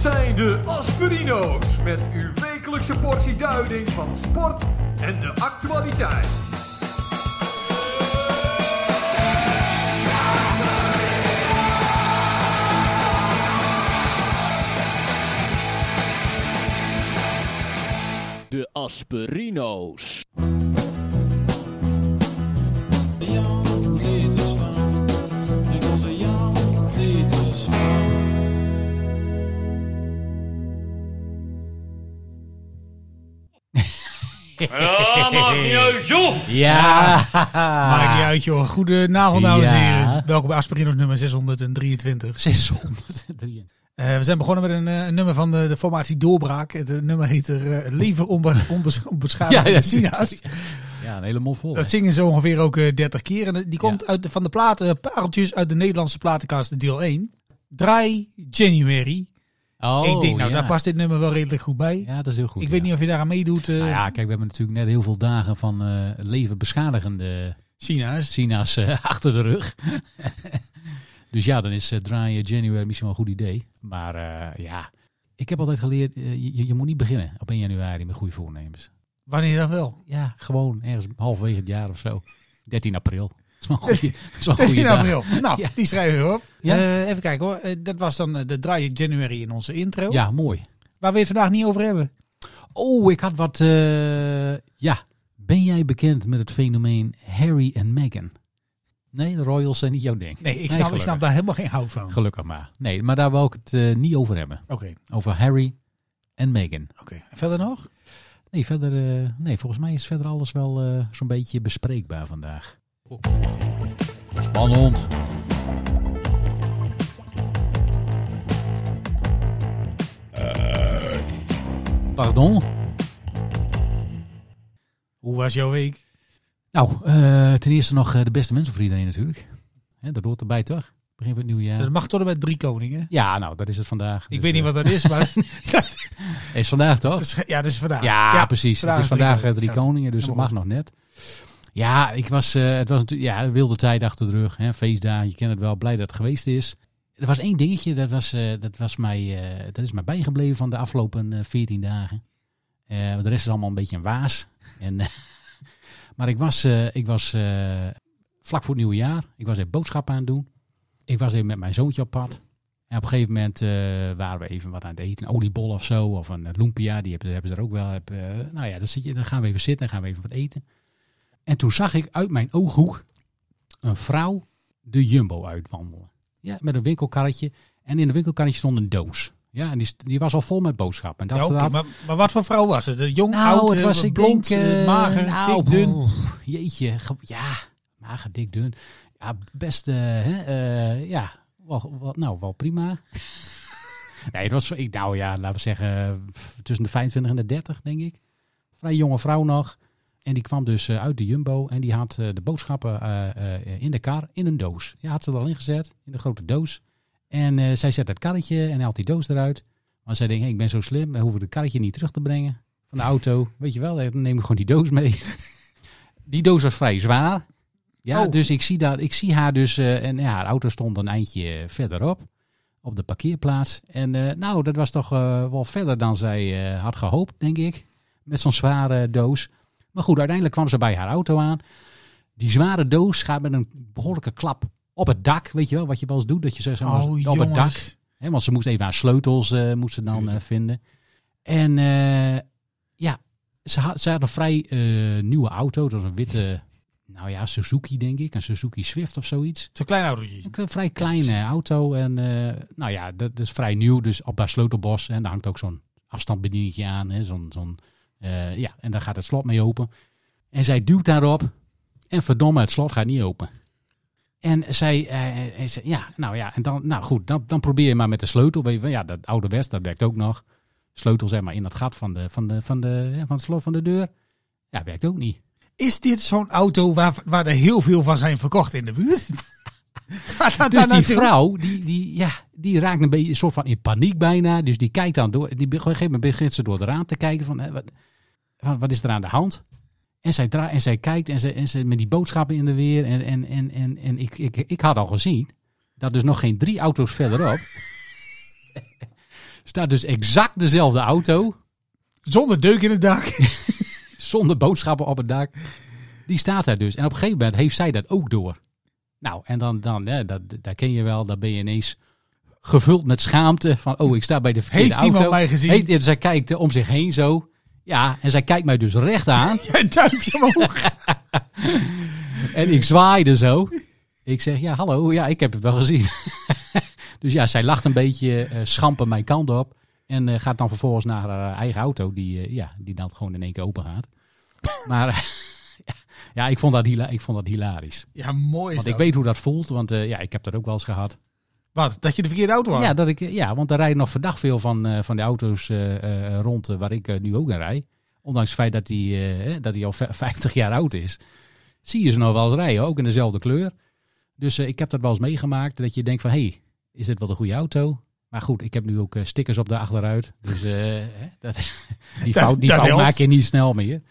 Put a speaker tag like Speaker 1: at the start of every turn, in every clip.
Speaker 1: zijn de Aspirino's met uw wekelijkse portie duiding van sport en de actualiteit.
Speaker 2: De Asperino's.
Speaker 3: Jan niet is van. Ik onze Jan niet is van.
Speaker 4: Ja, maakt niet uit, joh.
Speaker 5: Ja.
Speaker 6: Maakt niet uit, joh. Goedenavond, dames en
Speaker 5: Ah. Ja.
Speaker 6: heren. Welkom bij Aspirino's nummer 623.
Speaker 5: 603.
Speaker 6: Eh, we zijn begonnen met een, eh, een nummer van de, de formatie Doorbraak. Het eh, nummer heet er eh, Lever onbe, onbes, onbeschadigde
Speaker 5: Ja, ja,
Speaker 6: Sinaas.
Speaker 5: Ja, een hele mond vol. hè?
Speaker 6: Dat zingen ze ongeveer ook eh, 30 keer. En eh, die komt
Speaker 5: Ja.
Speaker 6: uit de, van de platen, eh, pareltjes uit de Nederlandse platenkast, deel 1. Draai January.
Speaker 5: Oh,
Speaker 6: ik denk, nou,
Speaker 5: ja.
Speaker 6: daar past dit nummer wel redelijk goed bij.
Speaker 5: Ja, dat is heel goed.
Speaker 6: ik
Speaker 5: ja.
Speaker 6: weet niet of je daaraan meedoet, eh
Speaker 5: Nou ja, kijk, we hebben natuurlijk net heel veel dagen van eh, leven beschadigende
Speaker 6: Sinaas.
Speaker 5: Sina's eh, achter de rug. dus ja, dan is eh, draaien januari misschien wel een goed idee. Maar eh, ja, ik heb altijd geleerd, eh, je, je moet niet beginnen op 1 januari met goede voornemens.
Speaker 6: Wanneer dan wel?
Speaker 5: Ja, gewoon ergens halverwege het jaar of zo. 13 april. Dat is wel een goede, dat is wel een goede
Speaker 6: 13
Speaker 5: dag.
Speaker 6: april. Nou,
Speaker 5: Ja.
Speaker 6: die schrijven we op.
Speaker 5: Ja.
Speaker 6: Eh, even kijken hoor. Eh, dat was dan eh, de Draai January in onze intro.
Speaker 5: Ja, mooi.
Speaker 6: Waar we het vandaag niet over hebben.
Speaker 5: Oh, ik had wat. eh, ja, ben jij bekend met het fenomeen Harry en Meghan? Nee, de royals zijn niet jouw ding.
Speaker 6: Nee, ik snap, ik
Speaker 5: gelukkig.
Speaker 6: snap daar helemaal geen hout van. Oké,
Speaker 5: Gelukkig maar. Nee, maar daar wou ik het eh, niet over hebben.
Speaker 6: oké.
Speaker 5: Over Harry en Meghan.
Speaker 6: En Verder nog?
Speaker 5: Nee, verder, eh, nee, volgens mij is verder alles wel eh, zo'n beetje bespreekbaar vandaag. Spannend. Eh. Pardon?
Speaker 6: Hoe was jouw week?
Speaker 5: Nou, eh, ten eerste nog eh, de beste mensen voor iedereen natuurlijk. Hè, dat hoort erbij toch? Begin van het nieuwe jaar.
Speaker 6: Dat mag tot en met drie koningen.
Speaker 5: Ja, nou, dat is het vandaag. eh,
Speaker 6: Ik weet niet wat dat is, maar dat
Speaker 5: is vandaag toch?
Speaker 6: is, ja, dat is vandaag.
Speaker 5: Ja, precies. Het is vandaag eh, drie
Speaker 6: koningen.
Speaker 5: koningen, dus dat
Speaker 6: Helemaal
Speaker 5: mag nog net. Ja, ik was, eh, het was natuurlijk ja, een wilde tijd achter de rug. Hè, feestdagen, je kent het wel. Blij dat het geweest is. Er was één dingetje, dat, was, eh, dat, was mij, eh, dat is mij bijgebleven van de afgelopen veertien dagen. Eh, want de rest is allemaal een beetje een waas. En, eh, maar ik was, eh, ik was eh, vlak voor het nieuwe jaar. Ik was even boodschappen aan het doen. Ik was even met mijn zoontje op pad. En op een gegeven moment eh, waren we even wat aan het eten. Een oliebol of zo. Of een eh, lumpia. Die hebben, hebben ze er ook wel. Heb, eh, nou ja, dan, zit je, dan gaan we even zitten. Dan gaan we even wat eten. En toen zag ik uit mijn ooghoek een vrouw de Jumbo uitwandelen. Ja, met een winkelkarretje. En in de winkelkarretje stond een doos. Ja, en die, st- die was al vol met boodschappen. En dat
Speaker 6: Ja, oké,
Speaker 5: had-
Speaker 6: maar, maar wat voor vrouw was het? Een Jong,
Speaker 5: nou,
Speaker 6: oud,
Speaker 5: het was
Speaker 6: eh,
Speaker 5: ik
Speaker 6: blond,
Speaker 5: denk, eh,
Speaker 6: eh, mager,
Speaker 5: nou,
Speaker 6: dik, dun.
Speaker 5: oeh, Jeetje, ge- ja, mager, dik, dun. Ja, best, eh, hè, eh, ja, wel, wel- nou, wel prima. nee, het was, ik, nou ja, laten we zeggen, f- tussen de 25 en de 30, denk ik. Vrij jonge vrouw nog. En die kwam dus eh, uit de Jumbo en die had eh, de boodschappen eh, eh, in de kar, in een doos. Ja, had ze er al ingezet, in een grote doos. En eh, zij zet het karretje en haalt die doos eruit. Maar zij denkt, hey, ik ben zo slim, dan hoeven we het karretje niet terug te brengen van de auto. Weet je wel, dan neem ik gewoon die doos mee. Die doos was vrij zwaar. Ja,
Speaker 6: Oh.
Speaker 5: dus ik zie, daar, ik zie haar dus, eh, en ja, haar auto stond een eindje eh, verderop, op de parkeerplaats. En eh, nou, dat was toch eh, wel verder dan zij eh, had gehoopt, denk ik, met zo'n zware doos. Maar goed, uiteindelijk kwam ze bij haar auto aan. Die zware doos gaat met een behoorlijke klap op het dak, weet je wel, wat je wel eens doet, dat je zegt, zeg maar,
Speaker 6: Oh,
Speaker 5: op
Speaker 6: jongens.
Speaker 5: het dak. Hè, want ze moest even haar sleutels eh, moest ze dan
Speaker 6: Tuurlijk.
Speaker 5: eh, vinden. En eh, ja, ze had, ze had een vrij eh, nieuwe auto. Dat was een witte, nou ja, Suzuki denk ik. Een Suzuki Swift of zoiets.
Speaker 6: Zo'n klein autootje.
Speaker 5: Ook Een vrij kleine auto. En eh, nou ja, dat is vrij nieuw. Dus op haar sleutelbos. En daar hangt ook zo'n afstandsbedieningetje aan. Hè, zo'n, zo'n, eh, ja, en daar gaat het slot mee open. En zij duwt daarop. En verdomme, het slot gaat niet open. En zij, eh, en ze- ja, nou ja, en dan, nou goed, dan, dan probeer je maar met de sleutel. Weet je wel, Ja, dat oude West, dat werkt ook nog. Sleutel zeg maar in dat gat van, de, van, de, van, de, hè, van het slot van de deur. Ja, werkt ook niet.
Speaker 6: Is dit zo'n auto waar, waar er heel veel van zijn verkocht in de buurt? Gaat dat
Speaker 5: Dus
Speaker 6: daar
Speaker 5: die
Speaker 6: naartoe?
Speaker 5: vrouw, die, die, ja, die raakt een beetje een soort van in paniek bijna. Dus die kijkt dan door. Die, be- op een gegeven moment begint ze door het raam te kijken van, hè, wat, wat, wat is er aan de hand? En zij, dra- en zij kijkt en, ze, en ze met die boodschappen in de weer. En, en, en, en, en ik, ik, ik had al gezien dat dus nog geen drie auto's verderop Staat dus exact dezelfde auto,
Speaker 6: Zonder deuk in het dak.
Speaker 5: zonder boodschappen op het dak. Die staat daar dus. En op een gegeven moment heeft zij dat ook door. Nou, en dan, dan hè, dat, daar ken je wel, daar ben je ineens gevuld met schaamte. Van, oh, ik sta bij de verkeerde
Speaker 6: Heeft
Speaker 5: auto.
Speaker 6: iemand mij gezien?
Speaker 5: Heeft- en zij kijkt eh, om zich heen zo. Ja, en zij kijkt mij dus recht aan.
Speaker 6: Een duimpje omhoog.
Speaker 5: En ik zwaaide zo. Ik zeg, ja, hallo, ja, ik heb het wel gezien. dus ja, zij lacht een beetje eh schampen mijn kant op. En eh, gaat dan vervolgens naar haar eigen auto, die, eh, ja, die dan gewoon in één keer open gaat. Maar eh, ja, ik vond, dat hila- ik vond dat hilarisch.
Speaker 6: Ja, mooi is
Speaker 5: Want
Speaker 6: dat.
Speaker 5: ik weet hoe dat voelt, want eh, ja, ik heb dat ook wel eens gehad.
Speaker 6: Wat? Dat je de verkeerde auto had?
Speaker 5: Ja, dat ik, ja, want er rijden nog verdacht veel van, eh, van de auto's eh, eh, rond eh, waar ik eh, nu ook aan rij. Ondanks het feit dat die, eh, dat die al vij- 50 jaar oud is. Zie je ze nog wel eens rijden, ook in dezelfde kleur. Dus eh, ik heb dat wel eens meegemaakt. Dat je denkt van, hé, hey, is dit wel de goede auto? Maar goed, ik heb nu ook eh, stickers op de achteruit. Dus eh, hè, dat, die
Speaker 6: Dat-
Speaker 5: fout, die
Speaker 6: dat
Speaker 5: fout
Speaker 6: helpt.
Speaker 5: maak je niet snel meer.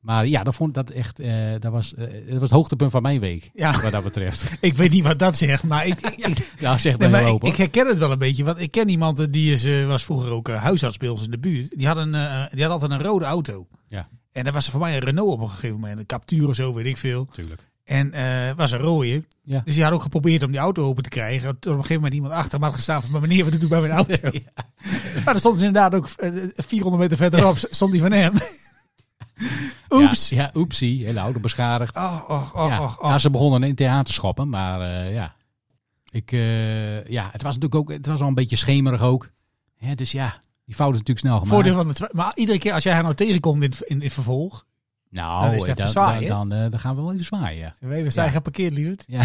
Speaker 5: Maar ja, dat vond ik dat echt, eh, dat, was, eh, dat was het hoogtepunt van mijn week.
Speaker 6: Ja.
Speaker 5: Wat dat betreft.
Speaker 6: Ik weet niet wat dat zegt, maar ik, ik, ik-
Speaker 5: Ja, zeg
Speaker 6: Nee,
Speaker 5: maar,
Speaker 6: maar
Speaker 5: heel
Speaker 6: ik,
Speaker 5: open.
Speaker 6: ik herken het wel een beetje. Want ik ken iemand eh, die is, eh, was vroeger ook eh, huisarts bij ons in de buurt. Die had, een, eh, die had altijd een rode auto.
Speaker 5: Ja.
Speaker 6: En dat was voor mij een Renault op een gegeven moment. Een Captur of zo, weet ik veel.
Speaker 5: Tuurlijk.
Speaker 6: En eh was een rode.
Speaker 5: Ja.
Speaker 6: Dus die had ook geprobeerd om die auto open te krijgen. Toen op een gegeven moment iemand achter me had gestaan van... "Maar meneer, wat doet u bij mijn auto? Maar er stond dus inderdaad ook eh, 400 meter verderop stond die van hem. Oeps.
Speaker 5: Ja, ja oepsie. Hele auto beschadigd.
Speaker 6: Oh, oh, oh,
Speaker 5: ja.
Speaker 6: oh, oh.
Speaker 5: Ja, ze begonnen in het te schoppen, maar eh, ja. Ik, eh, ja, het was natuurlijk ook, het was al een beetje schemerig ook. Hè, dus ja, die fout is natuurlijk snel gemaakt.
Speaker 6: Voordeel van de twa- maar iedere keer als jij haar nou tegenkomt in, in, in het vervolg...
Speaker 5: nou,
Speaker 6: dan is
Speaker 5: eh,
Speaker 6: het even
Speaker 5: dan,
Speaker 6: zwaaien.
Speaker 5: dan, dan, eh, dan gaan we wel even zwaaien. Ja.
Speaker 6: We zijn geparkeerd, lieverd.
Speaker 5: ja.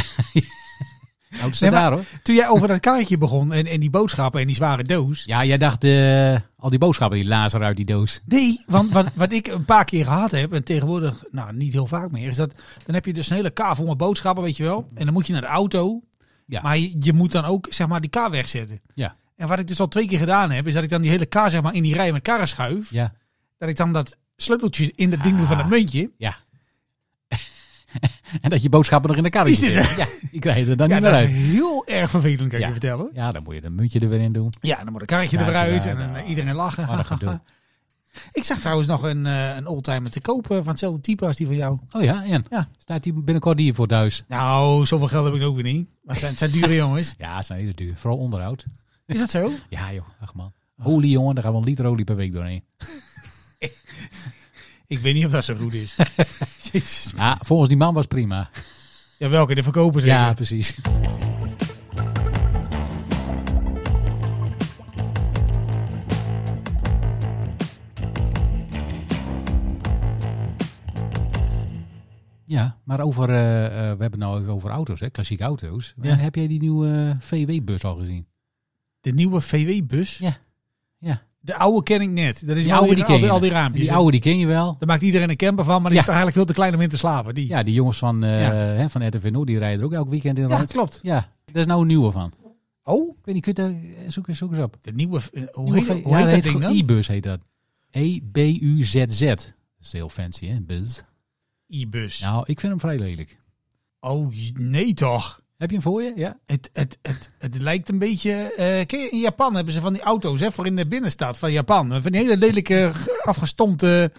Speaker 5: De auto staat
Speaker 6: Nee, maar-
Speaker 5: daar hoor.
Speaker 6: Toen jij over dat kaartje begon en, en die boodschappen en die zware doos.
Speaker 5: Ja, jij dacht eh, al die boodschappen die lazen uit die doos.
Speaker 6: Nee, want wat, wat ik een paar keer gehad heb, en tegenwoordig nou niet heel vaak meer, is dat dan heb je dus een hele kaar vol met boodschappen, weet je wel. En dan moet je naar de auto.
Speaker 5: Ja.
Speaker 6: Maar je, je moet dan ook zeg maar die kaar wegzetten.
Speaker 5: Ja.
Speaker 6: En wat ik dus al twee keer gedaan heb, is dat ik dan die hele kaar zeg maar in die rij met karren schuif.
Speaker 5: Ja,
Speaker 6: Dat ik dan dat sleuteltje in dat ding doe van
Speaker 5: Ah.
Speaker 6: dat muntje.
Speaker 5: ja. en dat je boodschappen er in de kar
Speaker 6: Is dit-
Speaker 5: Ja, die krijg je er dan
Speaker 6: Ja,
Speaker 5: niet meer
Speaker 6: dat is
Speaker 5: uit.
Speaker 6: heel erg vervelend, kan ik
Speaker 5: Ja.
Speaker 6: je vertellen.
Speaker 5: Ja, dan moet je een muntje er weer in doen.
Speaker 6: Ja, dan moet een karretje
Speaker 5: Kaartje
Speaker 6: er weer uit
Speaker 5: daar,
Speaker 6: en dan,
Speaker 5: nou.
Speaker 6: eh, iedereen lachen.
Speaker 5: Wat een gedoe.
Speaker 6: ik zag trouwens nog een, eh, een oldtimer te kopen van hetzelfde type als die van jou.
Speaker 5: Oh ja, en?
Speaker 6: Ja.
Speaker 5: Staat die binnenkort hier voor thuis?
Speaker 6: Nou, zoveel geld heb ik ook weer niet. Maar het zijn, het zijn dure jongens.
Speaker 5: Ja, ze zijn hele duur. Vooral onderhoud.
Speaker 6: Is dat zo?
Speaker 5: Ja joh, ach man. Olie jongen, daar gaan we een liter olie per week doorheen.
Speaker 6: Ik weet niet of dat zo goed is. Jezus.
Speaker 5: Ja, volgens die man was prima.
Speaker 6: Ja, welke? De verkoper zeker?
Speaker 5: Ja, precies. Ja, maar over, eh, eh, we hebben het nou even over auto's, hè, klassieke auto's.
Speaker 6: Ja.
Speaker 5: Eh, Heb jij die nieuwe eh, VW-bus al gezien?
Speaker 6: De nieuwe VW-bus?
Speaker 5: Ja. Ja.
Speaker 6: De oude ken ik net. Dat is
Speaker 5: Die
Speaker 6: wel
Speaker 5: oude die
Speaker 6: die al,
Speaker 5: ken
Speaker 6: die,
Speaker 5: je.
Speaker 6: al die raampjes.
Speaker 5: Die oude die ken je wel.
Speaker 6: Daar maakt iedereen een camper van, maar die
Speaker 5: Ja.
Speaker 6: is toch eigenlijk veel te klein om in te slapen. Die.
Speaker 5: Ja, die jongens van, eh
Speaker 6: Ja.
Speaker 5: hè, van RTV Noord, die rijden er ook elk weekend in
Speaker 6: Ja,
Speaker 5: rond.
Speaker 6: klopt.
Speaker 5: Ja, daar is nou een nieuwe van.
Speaker 6: Oh,
Speaker 5: Ik weet niet, kun je daar, eh, zoek, eens- zoek eens op.
Speaker 6: de nieuwe... eh, Hoe
Speaker 5: Nieuwe
Speaker 6: heet,
Speaker 5: V-
Speaker 6: hoe
Speaker 5: ja,
Speaker 6: heet dat
Speaker 5: heet
Speaker 6: ding
Speaker 5: gewoon
Speaker 6: dan?
Speaker 5: E-bus heet dat. E E-B-U-Z-Z. Dat is heel fancy, hè? Buzz.
Speaker 6: E-bus.
Speaker 5: Nou, ik vind hem vrij lelijk.
Speaker 6: Oh, j- nee toch.
Speaker 5: Heb je hem voor je? Ja.
Speaker 6: Het, het, het, het lijkt een beetje... eh, ken je, in Japan hebben ze van die auto's hè, voor in de binnenstad van Japan. Van die hele lelijke, ge- afgestompte,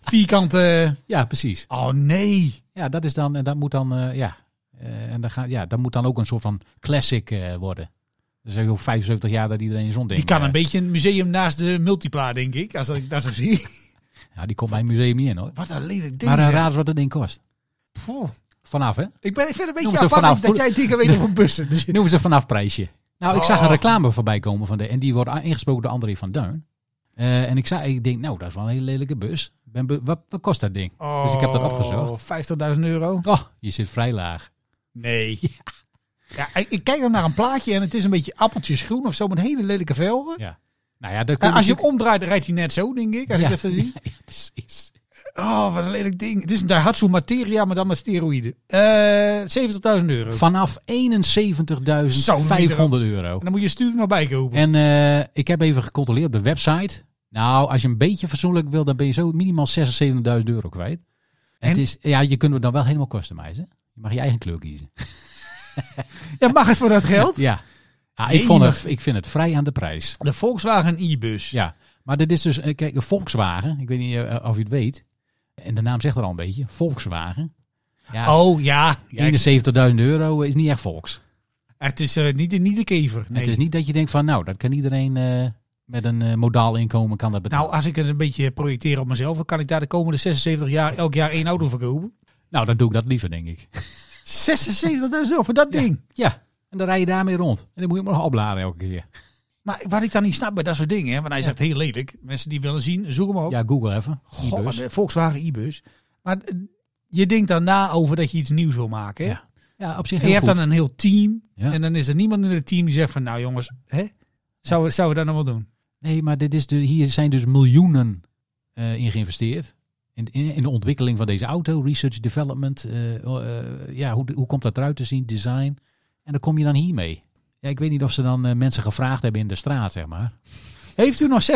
Speaker 6: vierkante...
Speaker 5: Ja, precies.
Speaker 6: Oh nee.
Speaker 5: Ja, dat is dan, en dat moet dan, eh, ja. Eh, en dan gaat, ja, dat moet dan ook een soort van classic eh, worden. Dus heb je al 75 jaar dat iedereen zo'n ding...
Speaker 6: Die kan
Speaker 5: eh,
Speaker 6: een beetje een museum naast de Multipla, denk ik. Als dat ik dat zo zie.
Speaker 5: Ja, die komt bij een museum niet in, hoor.
Speaker 6: Wat een lelijk ding.
Speaker 5: Maar eh,
Speaker 6: zeg.
Speaker 5: raad eens wat dat ding kost.
Speaker 6: Poeh.
Speaker 5: Vanaf, hè?
Speaker 6: Ik ben ik vind het een
Speaker 5: Noem
Speaker 6: beetje
Speaker 5: ze
Speaker 6: apart
Speaker 5: vanaf.
Speaker 6: dat jij dingen weet over bussen. Dus,
Speaker 5: Noemen ze vanaf prijsje. Nou, ik zag een
Speaker 6: Oh.
Speaker 5: reclame voorbij komen van de. En die wordt a- ingesproken door André van Duin. Eh, en ik, zei, ik denk, nou, dat is wel een hele lelijke bus. Ik Ben be- wat, wat kost dat ding? Dus ik heb dat opgezocht.
Speaker 6: Oh, 50.000 euro?
Speaker 5: Oh, je zit vrij laag.
Speaker 6: Nee. Ja. ik, ik kijk dan naar een plaatje en het is een beetje appeltjesgroen of zo met hele lelijke velgen.
Speaker 5: Ja. Nou ja, dat kun
Speaker 6: En
Speaker 5: je
Speaker 6: als je hem
Speaker 5: natuurlijk-
Speaker 6: omdraait, dan rijdt hij net zo, denk ik. Als ik
Speaker 5: Ja.
Speaker 6: dat zo zie.
Speaker 5: Ja, precies.
Speaker 6: Oh, wat een lelijk ding. Het is een Daihatsu Materia, maar dan met steroïden. Eh 70.000 euro.
Speaker 5: Vanaf 71.500 euro.
Speaker 6: En dan moet je stuur er nog bij kopen.
Speaker 5: En eh, ik heb even gecontroleerd op de website. Nou, als je een beetje fatsoenlijk wil, dan ben je zo minimaal 76.000 euro kwijt. En? Het
Speaker 6: En?
Speaker 5: is, ja, je kunt het dan wel helemaal customizen. Je mag je eigen kleur kiezen.
Speaker 6: Ja, mag het voor dat geld?
Speaker 5: Ja. Ah, ik,
Speaker 6: Nee,
Speaker 5: vond
Speaker 6: maar-
Speaker 5: het, ik vind het vrij aan de prijs.
Speaker 6: De Volkswagen e-bus.
Speaker 5: Ja, maar dit is dus, eh, kijk, een Volkswagen. Ik weet niet eh, of je het weet. En de naam zegt er al een beetje. Volkswagen. Ja,
Speaker 6: Oh ja. ja ik-
Speaker 5: 71.000 euro is niet echt volks.
Speaker 6: het is eh, niet, niet de kever. Nee.
Speaker 5: Het is niet dat je denkt van, nou, dat kan iedereen eh, met een eh, modaal inkomen kan dat betalen.
Speaker 6: Nou,
Speaker 5: Nou,
Speaker 6: als ik het een beetje projecteer op mezelf, dan kan ik daar de komende 76 jaar elk jaar één auto verkopen. 76.000
Speaker 5: Nou, dan doe ik dat liever, denk ik.
Speaker 6: euro voor dat ding.
Speaker 5: Ja, en dan rij je daarmee rond. En dan moet je hem nog opladen elke keer.
Speaker 6: Maar wat ik dan niet snap bij dat soort dingen, hè, want hij zegt heel lelijk. Mensen die willen zien, zoek hem op.
Speaker 5: Ja, Google even.
Speaker 6: Oh. Goh,
Speaker 5: E-bus.
Speaker 6: de Volkswagen e-bus. Maar eh, je denkt daarna over dat je iets nieuws wil maken. Hè?
Speaker 5: Ja, Ja, op zich
Speaker 6: en
Speaker 5: heel
Speaker 6: je hebt
Speaker 5: goed.
Speaker 6: dan een heel team.
Speaker 5: Ja.
Speaker 6: En dan is er niemand in het team die zegt van, nou jongens, hè? Zouden, we, zouden we dat nou wel doen?
Speaker 5: Nee, maar dit is de, hier zijn dus miljoenen eh, in geïnvesteerd. In, in, in de ontwikkeling van deze auto, research, development. eh, eh, ja, hoe, hoe komt dat eruit te zien, design. En dan kom je dan hiermee. Ja, ik weet niet of ze dan eh, mensen gevraagd hebben in de straat, zeg maar.
Speaker 6: Heeft u nog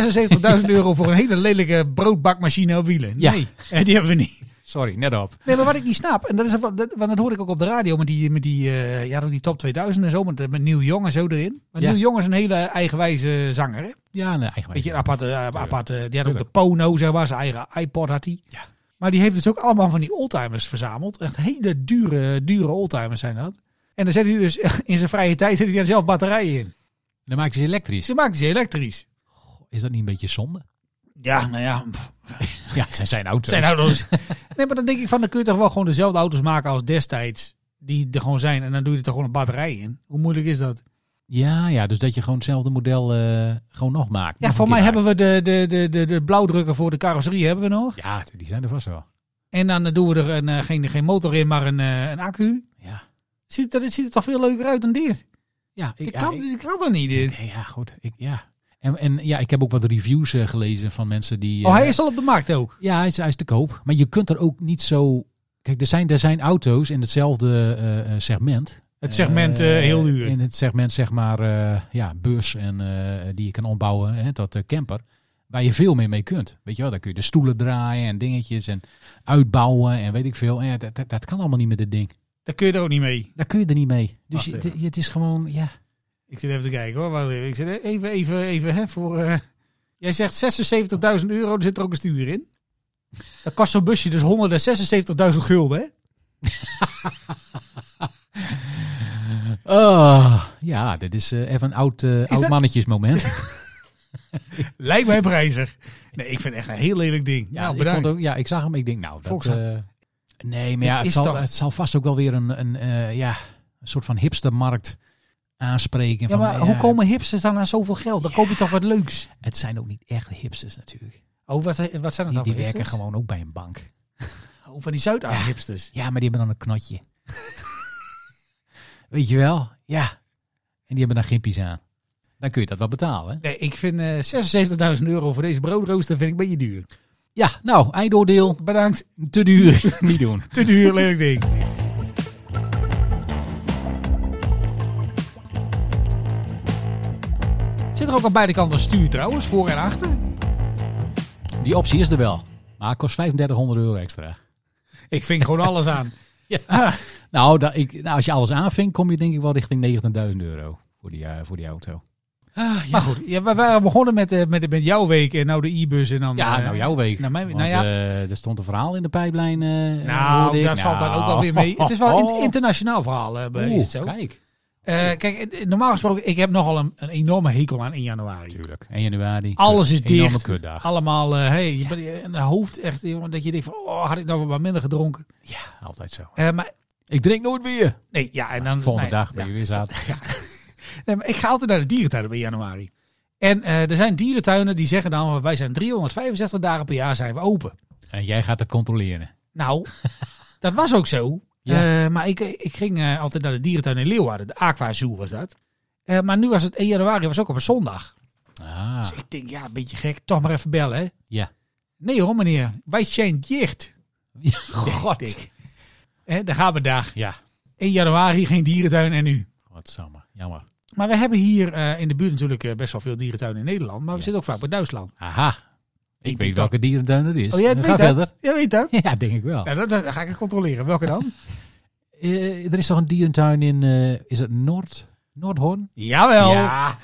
Speaker 6: 76.000 euro voor een hele lelijke broodbakmachine op wielen?
Speaker 5: Ja.
Speaker 6: Nee, eh, die hebben we niet.
Speaker 5: Sorry, net op.
Speaker 6: Nee, maar wat ik niet snap, en dat is, wat- dat- want dat hoorde ik ook op de radio met die, met die, eh, ja, die top 2000 en zo, met, met Nieuw Jong en zo erin. Maar
Speaker 5: Ja.
Speaker 6: Nieuw Jong is een hele eigenwijze zanger, hè?
Speaker 5: Ja, nee, eigenlijk.
Speaker 6: Beetje een aparte, eh, aparte die had ook
Speaker 5: Tuurlijk.
Speaker 6: de Pono, zeg maar, zijn eigen iPod had hij.
Speaker 5: Ja.
Speaker 6: Maar die heeft dus ook allemaal van die oldtimers verzameld. Echt hele dure, dure oldtimers zijn dat. En dan zet hij dus in zijn vrije tijd zet hij daar zelf batterijen in.
Speaker 5: Dan maken ze elektrisch.
Speaker 6: Ze maakt ze elektrisch.
Speaker 5: Is dat niet een beetje zonde?
Speaker 6: Ja, nou ja, pff,
Speaker 5: Ja, het zijn zijn auto's.
Speaker 6: zijn auto's. nee, maar dan denk ik van, dan kun je toch wel gewoon dezelfde auto's maken als destijds. Die er gewoon zijn. En dan doe je er toch gewoon een batterij in. Hoe moeilijk is dat?
Speaker 5: Ja, ja, dus dat je gewoon hetzelfde model eh, gewoon nog maakt.
Speaker 6: Ja,
Speaker 5: Nog
Speaker 6: voor
Speaker 5: een
Speaker 6: mij
Speaker 5: keer
Speaker 6: hebben we de, de, de, de, de blauwdrukken voor de carrosserie hebben we nog.
Speaker 5: maakt. Ja, die zijn er vast wel.
Speaker 6: En dan eh, doen we er een, eh, geen, geen motor in, maar een, eh, een accu.
Speaker 5: Ja,
Speaker 6: Ziet, dat ziet er toch veel leuker uit dan dit?
Speaker 5: ja
Speaker 6: Ik
Speaker 5: ja,
Speaker 6: kan, ik, kan dat niet, dit.
Speaker 5: Nee, ja, goed. Ik, ja. En, en ja, ik heb ook wat reviews eh, gelezen van mensen die...
Speaker 6: Oh,
Speaker 5: eh,
Speaker 6: hij is al op de markt ook.
Speaker 5: Ja, hij is, hij is te koop. Maar je kunt er ook niet zo... Kijk, er zijn, er zijn auto's in hetzelfde eh, eh, segment.
Speaker 6: Het segment eh,
Speaker 5: Eh,
Speaker 6: heel duur.
Speaker 5: In het segment, zeg maar, eh, ja, bus en eh, die je kan ombouwen hè, tot eh, camper. Waar je veel meer mee kunt. Weet je wel, daar kun je de stoelen draaien en dingetjes en uitbouwen en weet ik veel. En ja, dat, dat, dat kan allemaal niet met dit ding.
Speaker 6: Daar kun je er ook niet mee.
Speaker 5: Daar kun je er niet mee. Dus
Speaker 6: Wacht
Speaker 5: je-
Speaker 6: even.
Speaker 5: het- het is gewoon, ja...
Speaker 6: Ik zit even te kijken hoor. Wacht even. Ik zit even, even, even hè, voor... eh, jij zegt 76.000 euro, er zit er ook een stuur in. Dat kost zo'n busje dus 176.000 gulden, hè?
Speaker 5: Oh, ja, dit is eh, even een oud, eh, oud
Speaker 6: dat-
Speaker 5: mannetjesmoment.
Speaker 6: Lijkt mij prijzig. Nee, ik vind het echt een heel lelijk ding.
Speaker 5: Ja,
Speaker 6: nou,
Speaker 5: ik vond
Speaker 6: bedankt.
Speaker 5: ook- ja, ik zag hem. Ik denk, nou, dat...
Speaker 6: Volkswagen.
Speaker 5: eh, nee, maar ja, het
Speaker 6: Dit is
Speaker 5: zal,
Speaker 6: toch-
Speaker 5: het zal vast ook wel weer een, een, eh, ja, een soort van hipstermarkt aanspreken.
Speaker 6: Ja,
Speaker 5: van, eh,
Speaker 6: maar hoe komen hipsters dan aan zoveel geld? Dan koop je toch wat leuks?
Speaker 5: Het zijn ook niet echt hipsters natuurlijk.
Speaker 6: Oh, wat, wat zijn het
Speaker 5: Die,
Speaker 6: dan
Speaker 5: die
Speaker 6: voor
Speaker 5: werken
Speaker 6: hipsters?
Speaker 5: gewoon ook bij een bank.
Speaker 6: Oh, van die Zuidas-hipsters.
Speaker 5: Ja, maar die hebben dan een knotje. Weet je wel? Ja. En die hebben dan gimpies aan. Dan kun je dat wel betalen. hè?
Speaker 6: Nee, ik vind eh 76.000 euro voor deze broodrooster vind ik een beetje duur.
Speaker 5: Ja, nou, eindoordeel.
Speaker 6: Bedankt.
Speaker 5: Te duur. niet doen.
Speaker 6: Te duur, lelijk ding. Zit er ook aan beide kanten een stuur trouwens, voor en achter?
Speaker 5: Die optie is er wel. Maar het kost 3500 euro extra.
Speaker 6: Ik ving gewoon alles aan.
Speaker 5: Nou, da- ik, nou, als je alles aanvinkt, kom je denk ik wel richting 19.000 euro voor die, eh, voor die auto.
Speaker 6: Maar goed, ja, we waren begonnen met, eh, met, met jouw week en nou de e-bus en dan...
Speaker 5: Ja,
Speaker 6: eh,
Speaker 5: nou jouw week.
Speaker 6: nou, mijn-
Speaker 5: Want,
Speaker 6: nou ja.
Speaker 5: eh, er stond een verhaal in de pijplijn. eh, hoorde
Speaker 6: Nou,
Speaker 5: ik. Oh.
Speaker 6: dat valt dan ook wel weer mee. Het is wel een in- internationaal verhaal. eh, bij- is
Speaker 5: Oeh,
Speaker 6: het zo.
Speaker 5: kijk.
Speaker 6: Eh, kijk, eh, normaal gesproken, ik heb nogal een, een enorme hekel aan 1 januari.
Speaker 5: Tuurlijk. 1 januari.
Speaker 6: Alles is
Speaker 5: Kut. Enorme
Speaker 6: dicht.
Speaker 5: kutdag.
Speaker 6: Allemaal, eh hey, je bent- een hoofd echt, jongen, dat je denkt van, oh, had ik nou wat minder gedronken.
Speaker 5: Ja, altijd zo.
Speaker 6: Eh, maar
Speaker 5: Ik drink nooit meer.
Speaker 6: nee, ja, en dan...
Speaker 5: Volgende
Speaker 6: nee,
Speaker 5: dag ben
Speaker 6: ja.
Speaker 5: je weer zat.
Speaker 6: Nee, maar ik ga altijd naar de dierentuinen bij januari. En eh, er zijn dierentuinen die zeggen dan, wij zijn 365 dagen per jaar zijn we open.
Speaker 5: En jij gaat het controleren.
Speaker 6: Nou, dat was ook zo.
Speaker 5: Ja.
Speaker 6: Eh, maar ik, ik ging eh, altijd naar de dierentuin in Leeuwarden. De Aqua Zoo was dat. Eh, maar nu was het 1 januari, was ook op een zondag.
Speaker 5: Ah,
Speaker 6: Dus ik denk, ja, een beetje gek. Toch maar even bellen, hè?
Speaker 5: ja.
Speaker 6: Nee hoor, meneer. Wij zijn dicht.
Speaker 5: Ja, God.
Speaker 6: Dik. Hè, daar gaan we dag.
Speaker 5: Ja.
Speaker 6: 1 januari geen dierentuin en nu.
Speaker 5: Godsamme. Jammer.
Speaker 6: Maar we hebben hier eh, in de buurt natuurlijk eh, best wel veel dierentuinen in Nederland. Maar we zitten ook vaak bij Duitsland.
Speaker 5: Aha. Ik, weet
Speaker 6: denk
Speaker 5: welke dierentuin het is.
Speaker 6: Oh, jij
Speaker 5: Dan
Speaker 6: weet
Speaker 5: ga
Speaker 6: dat?
Speaker 5: Dus verder.
Speaker 6: Jij weet dat?
Speaker 5: Ja, denk ik wel.
Speaker 6: Nou, dat, dat ga ik controleren. Welke dan?
Speaker 5: Eh, er is toch een dierentuin in, eh, is het Noord? Noordhoorn?
Speaker 6: Jawel.
Speaker 5: Ja.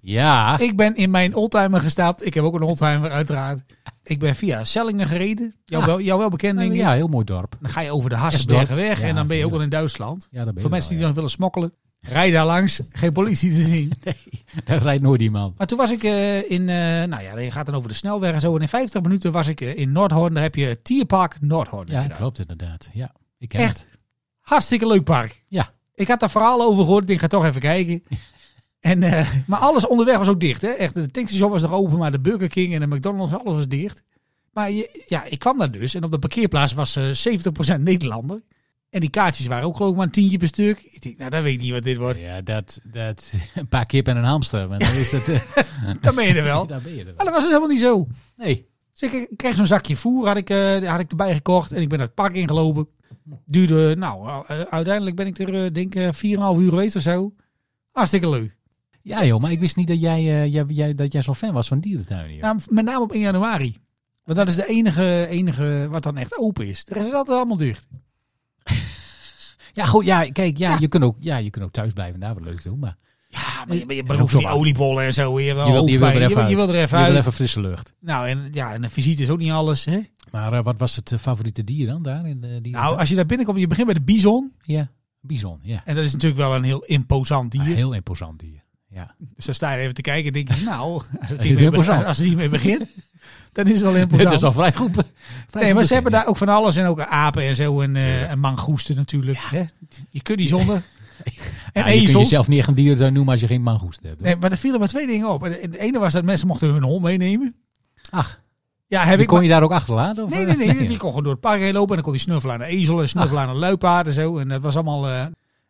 Speaker 5: Ja.
Speaker 6: Ik ben in mijn oldtimer gestapt. Ik heb ook een oldtimer uiteraard. Ik ben via Sellingen gereden. Jouw,
Speaker 5: Ah.
Speaker 6: wel, jouw welbekende.
Speaker 5: Nou,
Speaker 6: ding.
Speaker 5: ja, heel mooi dorp.
Speaker 6: Dan ga je over de Hassenbergenweg
Speaker 5: Ja,
Speaker 6: en dan ben je
Speaker 5: tuurlijk.
Speaker 6: ook wel in Duitsland.
Speaker 5: Ja, daar ben je
Speaker 6: Voor mensen die
Speaker 5: wel,
Speaker 6: nog willen smokkelen. Rij daar langs, geen politie te zien.
Speaker 5: ja. Daar rijdt nooit iemand.
Speaker 6: Maar toen was ik eh, in, eh, nou ja, je gaat dan over de snelweg en zo. En in 50 minuten was ik eh, in Noordhoorn. Daar heb je Tierpark Noordhoorn. heb
Speaker 5: Ja,
Speaker 6: je daar.
Speaker 5: klopt inderdaad. Ja, ik ken
Speaker 6: Echt
Speaker 5: het.
Speaker 6: hartstikke leuk park.
Speaker 5: Ja.
Speaker 6: Ik had daar verhalen over gehoord. Ik denk, ga toch even kijken. En, eh, maar alles onderweg was ook dicht. Hè? Echt, de tankstation was nog open, maar de Burger King en de McDonald's, alles was dicht. Maar je, ja, ik kwam daar dus en op de parkeerplaats was eh 70% Nederlander. En die kaartjes waren ook geloof ik maar een tientje per stuk. Ik denk, nou, dat weet ik niet wat dit wordt.
Speaker 5: Ja, dat, dat, een paar kip en een hamster. Maar dan is dat, eh,
Speaker 6: Dan ben je er wel.
Speaker 5: daar ben je er
Speaker 6: Maar
Speaker 5: wel.
Speaker 6: dat was dus helemaal niet zo.
Speaker 5: Nee.
Speaker 6: Dus ik kreeg zo'n zakje voer, had ik, eh, had ik erbij gekocht. En ik ben het park ingelopen. Duurde, nou, eh, uiteindelijk ben ik er, eh, denk ik, 4,5 uur geweest of zo. Hartstikke leuk.
Speaker 5: Ja joh, maar ik wist niet dat jij, eh, jij, jij, dat jij zo'n fan was van dierentuinen. joh.
Speaker 6: Nou, met name op 1 januari. Want dat is de enige, enige wat dan echt open is. De rest is altijd allemaal dicht.
Speaker 5: Ja, goed. Ja, kijk, ja, Je, kunt ook, ja, je kunt ook thuis blijven en daar wat leuks doen. Maar
Speaker 6: Ja, maar je, maar
Speaker 5: Dat is
Speaker 6: je
Speaker 5: ook
Speaker 6: beroept die
Speaker 5: zo wat.
Speaker 6: oliebollen en zo. Je, hebt wel
Speaker 5: je wil, je wil
Speaker 6: hoofdpijn.
Speaker 5: er even
Speaker 6: je,
Speaker 5: uit.
Speaker 6: je wil er even
Speaker 5: Je wil
Speaker 6: uit.
Speaker 5: even frisse lucht.
Speaker 6: Nou, en, ja, en een visite is ook niet alles. Hè?
Speaker 5: Maar eh, wat was het eh, favoriete dier dan daar? In, de die
Speaker 6: Nou, als je daar binnenkomt, je begint bij de bison.
Speaker 5: Ja, bison. Ja.
Speaker 6: En dat is natuurlijk wel een heel imposant
Speaker 5: Een
Speaker 6: dier.
Speaker 5: heel imposant dier. Ja.
Speaker 6: Dus dan sta je even te kijken en denk je, nou, als het
Speaker 5: is
Speaker 6: hiermee be-
Speaker 5: imposant.
Speaker 6: als- als het hiermee begint, dan is het wel imposant.
Speaker 5: Dat is al vrij goed. be- Vrij
Speaker 6: nee,
Speaker 5: goed
Speaker 6: maar ze hebben
Speaker 5: bekend.
Speaker 6: daar ook van alles en ook apen en zo en, eh, en mangoesten natuurlijk. Hè? Je kunt niet zonder. en
Speaker 5: Ja, Nou, je kunt
Speaker 6: ezels.
Speaker 5: jezelf niet echt een dierentuin noemen als je geen mangoest hebt.
Speaker 6: Nee, maar er vielen maar twee dingen op. En het ene was dat mensen mochten hun hond meenemen.
Speaker 5: Ach,
Speaker 6: Ja, heb
Speaker 5: die
Speaker 6: ik
Speaker 5: kon
Speaker 6: maar-
Speaker 5: je daar ook achterlaten? Of? eh,
Speaker 6: Nee, nee, nee, Die
Speaker 5: joh.
Speaker 6: kon gewoon door het park heen lopen en dan kon die snuffelen aan een ezel en snuffelen aan een luipaard en zo. En dat was allemaal... eh,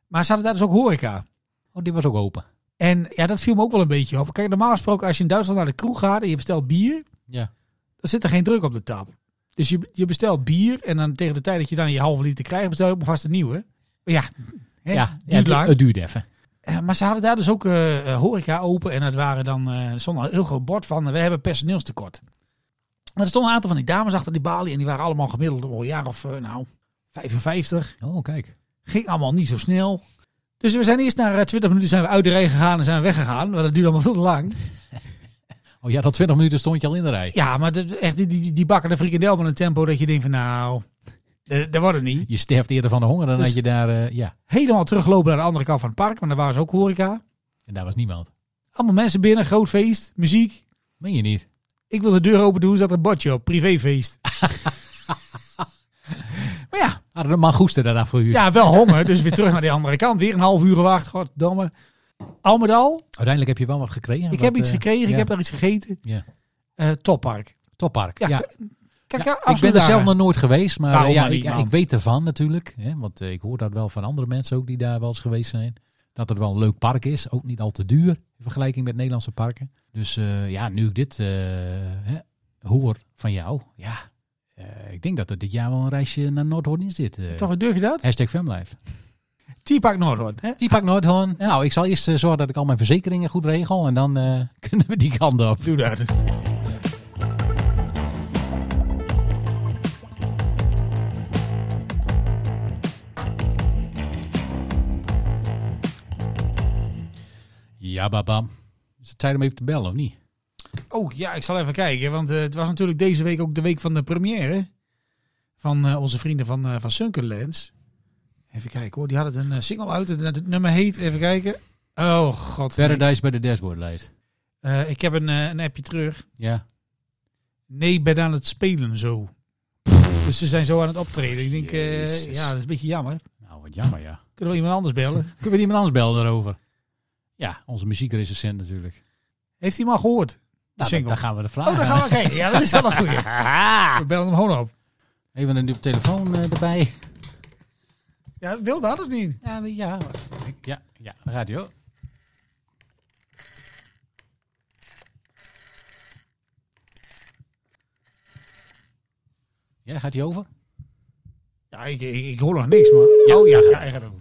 Speaker 6: Maar ze hadden daar dus ook horeca.
Speaker 5: Oh, die was ook open.
Speaker 6: En ja, dat viel me ook wel een beetje op. Kijk, normaal gesproken als je in Duitsland naar de kroeg gaat en je bestelt bier...
Speaker 5: Ja.
Speaker 6: dan zit er geen druk op de tap. Dus je, je bestelt bier en dan tegen de tijd dat je dan je halve liter krijgt, bestel je ook maar vast een nieuwe. Maar ja, hè,
Speaker 5: ja, ja,
Speaker 6: duurt
Speaker 5: het-
Speaker 6: lang.
Speaker 5: het duurde even.
Speaker 6: Eh, maar ze hadden daar dus ook eh, eh, horeca open en dat waren dan, eh, er stond al een heel groot bord van, we hebben personeelstekort. Maar er stonden een aantal van die dames achter die balie en die waren allemaal gemiddeld al een jaar of, eh, nou, 55.
Speaker 5: Oh, kijk.
Speaker 6: Ging allemaal niet zo snel. Dus we zijn eerst na eh, 20 minuten zijn we uit de rij gegaan en zijn we weggegaan, want dat duurde allemaal veel te lang.
Speaker 5: Oh ja, dat 20 minuten stond je al in de rij.
Speaker 6: Ja, maar de- echt, die, die, die bakken de frikandel met een tempo dat je denkt van nou, eh, dat wordt het niet.
Speaker 5: Je sterft eerder van de honger dan
Speaker 6: Dus-
Speaker 5: dat je daar... eh, ja,
Speaker 6: Helemaal teruglopen naar de andere kant van het park, want daar waren ze ook horeca.
Speaker 5: en daar was niemand.
Speaker 6: Allemaal mensen binnen, groot feest, muziek.
Speaker 5: Meen je niet?
Speaker 6: Ik wil de deur open doen, zat er een bordje op, privéfeest. maar ja,
Speaker 5: Hadden de mangoesten daarna voor u?
Speaker 6: ja, wel honger, dus weer terug naar die andere kant. Weer een half uur wacht, goddamme. Al met al,
Speaker 5: Uiteindelijk heb je wel wat gekregen.
Speaker 6: ik
Speaker 5: wat,
Speaker 6: heb iets
Speaker 5: eh,
Speaker 6: gekregen,
Speaker 5: ja.
Speaker 6: ik heb daar iets gegeten.
Speaker 5: Ja.
Speaker 6: Eh, toppark.
Speaker 5: Toppark.
Speaker 6: Ja,
Speaker 5: Ja,
Speaker 6: Kijk,
Speaker 5: Ja,
Speaker 6: ja,
Speaker 5: ik ben
Speaker 6: absoluut
Speaker 5: er
Speaker 6: aan.
Speaker 5: zelf nog nooit geweest, maar
Speaker 6: Waarom
Speaker 5: eh, ja,
Speaker 6: maar niet,
Speaker 5: ik, ja,
Speaker 6: man?
Speaker 5: ik weet ervan natuurlijk. Hè, want eh, ik hoor dat wel van andere mensen ook die daar wel eens geweest zijn. Dat het wel een leuk park is. Ook niet al te duur in vergelijking met Nederlandse parken. Dus eh, ja, nu ik dit eh, hè, hoor van jou, ja, eh, ik denk dat er dit jaar wel een reisje naar Noordhoorn in zit. eh.
Speaker 6: Toch, durf je dat?
Speaker 5: Hashtag Femlife.
Speaker 6: T-Park Noordhoorn, hè?
Speaker 5: Die pak Noordhoorn. Nou, ik zal eerst eh, zorgen dat ik al mijn verzekeringen goed regel. En dan eh, kunnen we die kant op.
Speaker 6: Doe dat.
Speaker 5: Ja, babam. Is het tijd om even te bellen, of niet?
Speaker 6: Oh ja, ik zal even kijken, want eh, het was natuurlijk deze week ook de week van de première. Van eh, onze vrienden van, eh van Sunkerlands. Even kijken hoor, die hadden een eh, single uit, het, het nummer heet, even kijken. Oh god. nee.
Speaker 5: Paradise bij de dashboardlijst.
Speaker 6: Eh, ik heb een, eh, een appje terug.
Speaker 5: Ja.
Speaker 6: Nee, ik ben aan het spelen zo. Dus ze zijn zo aan het optreden. Ik denk, eh,
Speaker 5: Jezus.
Speaker 6: ja, dat is een beetje jammer.
Speaker 5: Nou, wat jammer, ja.
Speaker 6: Kunnen we iemand anders bellen?
Speaker 5: Kunnen we iemand anders bellen daarover? Ja, onze muziekrecensent natuurlijk. Nou,
Speaker 6: Heeft hij hem al gehoord?
Speaker 5: dat-
Speaker 6: single.
Speaker 5: daar gaan we de vraag
Speaker 6: Oh, daar gaan we kijken. Ja, dat is wel een goeie. We bellen hem gewoon op.
Speaker 5: Even een nieuwe telefoon eh, erbij.
Speaker 6: Ja, wil dat of niet?
Speaker 5: Ja, maar ja. Ik- Ja, ja, daar gaat hij hoor. Ja, gaat hij over?
Speaker 6: Ja, ik, ik, ik hoor nog niks, maar...
Speaker 5: Ja,
Speaker 6: oh ja,
Speaker 5: ja,
Speaker 6: ja,
Speaker 5: ja.
Speaker 6: hij gaat over.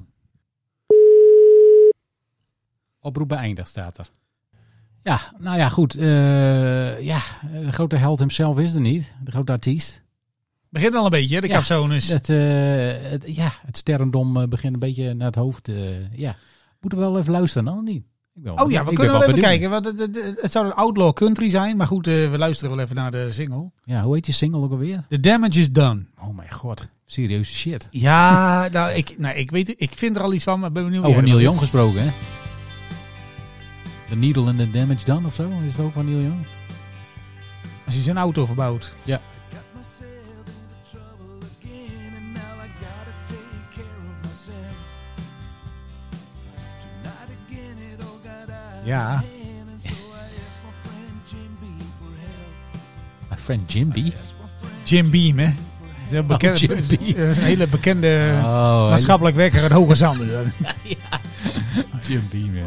Speaker 5: Oproep beëindigd staat er. Ja, nou ja, goed. eh, ja, de grote held hemzelf is er niet. De grote artiest.
Speaker 6: Begint al een beetje, hè, de
Speaker 5: Ja,
Speaker 6: capsones.
Speaker 5: Het, eh, het- ja, het sterrendom eh, begint een beetje naar het hoofd. eh, ja. Moeten we wel even luisteren dan, of niet? Ik ben wel
Speaker 6: Oh
Speaker 5: benieuwd.
Speaker 6: ja, we
Speaker 5: Ik ben
Speaker 6: kunnen wel
Speaker 5: wel
Speaker 6: even
Speaker 5: benieuwd.
Speaker 6: kijken. Want het, het- het zou een outlaw country zijn. Maar goed, eh, we luisteren wel even naar de single.
Speaker 5: Ja, hoe heet die single ook alweer?
Speaker 6: The damage is done.
Speaker 5: Oh mijn god, serieuze
Speaker 6: Oh
Speaker 5: shit.
Speaker 6: Ja, nou, ik, nou, ik, weet, het- ik vind er al iets van, maar ben benieuwd.
Speaker 5: Over
Speaker 6: Ja,
Speaker 5: Neil
Speaker 6: dat-
Speaker 5: Young gesproken, hè? The Needle and the Damage Done of zo? Is het ook van Neil Young?
Speaker 6: Als hij zijn auto verbouwt.
Speaker 3: Got myself into trouble again, and now I gotta take care of myself. Tonight again, it all got out
Speaker 6: Ja.
Speaker 3: of hand, and so I asked my friend Jim B for help.
Speaker 5: My friend Jim B.
Speaker 3: Asked my friend
Speaker 6: Jim Beam, hè? Dat is, een bekende,
Speaker 5: Oh, Jim Beam.
Speaker 6: dat is een hele bekende
Speaker 5: Oh,
Speaker 6: maatschappelijk wekker uit Hoge Zanden.
Speaker 5: Jim B, ja.
Speaker 3: blame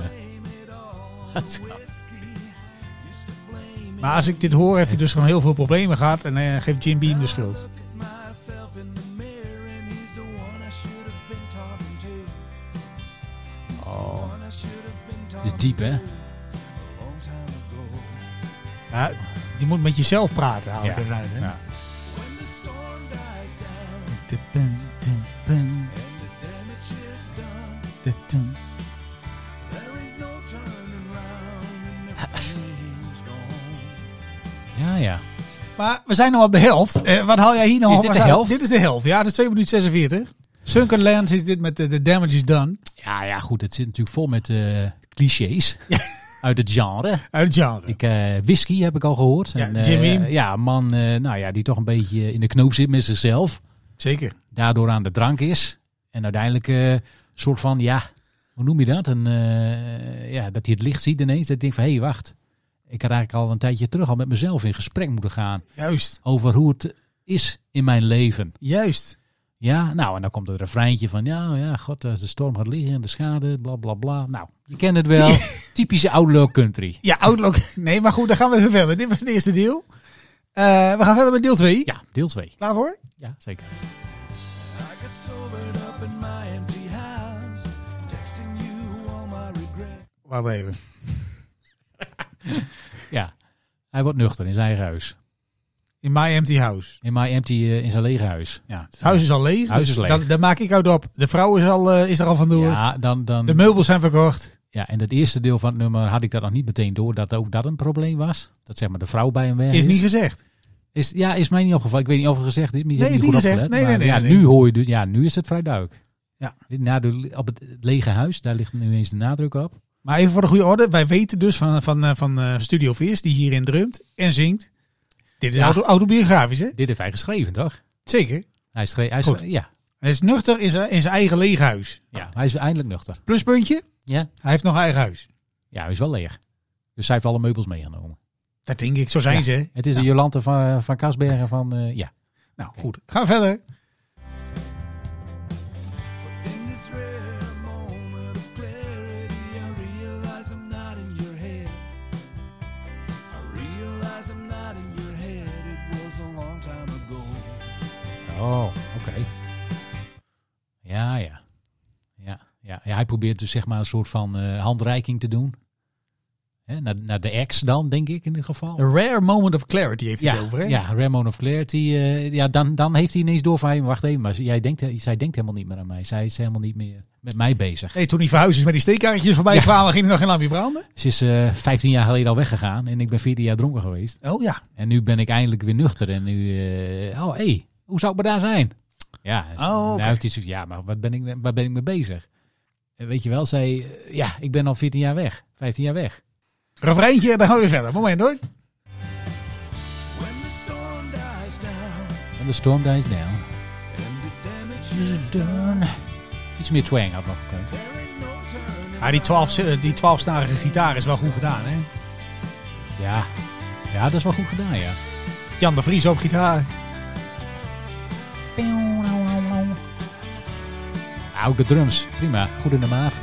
Speaker 3: it all on whiskey. Used to blame
Speaker 6: Maar als ik dit hoor, heeft hij dus gewoon heel veel problemen gehad. En eh, geeft Jim Beam de schuld.
Speaker 3: at myself in the mirror, and he's the one I should have been talking to. He's the one I should have been
Speaker 5: Dit is
Speaker 3: talking
Speaker 5: diep,
Speaker 3: a
Speaker 5: hè?
Speaker 3: long time ago.
Speaker 6: Ja, je moet met jezelf praten, haal ik eruit, hè?
Speaker 5: Ja.
Speaker 3: When the storm dies down and the damage is done, there ain't no turning round and everything's gone.
Speaker 5: ja, ja.
Speaker 6: Maar we zijn al op de helft. Eh, wat haal jij hier nou
Speaker 5: Is
Speaker 6: op?
Speaker 5: dit
Speaker 6: Wat
Speaker 5: de
Speaker 6: haal-
Speaker 5: helft?
Speaker 6: Dit is de helft, ja. Dat is 2 minuten 46. Sunken Land is dit met de de Damage is Done.
Speaker 5: Ja, ja, goed. Het zit natuurlijk vol met eh, clichés uit het genre.
Speaker 6: Uit het genre.
Speaker 5: Ik, eh, whisky heb ik al gehoord.
Speaker 6: Ja,
Speaker 5: En, eh,
Speaker 6: Jimmy.
Speaker 5: ja, een man eh, nou ja, die toch een beetje in de knoop zit met zichzelf.
Speaker 6: Zeker.
Speaker 5: Daardoor aan de drank is. En uiteindelijk eh, een soort van, ja, hoe noem je dat? Een, eh, ja, dat hij het licht ziet ineens. Dat hij denkt van, hé, hey, wacht. Ik had eigenlijk al een tijdje terug al met mezelf in gesprek moeten gaan.
Speaker 6: Juist.
Speaker 5: Over hoe het is in mijn leven.
Speaker 6: Juist.
Speaker 5: Ja, nou, en dan komt er een refreintje van, ja, oh ja, god, als de storm gaat liggen en de schade, bla, bla, bla. Nou, je kent het wel. Typische outlaw country.
Speaker 6: Ja, Outlook. Nee, maar goed, dan gaan we even verder. Dit was het eerste deel. Eh, we gaan verder met deel 2.
Speaker 5: Ja, deel 2.
Speaker 6: Klaar voor?
Speaker 5: Ja, zeker.
Speaker 3: I got sobered up in my empty house, texting you all my regrets.
Speaker 6: Wacht even.
Speaker 5: Ja. Hij wordt nuchter in zijn eigen huis.
Speaker 6: In My Empty House.
Speaker 5: In My Empty eh, in zijn lege huis.
Speaker 6: Ja, het huis is al leeg.
Speaker 5: Huis
Speaker 6: dus
Speaker 5: is leeg.
Speaker 6: Dan, dan maak ik uit op. De vrouw is, al, eh, is er al vandoor.
Speaker 5: Ja, dan, dan,
Speaker 6: De meubels zijn verkocht.
Speaker 5: ja, en dat eerste deel van het nummer had ik dat nog niet meteen door dat ook dat een probleem was. Dat zeg maar de vrouw bij hem weg is.
Speaker 6: Is niet gezegd.
Speaker 5: Is- ja, is mij niet opgevallen. Ik weet niet of het gezegd is. maar je
Speaker 6: Nee,
Speaker 5: hebt niet
Speaker 6: niet
Speaker 5: goed
Speaker 6: gezegd.
Speaker 5: opgelet.
Speaker 6: Nee,
Speaker 5: Maar
Speaker 6: nee, nee,
Speaker 5: ja,
Speaker 6: nee.
Speaker 5: Nu hoor je dus, ja, nu is het vrij duidelijk.
Speaker 6: Ja.
Speaker 5: Na de, op het lege huis, daar ligt nu eens de nadruk op.
Speaker 6: Maar even voor de goede orde. Wij weten dus van, van, eh, van eh, Studio Vis, die hierin drumt en zingt. Dit is
Speaker 5: Ja.
Speaker 6: auto, autobiografisch, hè?
Speaker 5: Dit heeft hij geschreven, toch?
Speaker 6: Zeker.
Speaker 5: Hij schreef, hij
Speaker 6: Goed.
Speaker 5: schreef- ja,
Speaker 6: Hij is nuchter in zijn, in zijn eigen leeg huis.
Speaker 5: ja, hij is eindelijk nuchter.
Speaker 6: Pluspuntje,
Speaker 5: Ja,
Speaker 6: hij heeft nog eigen huis.
Speaker 5: ja hij is wel leeg. Dus hij heeft alle meubels meegenomen.
Speaker 6: Dat denk ik, zo zijn
Speaker 5: Ja.
Speaker 6: ze. hè?
Speaker 5: Het is de Jolante van, van Kasbergen van, eh, ja.
Speaker 6: Nou goed, gaan we verder.
Speaker 3: In this rare moment of clarity, I realize I'm not in your head. I realize I'm not in your head. It was a long time ago.
Speaker 5: Oh, oké. Ja, ja. Ja, ja. ja, hij probeert dus zeg maar een soort van eh, handreiking te doen. Hè, naar, naar de ex dan, denk ik in dit geval.
Speaker 6: A rare moment of clarity heeft hij
Speaker 5: ja,
Speaker 6: het over, hè?
Speaker 5: ja, Ramon of Clarity. eh, ja, dan, dan heeft hij ineens door van, hey, wacht even, maar jij denkt, eh, zij denkt helemaal niet meer aan mij. Zij is helemaal niet meer met mij bezig.
Speaker 6: Nee, toen die verhuizers met die steekkarretjes voorbij
Speaker 5: Ja.
Speaker 6: kwamen, ging er nog geen lampje branden.
Speaker 5: Ze is eh 15 jaar geleden al weggegaan en ik ben 14 jaar dronken geweest.
Speaker 6: Oh ja.
Speaker 5: En nu ben ik eindelijk weer nuchter en nu, eh, oh hé, hey, hoe zou ik me daar zijn? Ja, en
Speaker 6: Oh,
Speaker 5: dan
Speaker 6: oké.
Speaker 5: heeft hij zoiets, ja, maar wat ben ik, waar ben ik mee bezig? En weet je wel, zij, eh, ja, ik ben al 14 jaar weg, 15 jaar weg.
Speaker 6: Refreintje, dan gaan we weer verder. Moment hoor.
Speaker 3: When the storm dies down
Speaker 5: En de storm dies down.
Speaker 3: and the damage is
Speaker 5: Iets meer twang had nog gekund.
Speaker 3: there ain't no turning.
Speaker 6: Ja, die 12, eh, die 12-snarige gitaar is wel goed gedaan, hè?
Speaker 5: Ja. ja, dat is wel goed gedaan, ja.
Speaker 6: Jan de Vries op gitaar.
Speaker 5: Ja, Ook de drums, prima. Goed in de maat.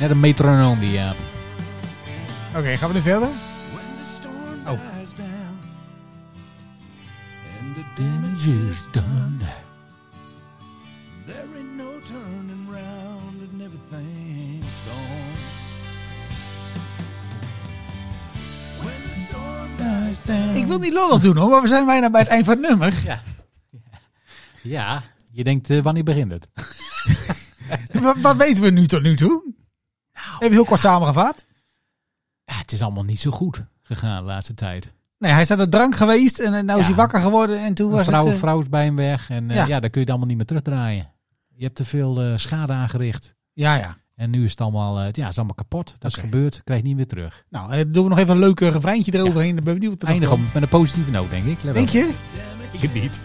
Speaker 5: Net een metronoom die eh, ja.
Speaker 6: Oké, gaan we nu verder?
Speaker 3: When the storm
Speaker 6: Oh.
Speaker 3: dies down and the
Speaker 5: Damage
Speaker 3: damage
Speaker 5: is done.
Speaker 3: There ain't no turning round and everything's gone. When the storm dies down.
Speaker 6: Ik wil niet lollig doen hoor, maar we zijn bijna bij het eind van het nummer.
Speaker 5: Ja, je denkt, eh, wanneer begint het?
Speaker 6: wat, wat weten we nu tot nu toe?
Speaker 5: Nou.
Speaker 6: Even heel kort samengevat.
Speaker 5: Ja, het is allemaal niet zo goed gegaan de laatste tijd.
Speaker 6: Nee, hij is aan de drank geweest en eh, nou is
Speaker 5: Ja.
Speaker 6: hij wakker geworden en toen
Speaker 5: Een
Speaker 6: was
Speaker 5: vrouw,
Speaker 6: het... eh,
Speaker 5: vrouw is bij hem weg en eh,
Speaker 6: Ja.
Speaker 5: ja. daar kun je het allemaal niet meer terugdraaien. Je hebt te veel eh, schade aangericht.
Speaker 6: Ja, ja.
Speaker 5: En nu is het allemaal, eh, ja, het is allemaal kapot. Dat is
Speaker 6: Oké.
Speaker 5: gebeurd, krijg je niet meer terug.
Speaker 6: Nou, eh, doen we nog even een leuk eh, refreintje eroverheen. Dan ben ik benieuwd wat er nog
Speaker 5: Eindig
Speaker 6: komt.
Speaker 5: op, met een positieve noot, denk ik. Let
Speaker 6: Denk
Speaker 5: op.
Speaker 6: je?
Speaker 5: Ik niet.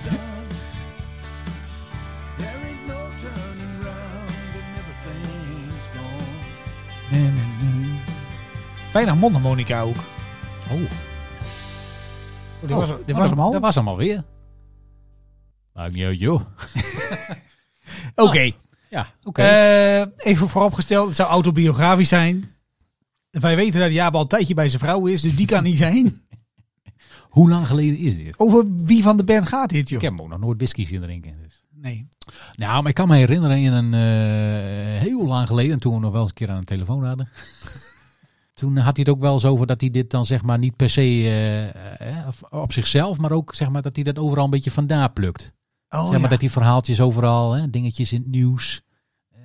Speaker 3: There ain't no turning round and everything's gone.
Speaker 6: Nee, nee, nee. Weinig mondharmonica ook. Oh,
Speaker 5: Oh.
Speaker 6: dit
Speaker 5: Oh,
Speaker 6: was, dit
Speaker 5: oh,
Speaker 6: was
Speaker 5: dat-
Speaker 6: hem al.
Speaker 5: Dat was hem alweer. Maakt niet uit, joh.
Speaker 6: Oké.
Speaker 5: Ja, Oh, oké.
Speaker 6: Eh, even vooropgesteld, het zou autobiografisch zijn. Wij weten dat Jaap al een tijdje bij zijn vrouw is, dus die kan niet zijn.
Speaker 5: Hoe lang geleden is dit?
Speaker 6: Over wie van de band gaat dit, joh?
Speaker 5: Ik heb ook nog nooit whisky zien drinken. Dus.
Speaker 6: Nee.
Speaker 5: Nou, maar ik kan me herinneren in een eh, heel lang geleden, toen we nog wel eens een keer aan de telefoon hadden. toen had hij het ook wel eens over dat hij dit dan zeg maar niet per se eh, eh, op zichzelf, maar ook zeg maar dat hij dat overal een beetje vandaan plukt.
Speaker 6: Oh,
Speaker 5: zeg maar
Speaker 6: ja.
Speaker 5: dat hij verhaaltjes overal, hè, dingetjes in het nieuws,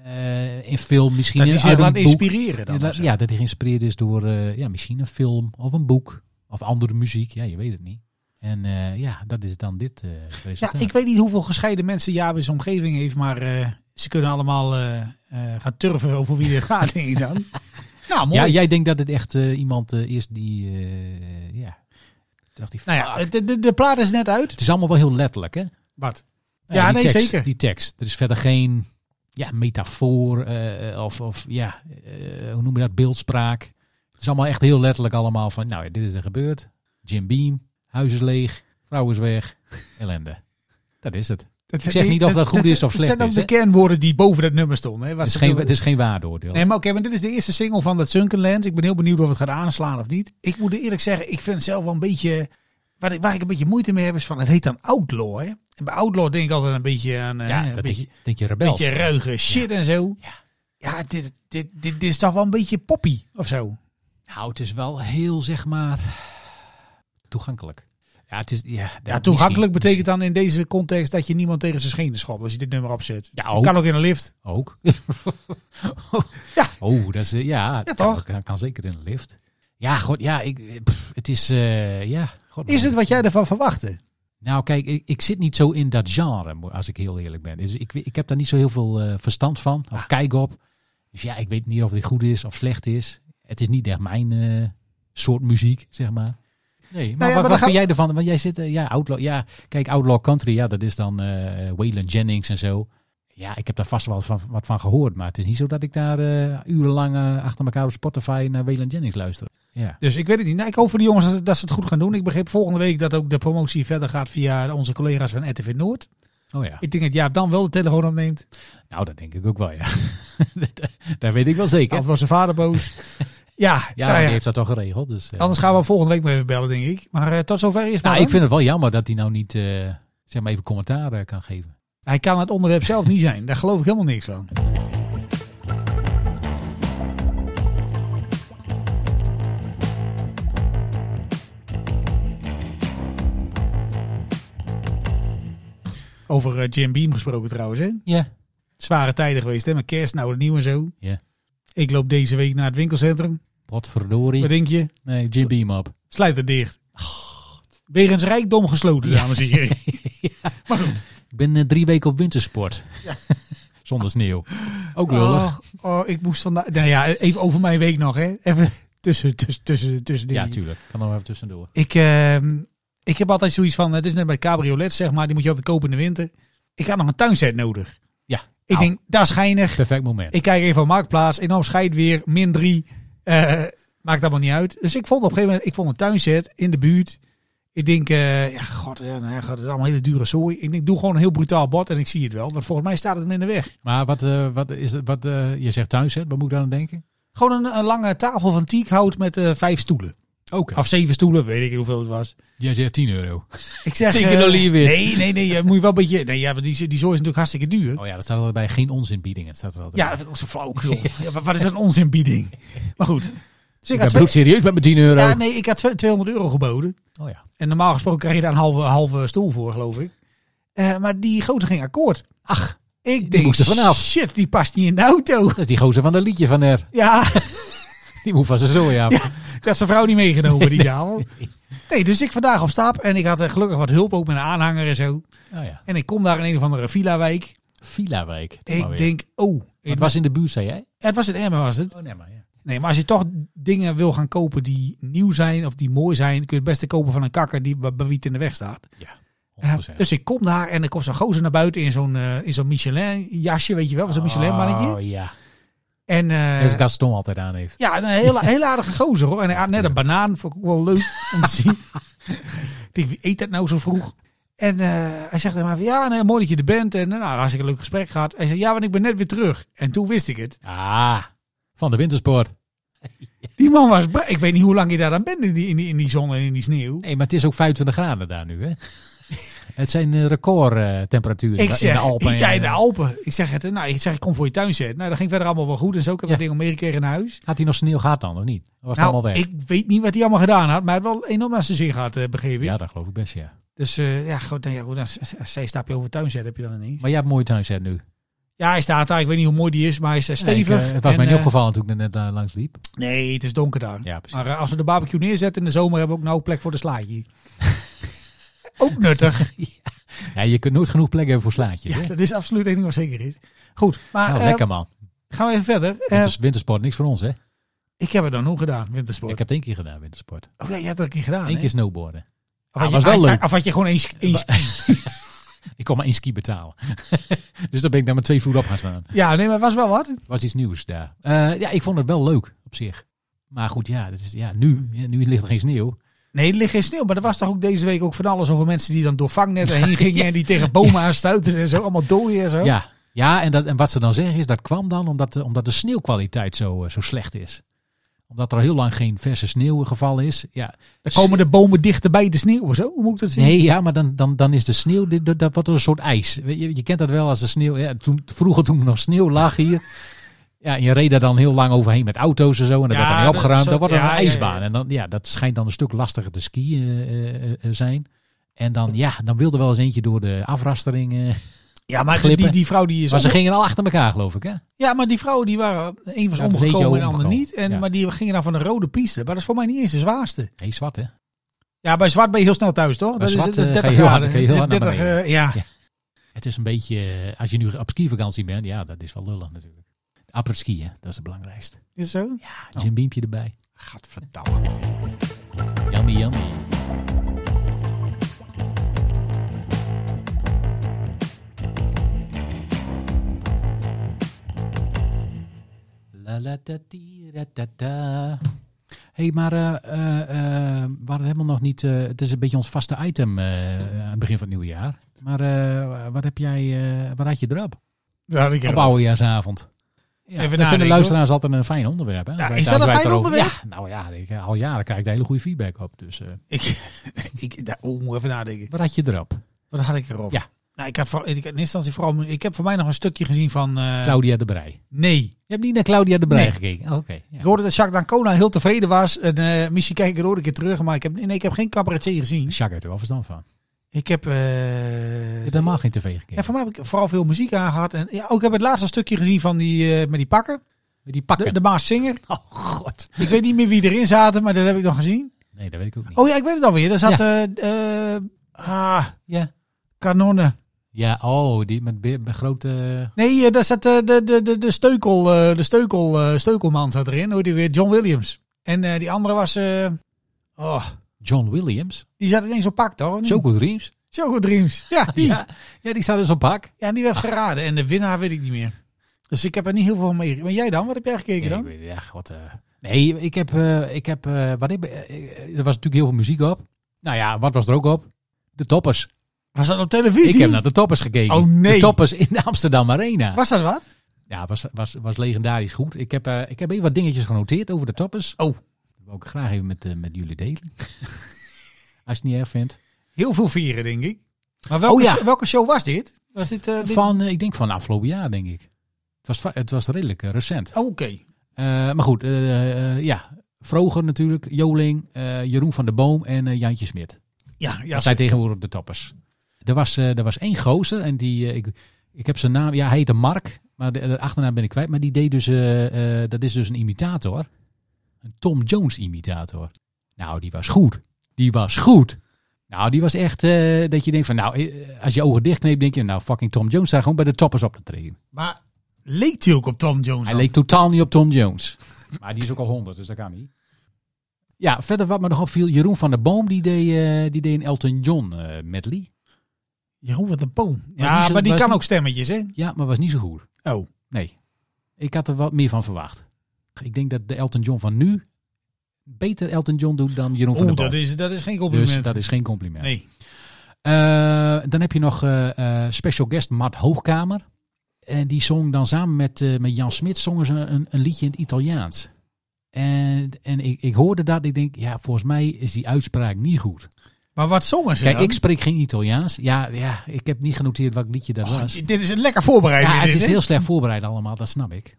Speaker 5: eh, in film misschien.
Speaker 6: Dat
Speaker 5: in-
Speaker 6: hij zich
Speaker 5: uit een
Speaker 6: laat
Speaker 5: boek.
Speaker 6: inspireren dan.
Speaker 5: Ja,
Speaker 6: of
Speaker 5: dat,
Speaker 6: zo.
Speaker 5: ja, dat hij geïnspireerd is door eh, ja, misschien een film of een boek of andere muziek. Ja, je weet het niet. En eh, ja, dat is dan dit eh
Speaker 6: Ja,
Speaker 5: resultaat.
Speaker 6: ik weet niet hoeveel gescheiden mensen Jaap in zijn omgeving heeft, maar eh, ze kunnen allemaal eh, eh, gaan turven over wie er gaat, denk ik dan. Nou, mooi.
Speaker 5: Ja, jij denkt dat het echt eh, iemand eh, is die... eh, ja. Dacht die,
Speaker 6: nou
Speaker 5: fuck.
Speaker 6: ja, de, de, de plaat is net uit.
Speaker 5: het is allemaal wel heel letterlijk, hè? Nou
Speaker 6: Bart.
Speaker 5: Ja,
Speaker 6: Ja,
Speaker 5: die
Speaker 6: nee,
Speaker 5: tekst,
Speaker 6: zeker.
Speaker 5: Die tekst. Er is verder geen ja, metafoor eh, eh, of, of ja, eh, hoe noem je dat, beeldspraak. Het is allemaal echt heel letterlijk allemaal van, nou ja, dit is er gebeurd. Jim Beam, huis is leeg, vrouw is weg, ellende. Dat is het.
Speaker 6: Dat,
Speaker 5: zeg niet of dat goed is of slecht
Speaker 6: Dat zijn ook
Speaker 5: is,
Speaker 6: de
Speaker 5: hè?
Speaker 6: kernwoorden die boven dat nummer stonden. Hè, wat
Speaker 5: Het is
Speaker 6: ze
Speaker 5: geen,
Speaker 6: wilden-
Speaker 5: het is geen waardeoordeel.
Speaker 6: Nee, maar oké, maar dit is de eerste single van dat Sunken Land. Ik ben heel benieuwd of het gaat aanslaan of niet. Ik moet eerlijk zeggen, ik vind het zelf wel een beetje... Waar ik, waar ik een beetje moeite mee heb is van, het heet dan Outlaw. Hè? En bij Outlaw denk ik altijd een beetje aan eh,
Speaker 5: ja,
Speaker 6: een
Speaker 5: dat
Speaker 6: beetje,
Speaker 5: denk je, denk je rebels.
Speaker 6: beetje ruige shit en zo. Ja, dit, dit, dit, dit is toch wel een beetje poppy of zo.
Speaker 5: Nou, het is wel heel, zeg maar, toegankelijk. Ja, het is, ja,
Speaker 6: Ja, toegankelijk betekent dan in deze context dat je niemand tegen zijn schenen schopt als je dit nummer opzet.
Speaker 5: Ja,
Speaker 6: Dat
Speaker 5: ook.
Speaker 6: kan ook in een lift.
Speaker 5: Ook.
Speaker 6: Ja.
Speaker 5: Oh, dat is, eh, ja,
Speaker 6: Ja,
Speaker 5: dat
Speaker 6: toch?
Speaker 5: Kan, kan zeker in de lift. Ja, god, ja, ik, eh, pff, het is, eh, ja. God,
Speaker 6: Is
Speaker 5: man.
Speaker 6: het wat jij ervan verwachtte?
Speaker 5: Nou, kijk, ik, ik zit niet zo in dat genre, mo- als ik heel eerlijk ben. Dus ik, we- ik heb daar niet zo heel veel eh, verstand van,
Speaker 6: Ah.
Speaker 5: of kijk op. Dus ja, ik weet niet of dit goed is of slecht is. Het is niet echt mijn eh, soort muziek, zeg maar. Nee, maar,
Speaker 6: Nou maar
Speaker 5: wat,
Speaker 6: dan
Speaker 5: wat
Speaker 6: gaan
Speaker 5: vind jij ervan? Want jij zit, eh, ja, Outlaw, ja, kijk, Outlaw Country, ja, dat is dan eh Waylon Jennings en zo. Ja, ik heb daar vast wel van, wat van gehoord, maar het is niet zo dat ik daar eh, urenlang eh, achter elkaar op Spotify naar Waylon Jennings luister. Ja.
Speaker 6: Dus ik weet het niet. Nou, ik hoop voor die jongens dat, dat ze het goed gaan doen. Ik begreep volgende week dat ook de promotie verder gaat via onze collega's van RTV Noord.
Speaker 5: Oh ja,
Speaker 6: Ik denk dat Jaap dan wel de telefoon opneemt.
Speaker 5: nou, dat denk ik ook wel, ja. Dat- eh, dat weet ik wel zeker.
Speaker 6: Anders was zijn vader boos. ja,
Speaker 5: Ja,
Speaker 6: nou ja.
Speaker 5: die heeft dat al geregeld. Dus, eh.
Speaker 6: anders gaan we volgende week maar even bellen, denk ik. Maar eh, tot zover is maar
Speaker 5: nou,
Speaker 6: dan.
Speaker 5: ik vind het wel jammer dat hij nou niet eh, zeg maar even commentaar eh, kan geven.
Speaker 6: Hij kan het onderwerp zelf niet zijn. Daar geloof ik helemaal niks van. Over eh, Jim Beam gesproken trouwens, hè?
Speaker 5: Ja.
Speaker 6: Zware tijden geweest, hè? Met kerst, nou, het nieuw en zo.
Speaker 5: Ja.
Speaker 6: Ik loop deze week naar het winkelcentrum. Wat
Speaker 5: Potverdorie.
Speaker 6: denk je?
Speaker 5: Nee, Jim Beam op.
Speaker 6: Sluit het dicht. Wegens rijkdom gesloten, dames en heren.
Speaker 5: Ik ben eh, drie weken op wintersport. Zonder sneeuw. Ook lullig.
Speaker 6: Oh, oh, ik moest vandaag. Nou ja, even over mijn week nog, hè? Even tussen, tussen, tussen, tussen
Speaker 5: ja,
Speaker 6: dingen.
Speaker 5: tuurlijk. Kan nog even tussendoor.
Speaker 6: ik, ehm, ik heb altijd zoiets van: het is net bij cabriolet, zeg maar, die moet je altijd kopen in de winter. Ik had nog een tuinset nodig.
Speaker 5: Ja.
Speaker 6: Ik
Speaker 5: Nou,
Speaker 6: denk, dat is geinig.
Speaker 5: Perfect moment.
Speaker 6: Ik kijk even op marktplaats, enorm scheid weer, min drie. Eh, maakt allemaal niet uit. Dus ik vond op een gegeven moment, ik vond een tuinset in de buurt. Ik denk, eh, ja, god, ja, nou ja, god, het is allemaal hele dure zooi. Ik denk, doe gewoon een heel brutaal bord en ik zie het wel. Want volgens mij staat het hem in de weg.
Speaker 5: Maar wat, eh, wat is het? Wat, eh, je zegt tuinset. Wat moet ik daar aan denken?
Speaker 6: Gewoon een, een lange tafel van teakhout met eh, vijf stoelen.
Speaker 5: Oké.
Speaker 6: Of zeven stoelen, weet ik niet hoeveel het was.
Speaker 5: Jij zegt 10 euro.
Speaker 6: Ik zeg,
Speaker 5: Take it
Speaker 6: eh,
Speaker 5: or leave it.
Speaker 6: Nee, nee, nee. Je moet je wel een beetje... Nee, ja, want die, die zooi is natuurlijk hartstikke duur.
Speaker 5: Oh ja, daar staat altijd bij geen onzinbiedingen. Staat er altijd bij.
Speaker 6: ja, dat vind ik ook zo flauwkul. ja, wa- wat is dat een onzinbieding? Maar goed. Dus ik
Speaker 5: Ik
Speaker 6: had,
Speaker 5: ben
Speaker 6: twee,
Speaker 5: bloedserieus met mijn 10 euro.
Speaker 6: ja, nee, ik had twee- 200 euro geboden.
Speaker 5: Oh ja.
Speaker 6: En normaal gesproken krijg je daar een halve, halve stoel voor, geloof ik. Eh, maar die grote ging akkoord. Ach. Ik denk,
Speaker 5: moest er vanaf.
Speaker 6: shit, die past niet in de auto.
Speaker 5: Dat is die gozer van dat liedje van haar.
Speaker 6: Ja,
Speaker 5: Die moet van zijn zooi af.
Speaker 6: Ja. dat is zijn vrouw niet meegenomen, die dame. Nee, dus ik vandaag op stap en ik had eh, gelukkig wat hulp ook met een aanhanger en zo.
Speaker 5: Oh ja.
Speaker 6: En ik kom daar in een of andere villa-wijk.
Speaker 5: Villawijk. doe maar
Speaker 6: Ik
Speaker 5: weer.
Speaker 6: denk, oh,
Speaker 5: Het
Speaker 6: het was,
Speaker 5: was in de buurt, zei jij?
Speaker 6: het was een emmer was het.
Speaker 5: Oh nee, maar ja.
Speaker 6: Nee, maar als je toch dingen wil gaan kopen die nieuw zijn of die mooi zijn, kun je het beste kopen van een kakker die bij bij wie het in de weg staat. Ja,
Speaker 5: 100%.
Speaker 6: dus ik kom daar en er komt zo'n gozer naar buiten in zo'n eh, in zo'n Michelin jasje, weet je wel, van zo'n Michelin mannetje.
Speaker 5: Oh ja.
Speaker 6: En eh,
Speaker 5: Dat is Gaston altijd aan heeft.
Speaker 6: ja, een hele, hele aardige gozer hoor. En hij had net een banaan, vond ik ook wel leuk om te zien. ik denk, wie eet dat nou zo vroeg? En eh, hij zegt tegen mij van, ja, nee, mooi dat je er bent. En eh, nou, hartstikke leuk gesprek gehad. Hij zei, ja, want ik ben net weer terug. En toen wist ik het.
Speaker 5: Ah, van de wintersport.
Speaker 6: Die man was, bra- ik weet niet hoe lang je daar aan bent in die, in, die, in die zon en in die sneeuw.
Speaker 5: Nee, maar het is ook 25 graden daar nu, hè? Het zijn eh, record eh, temperaturen
Speaker 6: Ik
Speaker 5: in
Speaker 6: zeg,
Speaker 5: de Alpen.
Speaker 6: Ja, in de
Speaker 5: eh,
Speaker 6: Alpen. Ik zeg het, eh, nou, ik zeg, ik kom voor je tuin zetten. Nou, dat ging verder allemaal wel goed. En zo, ik heb
Speaker 5: Ja.
Speaker 6: dat ding om meerdere keer in huis.
Speaker 5: Had hij nog sneeuw gehad dan, of niet? Of was het
Speaker 6: Nou,
Speaker 5: allemaal weg?
Speaker 6: ik weet niet wat hij allemaal gedaan had, maar hij had wel enorm naar zijn zin gehad, eh, begreep ik.
Speaker 5: Ja, dat geloof ik best, ja.
Speaker 6: Dus eh, ja, goed, nou ja, goed, dan z- z- zij stapje over tuin zetten heb je dan ineens.
Speaker 5: Maar jij hebt een mooie tuinzet nu.
Speaker 6: Ja, hij staat daar. Ik weet niet hoe mooi die is, maar hij is eh,
Speaker 5: Nee, ik,
Speaker 6: stevig.
Speaker 5: eh, het was
Speaker 6: En,
Speaker 5: mij niet
Speaker 6: eh,
Speaker 5: opgevallen toen ik er net eh, langs liep.
Speaker 6: nee, het is donker daar.
Speaker 5: Ja, precies.
Speaker 6: maar eh, als we de barbecue neerzetten in de zomer, hebben we ook nou plek voor de slaatje. ook nuttig.
Speaker 5: Ja, je kunt nooit genoeg plek hebben voor slaatjes,
Speaker 6: Ja,
Speaker 5: hè?
Speaker 6: dat is absoluut één ding wat zeker is. Goed, maar
Speaker 5: Nou,
Speaker 6: eh,
Speaker 5: lekker man.
Speaker 6: gaan we even verder. Eh,
Speaker 5: Winters- wintersport, niks voor ons, hè?
Speaker 6: ik heb het dan hoe gedaan, wintersport.
Speaker 5: Ik heb het één keer gedaan, wintersport.
Speaker 6: Oh ja, je hebt dat een keer gedaan.
Speaker 5: Eén
Speaker 6: hè?
Speaker 5: keer snowboarden.
Speaker 6: Of had,
Speaker 5: Ah,
Speaker 6: je,
Speaker 5: was wel
Speaker 6: had-
Speaker 5: leuk.
Speaker 6: of had je gewoon één, één-
Speaker 5: Ik kon maar één ski betalen. dus daar ben ik dan met twee voeten op gaan staan.
Speaker 6: Ja, nee, maar het was wel wat.
Speaker 5: was iets nieuws daar. Eh, ja, ik vond het wel leuk op zich. Maar goed, ja, dat is, ja, nu, ja, nu ligt er geen sneeuw.
Speaker 6: Nee, er ligt geen sneeuw. Maar er was toch ook deze week ook van alles over mensen die dan door vangnetten heen gingen. En die tegen bomen aanstuiten en zo. Allemaal dooien en zo.
Speaker 5: Ja, ja en, dat, en wat ze dan zeggen is, dat kwam dan omdat, de- omdat de sneeuwkwaliteit zo, eh, zo slecht is. Omdat er al heel lang geen verse sneeuw gevallen is. Ja,
Speaker 6: Dan komen de bomen dichter bij de sneeuw of zo. Hoe moet ik dat zien?
Speaker 5: Nee, ja, maar dan, dan, dan is de sneeuw, dit- dat- dat wordt een soort ijs. Weet Je, je kent dat wel als de sneeuw, ja, toen, vroeger toen er nog sneeuw lag hier. Ja, en je reed daar dan heel lang overheen met auto's en zo. En dat
Speaker 6: Ja,
Speaker 5: werd dan niet
Speaker 6: dat-
Speaker 5: opgeruimd.
Speaker 6: zo-
Speaker 5: Dan wordt er
Speaker 6: ja,
Speaker 5: een
Speaker 6: ja, ja.
Speaker 5: ijsbaan. En dan, ja, dat schijnt dan een stuk lastiger te skiën eh, eh, eh, zijn. En dan, ja, dan wilde wel eens eentje door de afrastering. eh.
Speaker 6: Ja, maar die,
Speaker 5: glippen.
Speaker 6: die, die vrouw die is...
Speaker 5: maar ze
Speaker 6: onder-
Speaker 5: gingen al achter elkaar, geloof ik, hè?
Speaker 6: Ja, maar die vrouwen die waren... Eén was
Speaker 5: Ja, een beetje
Speaker 6: omgekomen en de ander
Speaker 5: omgekomen.
Speaker 6: niet. En,
Speaker 5: Ja.
Speaker 6: Maar die gingen dan van een rode piste. Maar dat is voor mij niet eens de zwaarste.
Speaker 5: Nee, zwart, hè?
Speaker 6: Ja, bij zwart ben je heel snel thuis, toch? dat
Speaker 5: zwart,
Speaker 6: is, dat is
Speaker 5: eh, ga
Speaker 6: 30
Speaker 5: je heel hard-
Speaker 6: graden.
Speaker 5: kun je heel hard naar
Speaker 6: 30,
Speaker 5: beneden.
Speaker 6: eh, ja.
Speaker 5: Ja. Het is een beetje, eh, als je nu op skivakantie bent, ja, dat is wel lullig natuurlijk. Apres skiën, dat is het belangrijkste.
Speaker 6: Is het zo?
Speaker 5: Ja, een gymbeampje erbij.
Speaker 6: Gadverdamme.
Speaker 5: Yummy, yummy. La la da di, da da da. hey, maar eh, eh, eh, we hadden helemaal nog niet... eh, het is een beetje ons vaste item eh, aan het begin van het nieuwe jaar. Maar eh, wat heb jij... eh, wat had je erop?
Speaker 6: Ja, dat
Speaker 5: Op
Speaker 6: ik
Speaker 5: oudejaarsavond. Ja, dat vinden
Speaker 6: nadenken,
Speaker 5: de luisteraars altijd een fijn onderwerp. Hè?
Speaker 6: Ja,
Speaker 5: Wij-
Speaker 6: is
Speaker 5: daar
Speaker 6: dat een
Speaker 5: wij
Speaker 6: fijn
Speaker 5: het erover-
Speaker 6: onderwerp?
Speaker 5: Ja, nou ja, ik, al jaren krijg ik daar hele goede feedback op. Dus eh,
Speaker 6: ik, ik, daar- oh, moet even nadenken.
Speaker 5: wat had je erop?
Speaker 6: Wat had ik erop?
Speaker 5: Ja.
Speaker 6: Nou, ik, heb voor, ik, in eerste instantie vooral, ik heb voor mij nog een stukje gezien van... eh,
Speaker 5: Claudia de Brij.
Speaker 6: nee.
Speaker 5: Je hebt niet naar Claudia de Brij
Speaker 6: Nee.
Speaker 5: gekeken? Oh, Oké. ja.
Speaker 6: Ik hoorde dat Jacques D'Ancona heel tevreden was. En, eh, misschien kijk ik er ooit een keer terug. Maar ik heb, nee, ik heb geen cabaretier gezien.
Speaker 5: Jacques heeft er wel verstand van.
Speaker 6: Ik heb... eh
Speaker 5: Je hebt helemaal geen tv
Speaker 6: ja,
Speaker 5: gekeken.
Speaker 6: voor mij heb ik vooral veel muziek aangehad. En ja, ook heb ik het laatste stukje gezien van die, eh, met die pakken.
Speaker 5: Met die pakken.
Speaker 6: De, de Maas Singer.
Speaker 5: Oh god.
Speaker 6: Ik weet niet meer wie erin zaten, maar dat heb ik nog gezien.
Speaker 5: Nee, dat weet ik ook niet.
Speaker 6: Oh ja, ik weet het alweer. Daar zat... eh, eh, ah,
Speaker 5: Ja.
Speaker 6: kanonnen.
Speaker 5: Ja, oh, die met, be- met grote...
Speaker 6: Nee, eh, daar zat eh, de, de, de, de, steukel, eh, de steukel, eh, steukelman zat erin. Hoe heet die weer? John Williams. En eh, die andere was... eh, oh,
Speaker 5: John Williams.
Speaker 6: die zat ineens op pak, toch?
Speaker 5: Choco Dreams.
Speaker 6: Choco Dreams. Ja, die.
Speaker 5: Ja. ja, die staat in zo'n pak.
Speaker 6: Ja, die werd geraden. En de winnaar weet ik niet meer. Dus ik heb er niet heel veel van mee. Maar jij dan? Wat heb jij gekeken
Speaker 5: Nee,
Speaker 6: dan?
Speaker 5: ik weet, ja, god. eh. nee, ik heb... eh, ik heb eh, wat heb, eh, eh, er was natuurlijk heel veel muziek op. Nou ja, wat was er ook op? De toppers.
Speaker 6: Was dat op televisie?
Speaker 5: Ik heb naar de toppers gekeken.
Speaker 6: Oh, nee.
Speaker 5: De toppers in de Amsterdam Arena.
Speaker 6: Was dat wat?
Speaker 5: Ja, was, was, was legendarisch goed. Ik heb, eh, ik heb even wat dingetjes genoteerd over de toppers.
Speaker 6: Oh.
Speaker 5: Dat wil ik graag even met, eh, met jullie delen. Als je het niet erg vindt.
Speaker 6: Heel veel vieren, denk ik. Maar welke,
Speaker 5: Oh, ja.
Speaker 6: show, welke show was dit? Was dit... eh, dit-
Speaker 5: Van, eh, ik denk van afgelopen jaar, denk ik. Het was, va- het was redelijk eh, recent.
Speaker 6: Oh, Oké.
Speaker 5: Eh, maar goed, eh, eh, ja. Vroger natuurlijk, Joling, eh, Jeroen van der Boom en eh, Jantje Smit.
Speaker 6: Ja, ja.
Speaker 5: Dat zijn tegenwoordig de toppers. Er was, eh, er was één gozer en die, eh, ik, Ik heb zijn naam, ja, hij heette Mark, maar de, de achternaam ben ik kwijt. Maar die deed dus, eh, eh, dat is dus een imitator. Een Tom Jones imitator. Nou, die was goed. Die was goed. Nou, die was echt eh, dat je denkt van, nou, eh, als je ogen dichtkneept, denk je, nou, fucking Tom Jones staat gewoon bij de toppers op te treden.
Speaker 6: Maar leek hij ook op Tom Jones?
Speaker 5: Hij
Speaker 6: dan?
Speaker 5: leek totaal niet op Tom Jones. Maar die is ook al 100, dus dat kan niet. Ja, verder wat me nog opviel, Jeroen van der Boom, die deed, eh, die deed een Elton John eh, medley.
Speaker 6: Jeroen van de Boom. Ja,
Speaker 5: die zo-
Speaker 6: maar die,
Speaker 5: was
Speaker 6: kan
Speaker 5: die-
Speaker 6: ook stemmetjes, hè?
Speaker 5: Ja, maar was niet zo goed.
Speaker 6: Oh.
Speaker 5: Nee. Ik had er wat meer van verwacht. Ik denk dat de Elton John van nu beter Elton John doet dan Jeroen van
Speaker 6: Oeh,
Speaker 5: der
Speaker 6: dat
Speaker 5: Boom.
Speaker 6: is, dat is geen compliment.
Speaker 5: Dus dat is geen compliment.
Speaker 6: Nee.
Speaker 5: Eh, dan heb je nog eh, eh, special guest Mart Hoogkamer. En die zong dan samen met, eh, met Jan Smit zongen ze een, een liedje in het Italiaans. En, en ik, ik hoorde dat. Ik denk, ja, volgens mij is die uitspraak niet goed.
Speaker 6: Maar wat zongen ze
Speaker 5: Kijk,
Speaker 6: dan?
Speaker 5: ik spreek geen Italiaans. Ja, ja, ik heb niet genoteerd welk liedje dat
Speaker 6: Oh,
Speaker 5: was.
Speaker 6: dit is een lekker voorbereiding.
Speaker 5: Ja,
Speaker 6: dit,
Speaker 5: het is
Speaker 6: hè?
Speaker 5: heel slecht voorbereid allemaal, dat snap ik.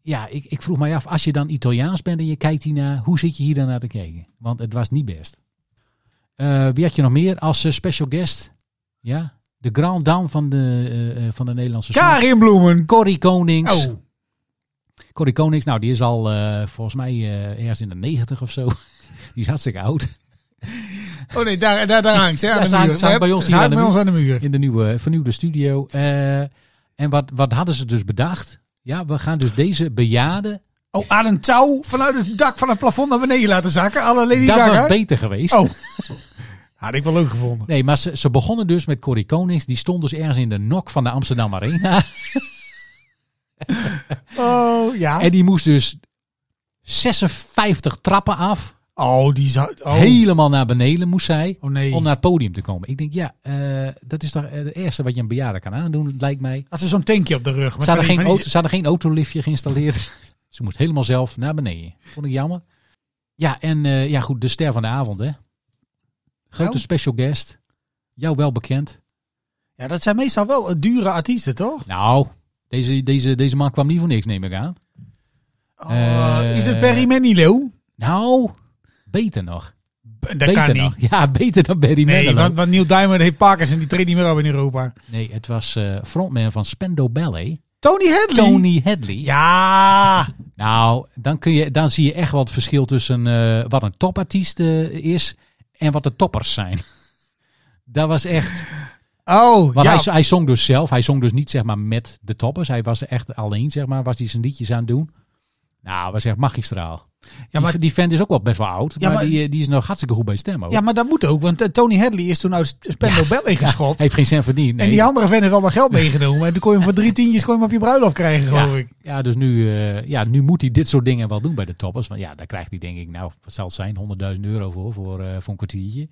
Speaker 5: Ja, ik, ik vroeg mij af, als je dan Italiaans bent en je kijkt hiernaar, hoe zit je hier dan naar te kijken? Want het was niet best. Eh, wie had je nog meer als eh, special guest? Ja, de grand dame van de, eh, eh, van de Nederlandse song.
Speaker 6: Karin Bloemen.
Speaker 5: Corrie Konings.
Speaker 6: Oh,
Speaker 5: Corrie Konings, nou die is al eh, volgens mij eh, ergens in de negentig of zo. Die is hartstikke oud.
Speaker 6: oh nee, daar, daar, daar hangt ze aan
Speaker 5: Ja,
Speaker 6: de
Speaker 5: ze hangt-
Speaker 6: muur.
Speaker 5: ze hangt bij
Speaker 6: We
Speaker 5: ons hier
Speaker 6: hebben- ze
Speaker 5: aan de
Speaker 6: hangt bij ons aan de muur.
Speaker 5: In de nieuwe, vernieuwde studio. Eh, en wat, wat hadden ze dus bedacht? Ja, we gaan dus deze bejaarde
Speaker 6: Oh, aan een touw vanuit het dak van het plafond naar beneden laten zakken. Alle Lady
Speaker 5: dat
Speaker 6: Gaga.
Speaker 5: was beter geweest.
Speaker 6: Oh. Had ik wel leuk gevonden.
Speaker 5: Nee, maar ze, ze begonnen dus met Corrie Konings. Die stond dus ergens in de nok van de Amsterdam Arena.
Speaker 6: Oh, ja.
Speaker 5: En die moest dus 56 trappen af.
Speaker 6: Oh, die zou... Oh.
Speaker 5: Helemaal naar beneden moest zij.
Speaker 6: Oh, nee.
Speaker 5: Om naar het podium te komen. Ik denk, ja, eh, dat is toch eh, het eerste wat je een bejaarde kan aandoen, lijkt mij.
Speaker 6: Had ze zo'n tankje op de rug.
Speaker 5: Ze
Speaker 6: van
Speaker 5: hadden,
Speaker 6: die-
Speaker 5: geen
Speaker 6: van die-
Speaker 5: auto, ze hadden geen autoliftje geïnstalleerd. ze moest helemaal zelf naar beneden. Vond ik jammer. Ja, en eh, ja, goed, de ster van de avond, hè. Grote
Speaker 6: Nou.
Speaker 5: special guest. Jou wel bekend.
Speaker 6: Ja, dat zijn meestal wel eh, dure artiesten, toch?
Speaker 5: Nou, deze, deze, deze man kwam niet voor niks, neem ik aan.
Speaker 6: Oh,
Speaker 5: Eh,
Speaker 6: is het Barry Manilow?
Speaker 5: Nou, beter nog.
Speaker 6: B- Dat
Speaker 5: beter
Speaker 6: kan
Speaker 5: nog.
Speaker 6: niet.
Speaker 5: Ja, beter dan Barry
Speaker 6: Nee,
Speaker 5: Manilow.
Speaker 6: want, want Neil Diamond heeft Parkers en die treedt niet meer op in Europa.
Speaker 5: Nee, het was eh, frontman van Spendo Ballet,
Speaker 6: Tony Hadley.
Speaker 5: Tony Hadley.
Speaker 6: Mm. Ja.
Speaker 5: Nou, dan, kun je, dan zie je echt wat verschil tussen eh, wat een topartiest eh, is en wat de toppers zijn. Dat was echt.
Speaker 6: Oh,
Speaker 5: Want
Speaker 6: ja.
Speaker 5: hij, hij zong dus zelf. Hij zong dus niet zeg maar met de toppers. Hij was echt alleen, zeg maar, was hij zijn liedjes aan het doen. Nou, was echt magistraal.
Speaker 6: ja, maar,
Speaker 5: die, die vent is ook wel best wel oud.
Speaker 6: Ja,
Speaker 5: maar
Speaker 6: maar-
Speaker 5: die, eh, die is nog hartstikke goed bij stemmen. ook.
Speaker 6: ja, maar dat moet ook, want eh, Tony Hadley is toen uit Spendel Ballet geschopt.
Speaker 5: Heeft geen cent verdiend. Nee.
Speaker 6: En die andere vent heeft allemaal geld meegenomen. En toen kon je hem voor drie tientjes kon je hem op je bruiloft krijgen,
Speaker 5: Ja.
Speaker 6: geloof ik.
Speaker 5: Ja, dus nu, eh, ja, nu moet hij dit soort dingen wel doen bij de toppers. Want ja, daar krijgt hij denk ik, nou, wat zal het zijn? 100.000 euro voor, voor, eh, voor een kwartiertje.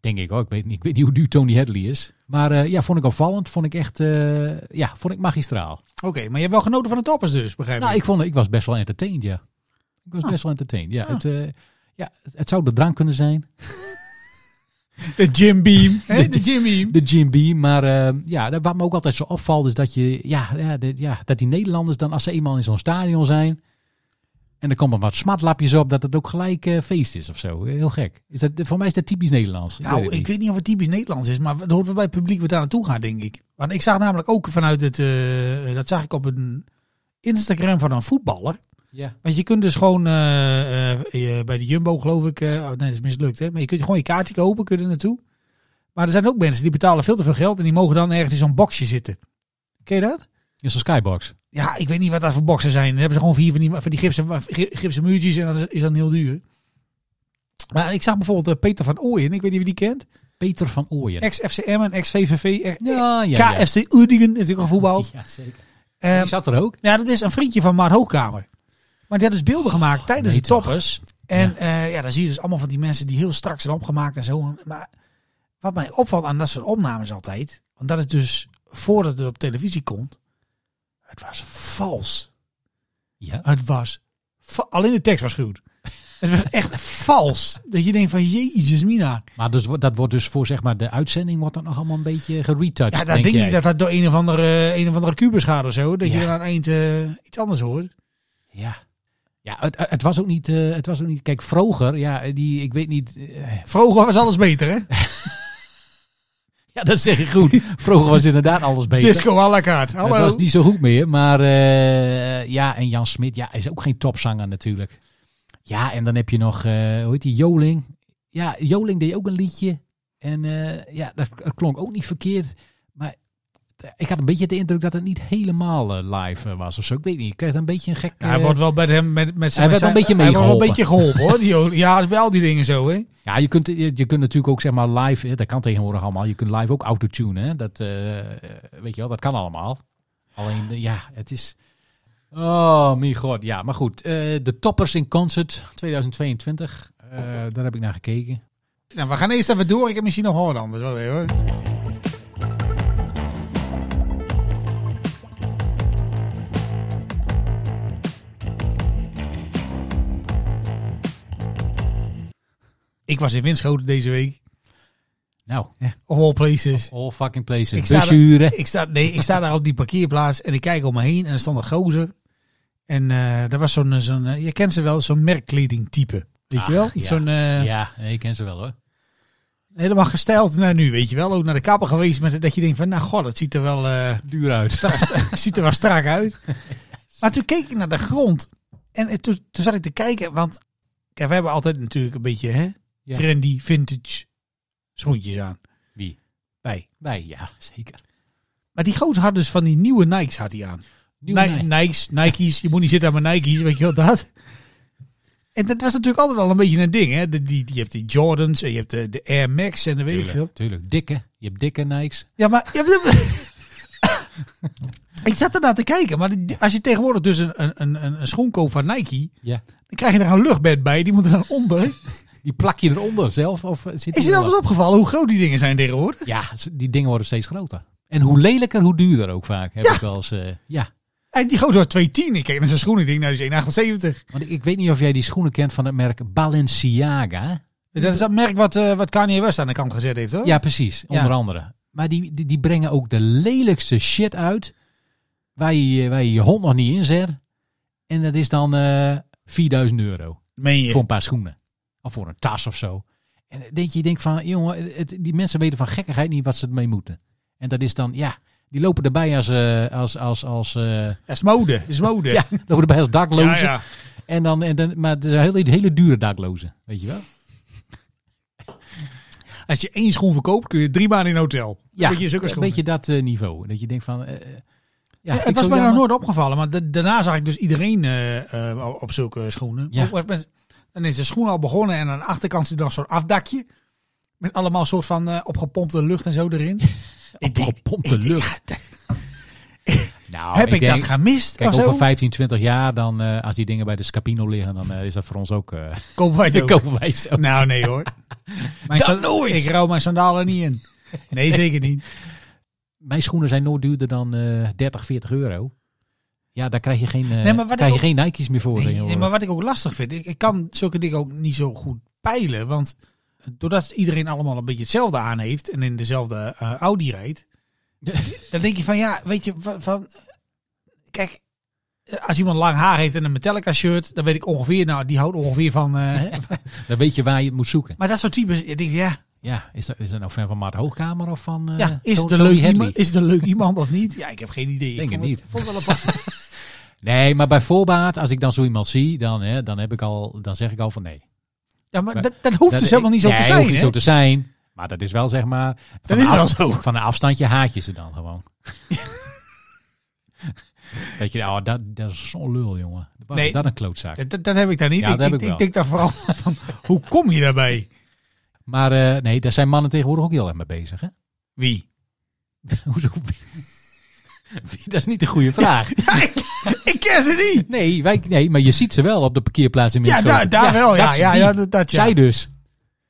Speaker 5: Denk ik ook. Ik weet niet, ik weet niet hoe duur Tony Hadley is. Maar eh, ja, vond ik opvallend. Vond ik echt, eh, ja, vond ik magistraal.
Speaker 6: Oké, maar je hebt wel genoten van de toppers dus, begrijp ik.
Speaker 5: Nou, ik, vond, ik was best wel entertained, ja. Ik was best wel entertained, ja. Het, eh, ja, het, het zou de drank kunnen zijn.
Speaker 6: de Jim Beam. hè, de Jim Beam.
Speaker 5: de Jim Beam. Maar eh, ja, dat- wat me ook altijd zo opvalt is dat, je, ja, ja, de- ja, dat die Nederlanders dan als ze eenmaal in zo'n stadion zijn... en er komen wat smartlapjes op, dat het ook gelijk eh, feest is of zo. Heel gek. Is dat, voor mij is dat typisch Nederlands. Ik
Speaker 6: Nou,
Speaker 5: weet het
Speaker 6: ik
Speaker 5: niet.
Speaker 6: weet niet of het typisch Nederlands is, maar dat hoort wel bij het publiek wat daar naartoe gaat, denk ik. Want ik zag namelijk ook vanuit het, eh, dat zag ik op een Instagram van een voetballer.
Speaker 5: Ja.
Speaker 6: Want je kunt dus gewoon eh, eh, eh, bij de Jumbo, geloof ik, eh, oh, nee, dat is mislukt, hè? maar je kunt gewoon je kaartje kopen, kun je er naartoe. Maar er zijn ook mensen die betalen veel te veel geld en die mogen dan ergens in zo'n boxje zitten. Ken je dat?
Speaker 5: Is een skybox.
Speaker 6: Ja, ik weet niet wat dat voor boxen zijn. Dan hebben ze gewoon vier van die, van die gipsen, gipsen muurtjes en dat is dan heel duur. Maar ik zag bijvoorbeeld eh, Peter van Ooyen, ik weet niet wie die kent.
Speaker 5: Peter van Ooyen.
Speaker 6: Ex-FCM en ex-VVV. eh,
Speaker 5: Ja, ja, ja.
Speaker 6: KFC Uerdingen heeft ook al voetbald.
Speaker 5: Ja, zeker.
Speaker 6: Ehm,
Speaker 5: Die zat er ook.
Speaker 6: ja, dat is een vriendje van Maart Hoogkamer. Maar die had dus beelden gemaakt tijdens
Speaker 5: Oh, nee
Speaker 6: de
Speaker 5: toch.
Speaker 6: toppers. En ja. ja, dan zie je dus allemaal van die mensen die heel strak zijn opgemaakt en zo. Maar wat mij opvalt aan dat soort opnames altijd, want dat is dus voordat het op televisie komt, het was vals.
Speaker 5: Ja.
Speaker 6: Het was. va- Alleen de tekst was goed. Het was echt vals. Dat je denkt van, jezus mina.
Speaker 5: Maar dus, wo- dat wordt dus voor zeg maar, de uitzending wordt dan nog allemaal een beetje geretouched.
Speaker 6: Ja, dat
Speaker 5: denk
Speaker 6: denk
Speaker 5: jij.
Speaker 6: ik dat dat door een of andere, een of andere kubus gaat of zo. Dat
Speaker 5: Ja.
Speaker 6: je dan aan het eind eh, iets anders hoort.
Speaker 5: Ja. Ja, het, het, was ook niet, eh, het was ook niet... Kijk, Vroger, ja, die, ik weet niet... eh,
Speaker 6: Vroeger was alles beter, hè?
Speaker 5: Ja, dat zeg je goed. Vroeger was inderdaad alles beter.
Speaker 6: Disco à la carte.
Speaker 5: Dat
Speaker 6: Hallo.
Speaker 5: was niet zo goed meer. Maar eh, ja, en Jan Smit, ja, hij is ook geen topzanger natuurlijk. Ja, en dan heb je nog, eh, hoe heet die, Joling. Ja, Joling deed ook een liedje. En eh, ja, dat, dat klonk ook niet verkeerd. Maar eh, ik had een beetje de indruk dat het niet helemaal eh, live eh, was of zo. Ik weet niet, ik kreeg een beetje een gek...
Speaker 6: Hij
Speaker 5: eh,
Speaker 6: wordt wel bij hem met, met zijn.
Speaker 5: werd
Speaker 6: met
Speaker 5: wel een
Speaker 6: zijn-
Speaker 5: beetje
Speaker 6: Hij wordt wel een beetje
Speaker 5: meegeholpen.
Speaker 6: geholpen hoor. Die, Joling. ja, wel die dingen zo hè.
Speaker 5: Ja, je kunt, je, je kunt natuurlijk ook zeg maar live, hè, dat kan tegenwoordig allemaal. Je kunt live ook autotunen. Hè? Dat, eh, eh, weet je wel, dat kan allemaal. Alleen, eh, ja, het is... Oh, mijn god. Ja, maar goed. eh, de Toppers in Concert 2022. eh, daar heb ik naar gekeken.
Speaker 6: Nou, we gaan eerst even door. Ik heb misschien nog hoor anders. Wel even, hoor. Ik was in Winschoten deze week.
Speaker 5: Nou,
Speaker 6: Of all places.
Speaker 5: all fucking places.
Speaker 6: Ik sta er-
Speaker 5: Bushuren.
Speaker 6: Ik sta, nee, ik sta daar op die parkeerplaats en ik kijk om me heen en er stond een gozer. En eh daar was zo'n, zo'n eh, je kent ze wel, zo'n merkkleding type. Weet
Speaker 5: Ach,
Speaker 6: je wel?
Speaker 5: ja.
Speaker 6: Zo'n eh,
Speaker 5: Ja, nee, ik ken ze wel hoor.
Speaker 6: helemaal gesteld naar nu, weet je wel? Ook naar de kapper geweest met dat je denkt van, nou god, dat ziet er wel, eh,
Speaker 5: Duur uit.
Speaker 6: ziet er wel strak uit. Maar toen keek ik naar de grond en eh, toen, toen zat ik te kijken, want kijk, we hebben altijd natuurlijk een beetje hè,
Speaker 5: Ja.
Speaker 6: trendy, vintage schoentjes aan.
Speaker 5: Wie?
Speaker 6: Wij.
Speaker 5: Wij, ja, zeker.
Speaker 6: Maar die gozer had dus van die nieuwe Nikes had hij aan.
Speaker 5: Nieuwe
Speaker 6: Ni-
Speaker 5: Nike.
Speaker 6: Nikes, Nike's. Je moet niet zitten aan mijn Nike's, weet je wel dat. En dat was natuurlijk altijd al een beetje een ding. Hè? De, die, die, je hebt die Jordans en je hebt de, de Air Max en de weet ik veel.
Speaker 5: Tuurlijk, tuurlijk. Dikke. Je hebt dikke Nikes.
Speaker 6: Ja, maar... ja, maar- ik zat ernaar te kijken. Maar die- als je tegenwoordig dus een, een, een, een schoen koopt van Nike...
Speaker 5: Ja.
Speaker 6: dan krijg je daar een luchtbed bij. Die moet er dan onder.
Speaker 5: Die plak je eronder zelf? Of eh, zit die
Speaker 6: Is je
Speaker 5: er
Speaker 6: dat
Speaker 5: wel
Speaker 6: eens opgevallen hoe groot die dingen zijn tegenwoordig?
Speaker 5: Ja, z- die dingen worden steeds groter. En hoe lelijker, hoe duurder ook vaak. Heb
Speaker 6: Ja.
Speaker 5: ik wel eens, eh, ja.
Speaker 6: En die gozer was 210. Ik kijk naar zijn schoenen. Ik denk, nou, die is 1,78.
Speaker 5: Want ik, ik weet niet of jij die schoenen kent van het merk Balenciaga.
Speaker 6: Dat is dat merk wat, eh, wat Kanye West aan de kant gezet heeft, hoor.
Speaker 5: Ja, precies.
Speaker 6: Ja.
Speaker 5: Onder andere. Maar die, die, die brengen ook de lelijkste shit uit. Waar je, eh, waar je je hond nog niet in zet. En dat is dan eh 4000 euro.
Speaker 6: Meen je?
Speaker 5: Voor een paar schoenen. Of voor een tas of zo. En dan denk je, je denkt van, jongen, het, die mensen weten van gekkigheid niet wat ze ermee moeten. En dat is dan, ja, die lopen erbij als, eh, als, als, als, eh,
Speaker 6: Dat is mode. Dat is mode.
Speaker 5: ja, lopen erbij als daklozen.
Speaker 6: ja, ja.
Speaker 5: En dan, en dan, maar het is een hele, hele dure daklozen, weet je wel?
Speaker 6: Als je één schoen verkoopt, kun je drie maanden in een hotel. Ja, beetje zulke
Speaker 5: een
Speaker 6: schoenen.
Speaker 5: beetje dat eh, niveau. Dat je denkt van... eh, eh, ja,
Speaker 6: Ja,
Speaker 5: ik
Speaker 6: het was
Speaker 5: zo
Speaker 6: mij nog
Speaker 5: jammer.
Speaker 6: nooit opgevallen, maar da- daarna zag ik dus iedereen eh, eh, op zulke schoenen.
Speaker 5: Ja.
Speaker 6: Ook wel eens met- dan is de schoen al begonnen en aan de achterkant zit dan zo'n afdakje. Met allemaal soort van eh, opgepompte lucht en zo erin. ik denk,
Speaker 5: Opgepompte
Speaker 6: ik denk,
Speaker 5: lucht.
Speaker 6: ja,
Speaker 5: Nou,
Speaker 6: heb ik,
Speaker 5: denk-
Speaker 6: dat gemist
Speaker 5: Kijk,
Speaker 6: of zo?
Speaker 5: over 15, 20 jaar, dan, eh, als die dingen bij de Scapino liggen, dan eh, is dat voor ons ook... eh
Speaker 6: Kopen wij het ook.
Speaker 5: kopen wij zo.
Speaker 6: Nou, nee hoor. Mijn sa- Ik ruil mijn sandalen niet in. Nee, zeker niet.
Speaker 5: Mijn schoenen zijn nooit duurder dan eh 30, 40 euro. Ja, daar krijg je geen, eh,
Speaker 6: Nee, maar wat
Speaker 5: krijg je
Speaker 6: ik
Speaker 5: geen Nike's meer voor.
Speaker 6: Nee,
Speaker 5: tegenwoordig.
Speaker 6: nee, maar wat ik ook lastig vind, ik, ik kan zulke dingen ook niet zo goed peilen. Want doordat iedereen allemaal een beetje hetzelfde aan heeft en in dezelfde eh, Audi rijdt, dan denk je van ja, weet je, van, van- kijk, als iemand lang haar heeft en een Metallica shirt, dan weet ik ongeveer, nou, die houdt ongeveer van. eh, hè.
Speaker 5: Dan weet je waar je het moet zoeken.
Speaker 6: maar dat soort types, ik denk ja,
Speaker 5: Ja, is dat, is dat nou fan van Mart Hoogkamer of van eh
Speaker 6: ja is,
Speaker 5: Tony-
Speaker 6: het een
Speaker 5: Tony
Speaker 6: leuk
Speaker 5: Hadley?
Speaker 6: iemand, is het een leuk iemand of niet? Ja, ik heb geen idee.
Speaker 5: Denk het
Speaker 6: ik vond
Speaker 5: niet.
Speaker 6: vond het wel apart.
Speaker 5: Nee, maar bij voorbaat, als ik dan zo iemand zie, dan, hè, dan, heb ik al, dan zeg ik al van nee.
Speaker 6: Ja, maar dat, dat hoeft dus helemaal niet zo
Speaker 5: nee,
Speaker 6: te
Speaker 5: hoeft
Speaker 6: zijn.
Speaker 5: niet
Speaker 6: hè?
Speaker 5: zo te zijn. Maar dat is wel zeg maar... Van
Speaker 6: Dat
Speaker 5: een
Speaker 6: is wel
Speaker 5: af-
Speaker 6: zo.
Speaker 5: Van een afstandje haat je ze dan gewoon. dat je, oh, dat, dat is zo'n lul, jongen. Wat
Speaker 6: Nee.
Speaker 5: is dat een klootzak.
Speaker 6: Dat, dat, dat heb ik daar niet.
Speaker 5: Ja,
Speaker 6: ik,
Speaker 5: dat heb
Speaker 6: ik,
Speaker 5: ik wel.
Speaker 6: denk daar vooral van, hoe kom je daarbij?
Speaker 5: Maar eh, nee, daar zijn mannen tegenwoordig ook heel erg mee bezig, hè?
Speaker 6: Wie?
Speaker 5: Hoezo? dat is niet de goede vraag.
Speaker 6: Ik ken ze niet.
Speaker 5: Nee, wij, nee, maar je ziet ze wel op de parkeerplaats in
Speaker 6: Ja,
Speaker 5: Winschoten.
Speaker 6: daar, daar wel. Ja,
Speaker 5: dat is
Speaker 6: ja,
Speaker 5: die.
Speaker 6: ja, dat, dat ja.
Speaker 5: Zij dus.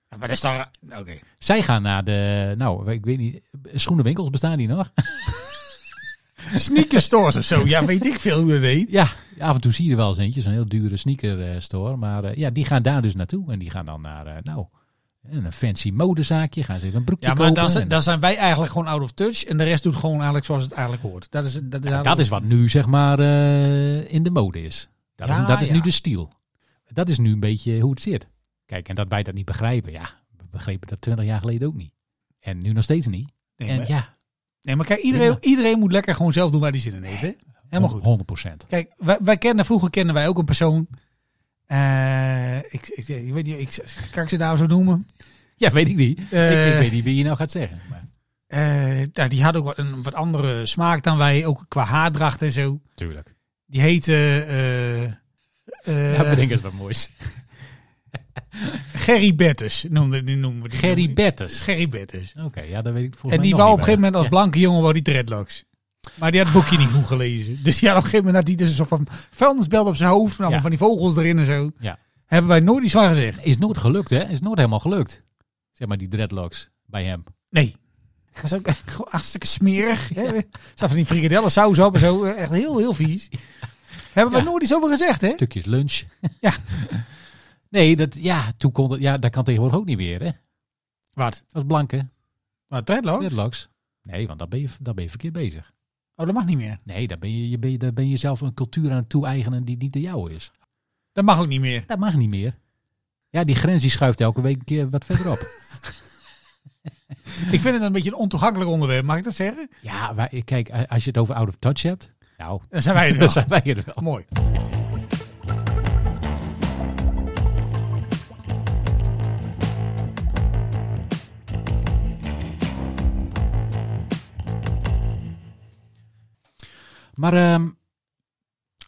Speaker 6: Maar dat is dan... Oké.
Speaker 5: Zij gaan naar de, nou, ik weet niet, schoenenwinkels bestaan die nog?
Speaker 6: Sneaker stores of zo. Ja, weet ik veel hoe dat heet.
Speaker 5: Ja, af en toe zie je er wel eens eentje, zo'n heel dure sneaker eh, store. Maar eh, ja, die gaan daar dus naartoe. En die gaan dan naar, eh, nou, een fancy modezaakje. Gaan ze even een broekje
Speaker 6: Ja, maar
Speaker 5: kopen.
Speaker 6: dan, zijn-
Speaker 5: en-
Speaker 6: dan zijn wij eigenlijk gewoon out of touch. En de rest doet gewoon eigenlijk zoals het eigenlijk hoort. Dat is, dat is,
Speaker 5: Ja,
Speaker 6: eigenlijk-
Speaker 5: dat is wat nu, zeg maar, eh, in de mode is. Dat
Speaker 6: Ja,
Speaker 5: is, dat is
Speaker 6: ja.
Speaker 5: nu de stijl. Dat is nu een beetje hoe het zit. Kijk, en dat wij dat niet begrijpen. Ja, we begrepen dat 20 jaar geleden ook niet. En nu nog steeds niet.
Speaker 6: Nee,
Speaker 5: En
Speaker 6: maar,
Speaker 5: ja,
Speaker 6: nee, maar kijk, iedereen,
Speaker 5: Ja.
Speaker 6: iedereen moet lekker gewoon zelf doen waar hij zin in heeft. Hè? Helemaal goed.
Speaker 5: 100
Speaker 6: Kijk, wij, wij kennen, vroeger kenden wij ook een persoon. Eh, ik, ik, ik weet niet, ik, kan ik ze nou zo noemen?
Speaker 5: Ja, weet ik niet.
Speaker 6: Eh.
Speaker 5: ik, ik weet niet wie je nou gaat zeggen. Maar,
Speaker 6: Eh, nou, die had ook wat, een wat andere smaak dan wij, ook qua haardracht en zo.
Speaker 5: tuurlijk.
Speaker 6: Die heette eh, eh,
Speaker 5: ja, bedenk eens wat moois.
Speaker 6: Gerry Bettes, noemde, die noemen we die.
Speaker 5: Gerry Bertes.
Speaker 6: Gerry Bettes.
Speaker 5: Oké, ja, dat weet ik volgens
Speaker 6: en die
Speaker 5: mij
Speaker 6: wou
Speaker 5: nog
Speaker 6: op een gegeven
Speaker 5: niet
Speaker 6: moment als blanke jongen wou die dreadlocks. Maar die had het boekje niet goed gelezen. Dus ja, op een gegeven moment had hij dus een soort van vuilnisbelt op zijn hoofd. Nou,
Speaker 5: Ja.
Speaker 6: van die vogels erin en zo.
Speaker 5: Ja.
Speaker 6: Hebben wij nooit iets van gezegd.
Speaker 5: bij. Is nooit gelukt, hè? Is nooit helemaal gelukt. Zeg maar die dreadlocks bij hem.
Speaker 6: Nee. Dat is ook gewoon hartstikke smerig. hè. Er staat van die frikadellen saus op en zo. eh, Echt heel, heel vies. Hebben wij
Speaker 5: Ja.
Speaker 6: nooit iets over gezegd, hè?
Speaker 5: Stukjes lunch.
Speaker 6: Ja.
Speaker 5: nee, dat, ja, toen kon dat, ja, dat kan tegenwoordig ook niet meer, hè?
Speaker 6: Wat?
Speaker 5: Als blanke
Speaker 6: Wat, dreadlocks?
Speaker 5: dreadlocks. Nee, want dan ben je, dan ben je verkeerd bezig.
Speaker 6: Oh, dat mag niet meer.
Speaker 5: Nee, daar ben je, je, ben je, daar ben je zelf een cultuur aan het toe-eigenen die niet de jouwe is.
Speaker 6: Dat mag ook niet meer.
Speaker 5: Dat mag niet meer. Ja, die grens die schuift elke week een keer wat verderop.
Speaker 6: Ik vind het een beetje een ontoegankelijk onderwerp, mag ik dat zeggen?
Speaker 5: ja, maar kijk, als je het over out of touch hebt. Nou,
Speaker 6: Dan zijn wij het
Speaker 5: dan
Speaker 6: wel.
Speaker 5: zijn wij er wel.
Speaker 6: Mooi.
Speaker 5: Maar ehm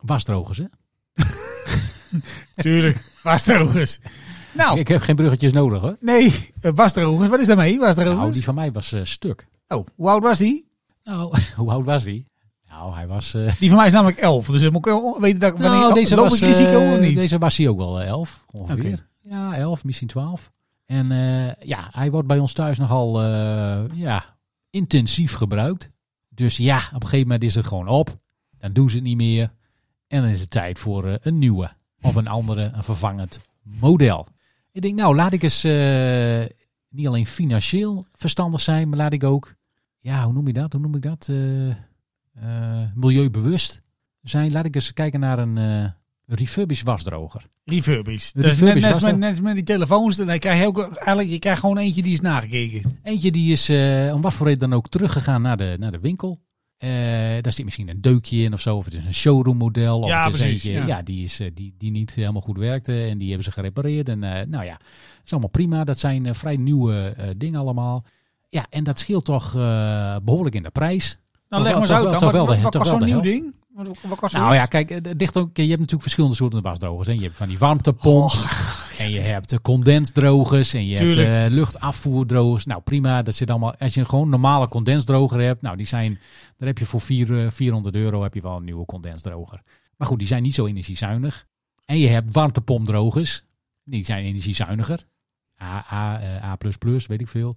Speaker 5: wasdrogers, hè?
Speaker 6: Tuurlijk. Wasdrogers. Nou,
Speaker 5: Ik heb geen bruggetjes nodig, hoor.
Speaker 6: nee. eh, Wasdrogers, wat is daarmee?
Speaker 5: Nou,
Speaker 6: Wasdrogers?
Speaker 5: die van mij was eh, stuk.
Speaker 6: Oh, hoe oud was die?
Speaker 5: Nou, hoe oud was die? Nou, hij was... eh,
Speaker 6: Die van mij is namelijk 11. Dus dan moet ik wel weten dat ik wanneer
Speaker 5: nou,
Speaker 6: loop ik risico
Speaker 5: eh,
Speaker 6: of niet.
Speaker 5: Deze was hij ook wel eh, 11, ongeveer.
Speaker 6: Oké.
Speaker 5: Ja, 11, misschien 12. En eh, ja, hij wordt bij ons thuis nogal eh, ja, intensief gebruikt. Dus ja, op een gegeven moment is het gewoon op. Dan doen ze het niet meer. En dan is het tijd voor eh, een nieuwe of een andere, een vervangend model. Ik denk, nou, laat ik eens eh, niet alleen financieel verstandig zijn, maar laat ik ook, ja, hoe noem je dat? Hoe noem ik dat? Eh, eh, milieubewust zijn. Laat ik eens kijken naar een eh refurbished wasdroger.
Speaker 6: Refurbished.
Speaker 5: De
Speaker 6: Dat is net,
Speaker 5: refurbished
Speaker 6: net,
Speaker 5: was
Speaker 6: met,
Speaker 5: dat.
Speaker 6: net als met die telefoons. Dan krijg je, ook, eigenlijk, je krijgt gewoon eentje die is nagekeken.
Speaker 5: Eentje die is eh, om wat voor reden dan ook teruggegaan naar de, naar de winkel. Eh, daar zit misschien een deukje in of zo. Of het is een showroom model. Of
Speaker 6: Ja,
Speaker 5: het is
Speaker 6: precies,
Speaker 5: Eentje,
Speaker 6: ja.
Speaker 5: ja. die, is, eh, die, die niet helemaal goed werkte. En die hebben ze gerepareerd. En eh, nou ja, dat is allemaal prima. Dat zijn eh, vrij nieuwe eh, dingen allemaal. Ja, en dat scheelt toch eh, behoorlijk in de prijs.
Speaker 6: Nou,
Speaker 5: Toch
Speaker 6: leg
Speaker 5: wel-
Speaker 6: maar eens
Speaker 5: toch
Speaker 6: uit
Speaker 5: wel-
Speaker 6: dan.
Speaker 5: toch
Speaker 6: Wat,
Speaker 5: wel de-
Speaker 6: wat,
Speaker 5: toch
Speaker 6: kost
Speaker 5: wel
Speaker 6: zo'n
Speaker 5: de
Speaker 6: nieuw
Speaker 5: helft.
Speaker 6: ding? Wat, wat kost
Speaker 5: Nou
Speaker 6: zoiets?
Speaker 5: ja, kijk, eh, dicht ook, je hebt natuurlijk verschillende soorten wasdrogers. Hè. Je hebt van die warmtepomp. en je hebt eh, condensdrogers. En je
Speaker 6: Tuurlijk.
Speaker 5: hebt eh, luchtafvoerdrogers. Nou prima, dat zit allemaal. Als je een gewoon normale condensdroger hebt. Nou, die zijn. Daar heb je voor vier, eh, 400 euro heb je wel een nieuwe condensdroger. Maar goed, die zijn niet zo energiezuinig. En je hebt warmtepompdrogers. Die zijn energiezuiniger. A, A, eh, A++, weet ik veel.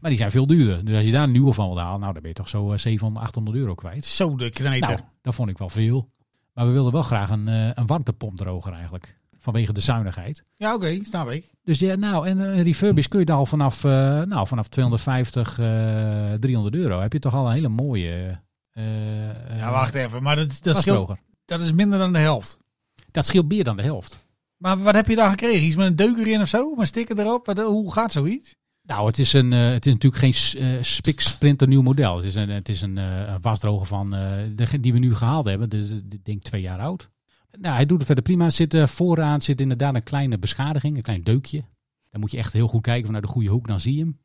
Speaker 5: Maar die zijn veel duurder. Dus als je daar een nieuwe van wil halen, nou, dan ben je toch zo eh, 700, 800 euro kwijt.
Speaker 6: Zo de kneter.
Speaker 5: Nou, dat vond ik wel veel. Maar we wilden wel graag een, eh, een warmtepompdroger eigenlijk. Vanwege de zuinigheid.
Speaker 6: ja, oké. snap ik.
Speaker 5: Dus ja, nou, en eh, een refurbish kun je dan al vanaf, eh, nou, vanaf 250, eh, 300 euro. Heb je toch al een hele mooie. eh, eh,
Speaker 6: Ja, Nou, wacht even. Maar dat, dat, scheelt,
Speaker 5: wasdroger.
Speaker 6: dat is minder dan de helft.
Speaker 5: Dat scheelt meer dan de helft.
Speaker 6: Maar wat heb je daar gekregen? Iets met een deuk erin of zo? Met een sticker erop? Wat, hoe gaat zoiets?
Speaker 5: Nou, het is, een, eh, het is natuurlijk geen s- eh spiksprinter nieuw model. Het is een, het is een, eh, een wasdroger van, eh, degene die we nu gehaald hebben. Dus eh, ik denk twee jaar oud. Nou, hij doet het verder prima. Zit, eh, vooraan zit inderdaad een kleine beschadiging, een klein deukje. Dan moet je echt heel goed kijken vanuit de goede hoek, dan zie je hem.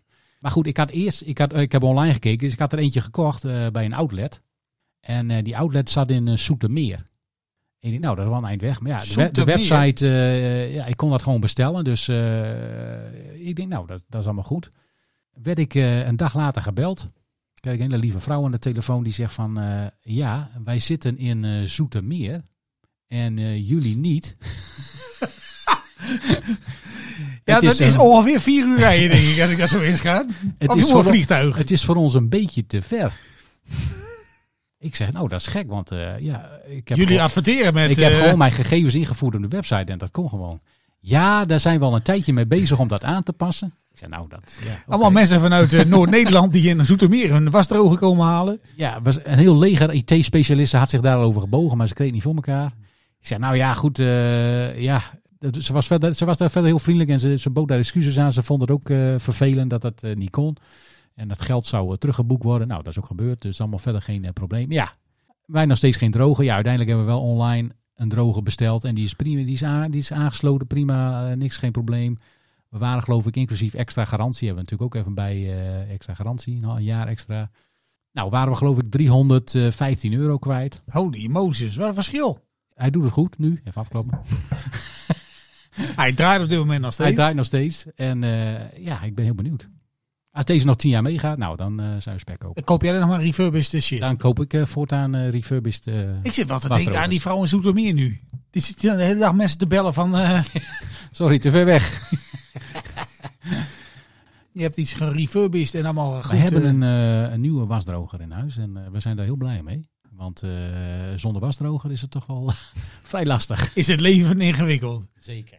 Speaker 5: maar goed, ik had eerst, ik, had, eh, ik heb online gekeken, dus ik had er eentje gekocht eh, bij een outlet. En eh, die outlet zat in eh, Soetermeer. En ik dacht, nou, dat is wel een eind weg. Maar ja, de, we- de
Speaker 6: Zoetermeer?
Speaker 5: website, eh, ja, ik kon dat gewoon bestellen. Dus eh, ik denk, nou, dat, dat is allemaal goed. Werd ik eh, een dag later gebeld. Kijk, een hele lieve vrouw aan de telefoon die zegt van... eh, ja, wij zitten in eh Zoetermeer en eh, jullie niet.
Speaker 6: Ja,
Speaker 5: Het
Speaker 6: dat
Speaker 5: is
Speaker 6: is
Speaker 5: een-
Speaker 6: ongeveer vier uur rijden, denk ik, als ik dat zo inschaat.
Speaker 5: Het
Speaker 6: of
Speaker 5: is
Speaker 6: is
Speaker 5: voor-
Speaker 6: een vliegtuig.
Speaker 5: Het is voor ons een beetje te ver. ik zeg, nou, dat is gek, want eh, ja, ik heb,
Speaker 6: Jullie
Speaker 5: gewoon,
Speaker 6: adverteren met...
Speaker 5: ik heb
Speaker 6: eh,
Speaker 5: gewoon mijn gegevens ingevoerd op de website en dat kon gewoon. Ja, daar zijn we al een tijdje mee bezig om dat aan te passen. Ik zeg, nou, dat... Ja, oké.
Speaker 6: Allemaal mensen vanuit eh, Noord-Nederland die in Zoetermeer hun wasdroger komen halen.
Speaker 5: Ja, was een heel leger IT-specialist had zich daar al over gebogen, maar ze kreeg het niet voor elkaar. Ik zei, nou ja, goed, eh, ja, dat- ze, was verder, ze was daar verder heel vriendelijk en ze, ze bood daar excuses aan. Ze vond het ook eh, vervelend dat dat eh, niet kon. En dat geld zou eh, teruggeboekt worden. Nou, dat is ook gebeurd. Dus allemaal verder geen eh, probleem. Ja, wij nog steeds geen droge. Ja, uiteindelijk hebben we wel online een droge besteld. En die is prima. Die is, a- die is aangesloten. Prima. eh, niks, geen probleem. We waren geloof ik inclusief extra garantie. Hebben we natuurlijk ook even bij eh, extra garantie. Een jaar extra. Nou, waren we geloof ik 315 euro kwijt.
Speaker 6: Holy Moses, wat een verschil.
Speaker 5: Hij doet het goed nu. Even afkloppen.
Speaker 6: Hij draait op dit moment nog steeds.
Speaker 5: Hij draait nog steeds. En eh, ja, ik ben heel benieuwd. Als deze nog 10 jaar meegaat, nou dan eh, zijn we spek ook.
Speaker 6: Dan koop jij er nog maar refurbished eh, shit.
Speaker 5: Dan koop ik eh, voortaan eh, refurbished. eh,
Speaker 6: Ik zit wel
Speaker 5: Wacht
Speaker 6: te denken aan
Speaker 5: erover.
Speaker 6: die vrouw in Zoetermeer nu. Die zit de hele dag mensen te bellen van... eh,
Speaker 5: sorry, te ver weg.
Speaker 6: je hebt iets gerefurbished en allemaal goed.
Speaker 5: we hebben
Speaker 6: eh,
Speaker 5: een, eh, een nieuwe wasdroger in huis en eh, we zijn daar heel blij mee. Want eh, zonder wasdroger is het toch wel vrij lastig.
Speaker 6: Is het leven ingewikkeld?
Speaker 5: Zeker.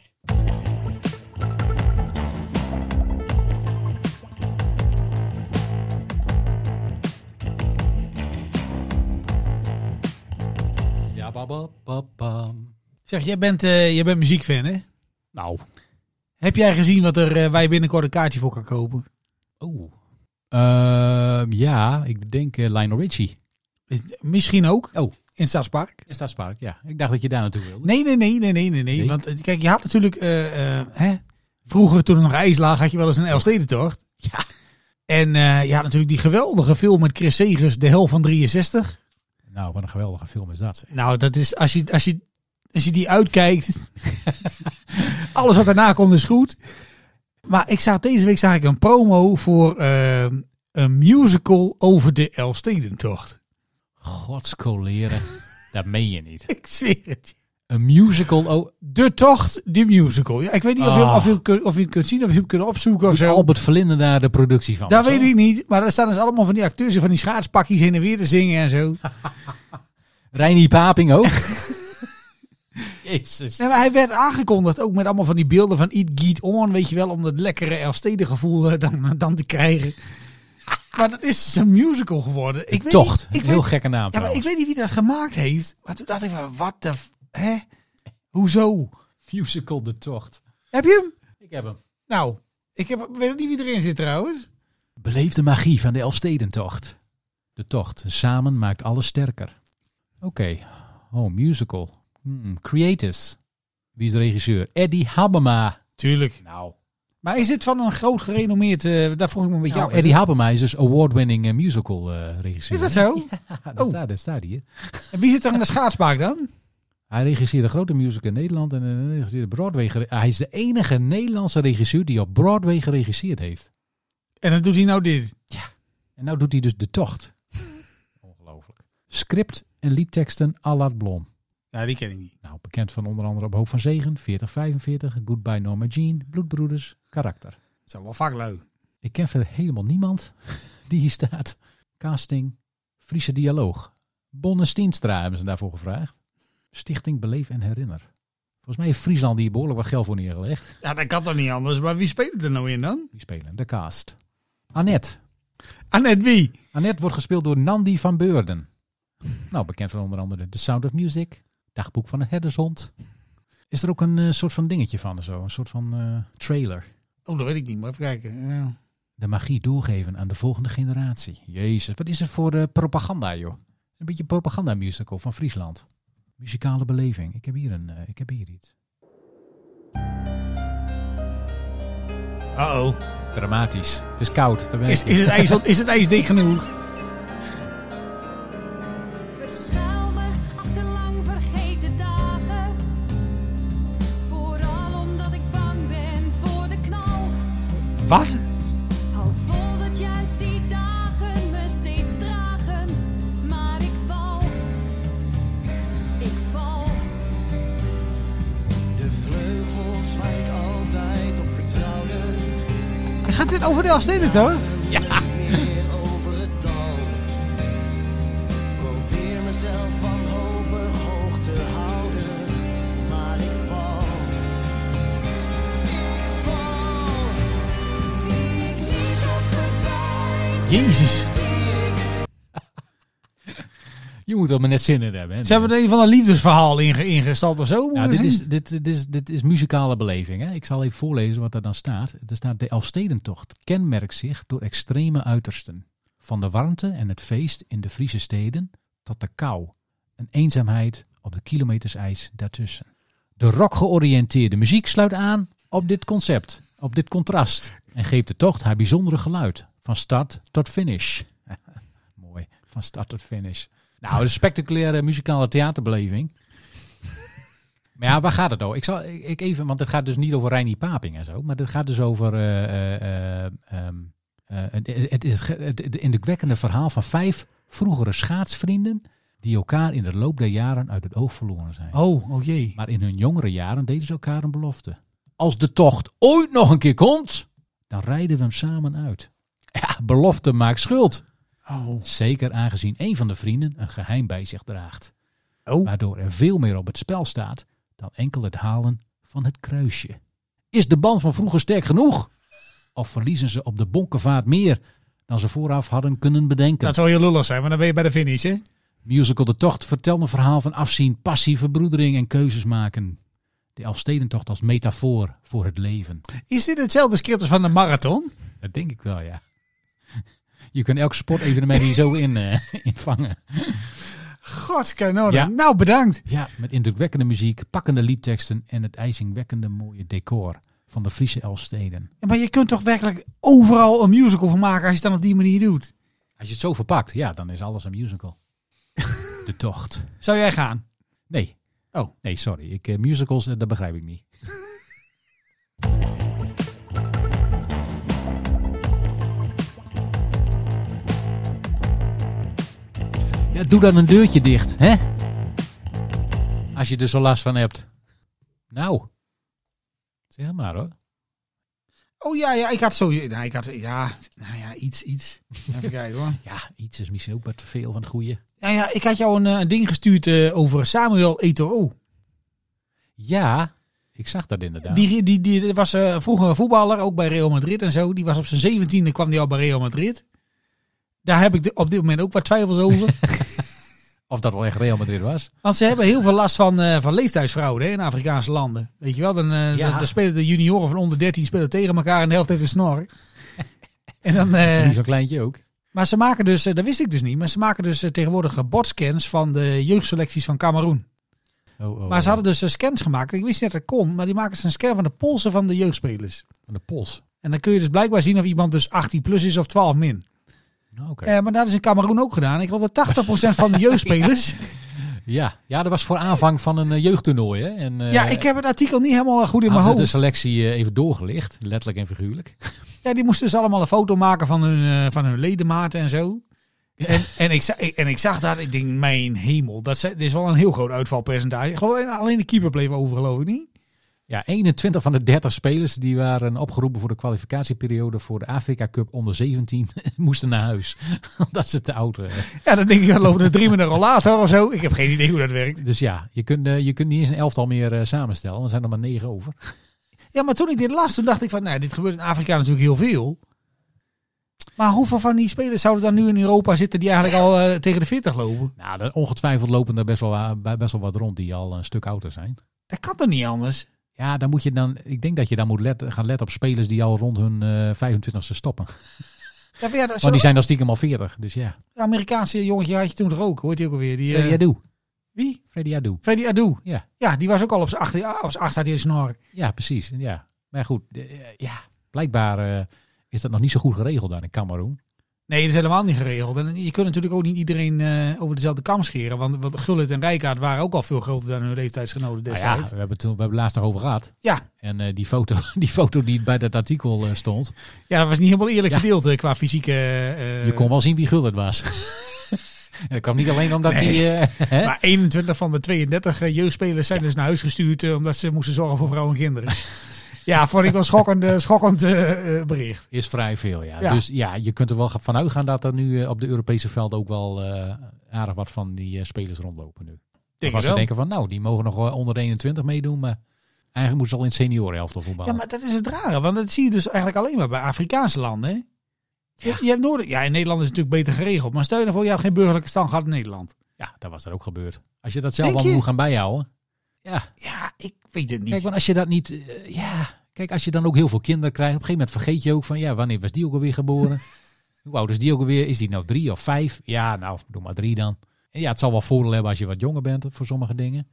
Speaker 5: Ja, ba, ba, ba, bam.
Speaker 6: Zeg, jij bent, eh, jij bent muziekfan, hè?
Speaker 5: Nou,
Speaker 6: Heb jij gezien wat er, eh, wij binnenkort een kaartje voor kan kopen?
Speaker 5: oh. Ehm, ja, ik denk eh, Lionel Richie.
Speaker 6: Eh, Misschien ook.
Speaker 5: Oh.
Speaker 6: In het Stadspark.
Speaker 5: Is dat Spark? Ja, ik dacht dat je daar naartoe wilde.
Speaker 6: Nee, nee, nee, nee, nee, nee. nee.
Speaker 5: Nee.
Speaker 6: Want eh, kijk, je had natuurlijk... eh, eh, hè? Vroeger, toen er nog ijs lag, had je wel eens een Elfstedentocht.
Speaker 5: Ja.
Speaker 6: En eh je had natuurlijk die geweldige film met Chris Segers, De Hel van 63.
Speaker 5: Nou, wat een geweldige film is dat. zeg.
Speaker 6: Nou, dat is als je, als je, als je die uitkijkt. alles wat daarna komt is goed. Maar ik zag deze week zag ik een promo voor ehm, een musical over de Elfstedentocht.
Speaker 5: Godskoleren. dat meen je niet.
Speaker 6: Ik zweer het. je.
Speaker 5: Een musical. Oh,
Speaker 6: De Tocht, de musical. Ja, ik weet niet of, je, hem-
Speaker 5: Ah.
Speaker 6: of, je, hem kun- of je hem kunt zien of je hem kunt opzoeken of
Speaker 5: doet
Speaker 6: zo.
Speaker 5: Albert Verlinde daar de productie van.
Speaker 6: Dat
Speaker 5: of zo?
Speaker 6: Nou. weet ik niet. Maar daar staan dus allemaal van die acteurs in van die schaatspakjes heen en weer te zingen en zo.
Speaker 5: Reinie Paping ook. Jezus.
Speaker 6: Nee, maar hij werd aangekondigd ook met allemaal van die beelden van Eat Geet On, weet je wel, om dat lekkere Elfstedengevoel gevoel dan, eh, dan te krijgen. Maar dat is dus een musical geworden. Ik weet
Speaker 5: Tocht.
Speaker 6: Niet, ik
Speaker 5: Heel
Speaker 6: weet,
Speaker 5: gekke naam
Speaker 6: ja, maar ik
Speaker 5: trouwens.
Speaker 6: weet niet wie dat gemaakt heeft. Maar toen dacht ik van, wat de... f- Hè? Hoezo?
Speaker 5: Musical De Tocht.
Speaker 6: Heb je hem?
Speaker 5: Ik heb hem.
Speaker 6: Nou, ik heb, weet ook niet wie erin zit trouwens.
Speaker 5: Beleef de magie van de Elfstedentocht. De tocht. Samen maakt alles sterker. Oké. Oh, musical. Hmm, creators. Wie is de regisseur? Eddie Habema.
Speaker 6: Tuurlijk.
Speaker 5: Nou,
Speaker 6: Maar is dit van een groot gerenommeerd... eh, daar vroeg ik me een beetje
Speaker 5: nou
Speaker 6: af.
Speaker 5: Eddie Habema is dus award-winning eh, musical eh, regisseur.
Speaker 6: Is dat zo?
Speaker 5: Ja, dat
Speaker 6: Oh.
Speaker 5: staat, dat staat hier.
Speaker 6: En wie zit er aan de schaatsbaak dan?
Speaker 5: Hij regisseerde grote music in Nederland en eh, regisseerde Broadway. gere- Hij is de enige Nederlandse regisseur die op Broadway geregisseerd heeft.
Speaker 6: En dan doet hij nou dit.
Speaker 5: En nou doet hij dus de tocht. Ongelooflijk. Script en liedteksten Allard Blom.
Speaker 6: Ja, die ken ik niet.
Speaker 5: Nou, bekend van onder andere op Hoop van Zegen, 4045, Goodbye Norma Jean, Bloedbroeders, Karakter.
Speaker 6: Dat is wel vaak leuk.
Speaker 5: Ik ken verder helemaal niemand die hier staat. Casting, Friese Dialoog. Bonne Stienstra hebben ze daarvoor gevraagd. Stichting Beleef en Herinner. Volgens mij heeft Friesland hier behoorlijk wat geld voor neergelegd.
Speaker 6: Ja, dat kan toch niet anders. Maar wie speelt het er nou in dan?
Speaker 5: Die spelen de cast. Annette.
Speaker 6: Annette wie?
Speaker 5: Annette wordt gespeeld door Nandi van Beurden. Nou, bekend van onder andere The Sound of Music, Dagboek van een Herdershond. Is er ook een eh, soort van dingetje van, zo, een soort van eh, trailer.
Speaker 6: Oh, dat weet ik niet, maar even kijken. Ja.
Speaker 5: de magie doorgeven aan de volgende generatie. Jezus, wat is het voor eh, propaganda, joh? Een beetje propaganda musical van Friesland. Muzikale beleving. Ik heb hier, een, eh, ik heb hier iets.
Speaker 6: Uh-oh.
Speaker 5: Dramatisch. Het is koud. Daar ben
Speaker 6: Is,
Speaker 5: ik.
Speaker 6: is, het ijs, al- is het ijs dik genoeg?
Speaker 7: Verschuil me achter lang vergeten dagen. Vooral omdat ik bang ben voor de knal.
Speaker 6: Wat?
Speaker 7: Al vol dat juist die dagen me steeds dragen. Maar ik val, ik val.
Speaker 8: De vleugels waar ik altijd op vertrouwde.
Speaker 6: Gaat dit over de Elfsteden, hoor?
Speaker 8: Meer over het dal. Probeer mezelf van hoger hoog te houden. Maar ik val. Ik val.
Speaker 7: Wie ik lief heb gedaan,
Speaker 6: Jezus.
Speaker 7: zie ik het
Speaker 5: Je moet er maar net zin in hebben. Hè?
Speaker 6: Ze hebben er een van een liefdesverhaal inge- ingestald of zo. moet
Speaker 5: Nou,
Speaker 6: ik
Speaker 5: dit,
Speaker 6: zien.
Speaker 5: is, dit, dit, is, dit is muzikale beleving. Hè? Ik zal even voorlezen wat daar dan staat. Er staat: De Elfstedentocht kenmerkt zich door extreme uitersten. Van de warmte en het feest in de Friese steden tot de kou. Een eenzaamheid op de kilometers ijs daartussen. De rockgeoriënteerde muziek sluit aan op dit concept, op dit contrast. En geeft de tocht haar bijzondere geluid. Van start tot finish. Mooi, van start tot finish. Nou, een spectaculaire muzikale theaterbeleving. Maar ja, waar gaat het over? Ik zal ik ik even, want het gaat dus niet over Reinier Paping en zo, maar het gaat dus over eh, eh, eh, ehm, eh, het, het is ge- het, het indrukwekkende verhaal van vijf vroegere schaatsvrienden die elkaar in de loop der jaren uit het oog verloren zijn.
Speaker 6: Oh, oh jee.
Speaker 5: Maar in hun jongere jaren deden ze elkaar een belofte. Als de tocht ooit nog een keer komt, dan rijden we hem samen uit. Ja, belofte maakt schuld.
Speaker 6: Oh.
Speaker 5: Zeker aangezien een van de vrienden een geheim bij zich draagt.
Speaker 6: Oh.
Speaker 5: Waardoor er veel meer op het spel staat dan enkel het halen van het kruisje. Is de band van vroeger sterk genoeg? Of verliezen ze op de bonkenvaart meer dan ze vooraf hadden kunnen bedenken?
Speaker 6: Dat zou heel lullig zijn, maar dan ben je bij de finish, hè?
Speaker 5: Musical De Tocht vertelt een verhaal van afzien, passie, verbroedering en keuzes maken. De Elfstedentocht als metafoor voor het leven.
Speaker 6: Is dit hetzelfde script als van de marathon?
Speaker 5: Dat denk ik wel, ja. Je kunt elk sportevenement hier zo in, eh, invangen.
Speaker 6: Godskanonen.
Speaker 5: Ja.
Speaker 6: Nou, bedankt.
Speaker 5: Ja, met indrukwekkende muziek, pakkende liedteksten en het ijzingwekkende mooie decor van de Friese Elfsteden.
Speaker 6: Ja, Maar je kunt toch werkelijk overal een musical van maken als je het dan op die manier doet?
Speaker 5: Als je het zo verpakt, ja, dan is alles een musical. De tocht.
Speaker 6: Zou jij gaan?
Speaker 5: Nee.
Speaker 6: Oh.
Speaker 5: Nee, sorry. Ik, eh, musicals, eh, dat begrijp ik niet. Ja, doe dan een deurtje dicht, hè? Als je er zo last van hebt. Nou. Zeg het maar hoor.
Speaker 6: Oh ja, ja ik had zo... Nou, ik had, ja, nou ja, iets, iets. Even kijken hoor.
Speaker 5: Ja, iets is misschien ook wat te veel van het goede.
Speaker 6: Nou ja, ik had jou een, eh, een ding gestuurd eh, over Samuel Eto'o.
Speaker 5: Ja, ik zag dat inderdaad.
Speaker 6: Die, die, die, die was eh, vroeger een voetballer, ook bij Real Madrid en zo. Die was op zijn zeventiende, kwam die al bij Real Madrid. Daar heb ik de- op dit moment ook wat twijfels over.
Speaker 5: Of dat wel echt Real Madrid was.
Speaker 6: Want ze hebben heel veel last van, eh, van leeftijdsfraude hè, in Afrikaanse landen. Weet je wel, dan, eh,
Speaker 5: Ja.
Speaker 6: dan, dan spelen de junioren van onder 13 spelen tegen elkaar en de helft heeft een snor. en dan, eh,
Speaker 5: Die zo'n kleintje ook.
Speaker 6: maar ze maken dus, eh, dat wist ik dus niet, maar ze maken dus eh, tegenwoordig botscans van de jeugdselecties van Cameroen.
Speaker 5: Oh, oh,
Speaker 6: Maar ze
Speaker 5: oh.
Speaker 6: hadden dus eh, scans gemaakt. Ik wist niet dat dat kon, maar die maken ze een scan van de polsen van de jeugdspelers.
Speaker 5: Van de pols.
Speaker 6: En dan kun je dus blijkbaar zien of iemand dus 18 plus is of 12 min.
Speaker 5: Nou, Oké.
Speaker 6: Eh, maar dat is in Cameroen ook gedaan. Ik geloof dat 80% van de jeugdspelers...
Speaker 5: Ja. ja, dat was voor aanvang van een eh, jeugdtoernooi. Hè? En, eh,
Speaker 6: ja, ik heb het artikel niet helemaal goed in mijn
Speaker 5: hadden ze de
Speaker 6: hoofd.
Speaker 5: selectie eh, even doorgelicht, letterlijk en figuurlijk.
Speaker 6: Ja, die moesten dus allemaal een foto maken van hun, eh, van hun ledematen en zo.
Speaker 5: Ja.
Speaker 6: En, en, ik, za- en ik zag dat, ik denk, mijn hemel, dat zijn- dit is wel een heel groot uitvalpercentage. Ik geloof alleen- alleen de keeper bleef over, geloof ik niet.
Speaker 5: Ja, 21 van de 30 spelers die waren opgeroepen voor de kwalificatieperiode voor de Afrika Cup onder 17 moesten naar huis. Omdat ze te oud waren.
Speaker 6: Ja, dan denk ik, dan lopen er drie met een rollator of zo. Ik heb geen idee hoe dat werkt.
Speaker 5: Dus ja, je kunt, eh, je kunt niet eens een elftal meer eh, samenstellen. want Er zijn er maar negen over.
Speaker 6: Ja, maar toen ik dit las, toen dacht ik van, nou, dit gebeurt in Afrika natuurlijk heel veel. Maar hoeveel van die spelers zouden dan nu in Europa zitten die eigenlijk al eh, tegen de 40 lopen?
Speaker 5: Nou, er- ongetwijfeld lopen er best wel, wa- bij- best wel wat rond die al een stuk ouder zijn.
Speaker 6: Dat kan toch niet anders?
Speaker 5: Ja, dan moet je dan, ik denk dat je dan moet letten, gaan letten op spelers die al rond hun eh 25ste stoppen.
Speaker 6: Ja, maar ja, dat-
Speaker 5: Want die zijn dan stiekem al 40. Dus ja,
Speaker 6: Een Amerikaanse jongetje had je toen toch ook, hoort hij ook alweer? Die, eh,
Speaker 5: Freddy Adu.
Speaker 6: Wie?
Speaker 5: Freddy Adu.
Speaker 6: Freddy Adu.
Speaker 5: Ja.
Speaker 6: Ja, die was ook al op zijn acht, ja, op zijn acht had hij een snor.
Speaker 5: Ja, precies. Ja. Maar goed, eh, ja, blijkbaar eh, is dat nog niet zo goed geregeld daar in Cameroen.
Speaker 6: Nee, dat is helemaal niet geregeld. En je kunt natuurlijk ook niet iedereen eh, over dezelfde kam scheren. Want, want Gullit en Rijkaard waren ook al veel groter dan hun
Speaker 5: Nou
Speaker 6: leeftijdsgenoten
Speaker 5: ja, we
Speaker 6: destijds.
Speaker 5: hebben het toen- we hebben het laatst nog over gehad.
Speaker 6: Ja.
Speaker 5: En eh, die, foto, die foto die bij dat artikel eh, stond,
Speaker 6: ja. dat was niet helemaal eerlijk
Speaker 5: Ja.
Speaker 6: verdeeld eh, qua fysieke... eh,
Speaker 5: je kon wel zien wie gul het was. en dat kwam niet alleen omdat die... eh, hè?
Speaker 6: Maar 21 van de 32 jeugdspelers zijn dus naar huis gestuurd eh, omdat ze moesten zorgen voor vrouwen en kinderen. ja, vond ik wel schokkend, eh, schokkend eh, eh, bericht.
Speaker 5: is vrij veel, ja.
Speaker 6: Ja.
Speaker 5: Dus ja, je kunt er wel van uitgaan dat er nu eh, op de Europese veld ook wel eh, aardig wat van die eh, spelers rondlopen nu.
Speaker 6: Denk
Speaker 5: Waarvan
Speaker 6: ik
Speaker 5: ze
Speaker 6: wel.
Speaker 5: denken van, nou, die mogen nog wel onder de 21 meedoen, maar eigenlijk moeten ze al in het seniorenelftal voetballen.
Speaker 6: Ja, maar dat is het rare, want dat zie je dus eigenlijk alleen maar bij Afrikaanse landen. hè. Je,
Speaker 5: Ja.
Speaker 6: je hebt noorden, ja, in Nederland is het natuurlijk beter geregeld, maar stel je nou voor, je had geen burgerlijke stand gehad in Nederland.
Speaker 5: Ja, dat was er ook gebeurd. Als je dat zelf
Speaker 6: Denk
Speaker 5: allemaal
Speaker 6: je?
Speaker 5: moet gaan bijhouden. Ja.
Speaker 6: Ja, ik weet het niet.
Speaker 5: Kijk, want als je dat niet. eh, ja, kijk, als je dan ook heel veel kinderen krijgt, op een gegeven moment vergeet je ook van ja, wanneer was die ook alweer geboren? Hoe oud is die ook alweer? Is die nou drie of vijf? Ja, nou, doe maar drie dan. En ja, het zal wel voordeel hebben als je wat jonger bent eh, voor sommige dingen.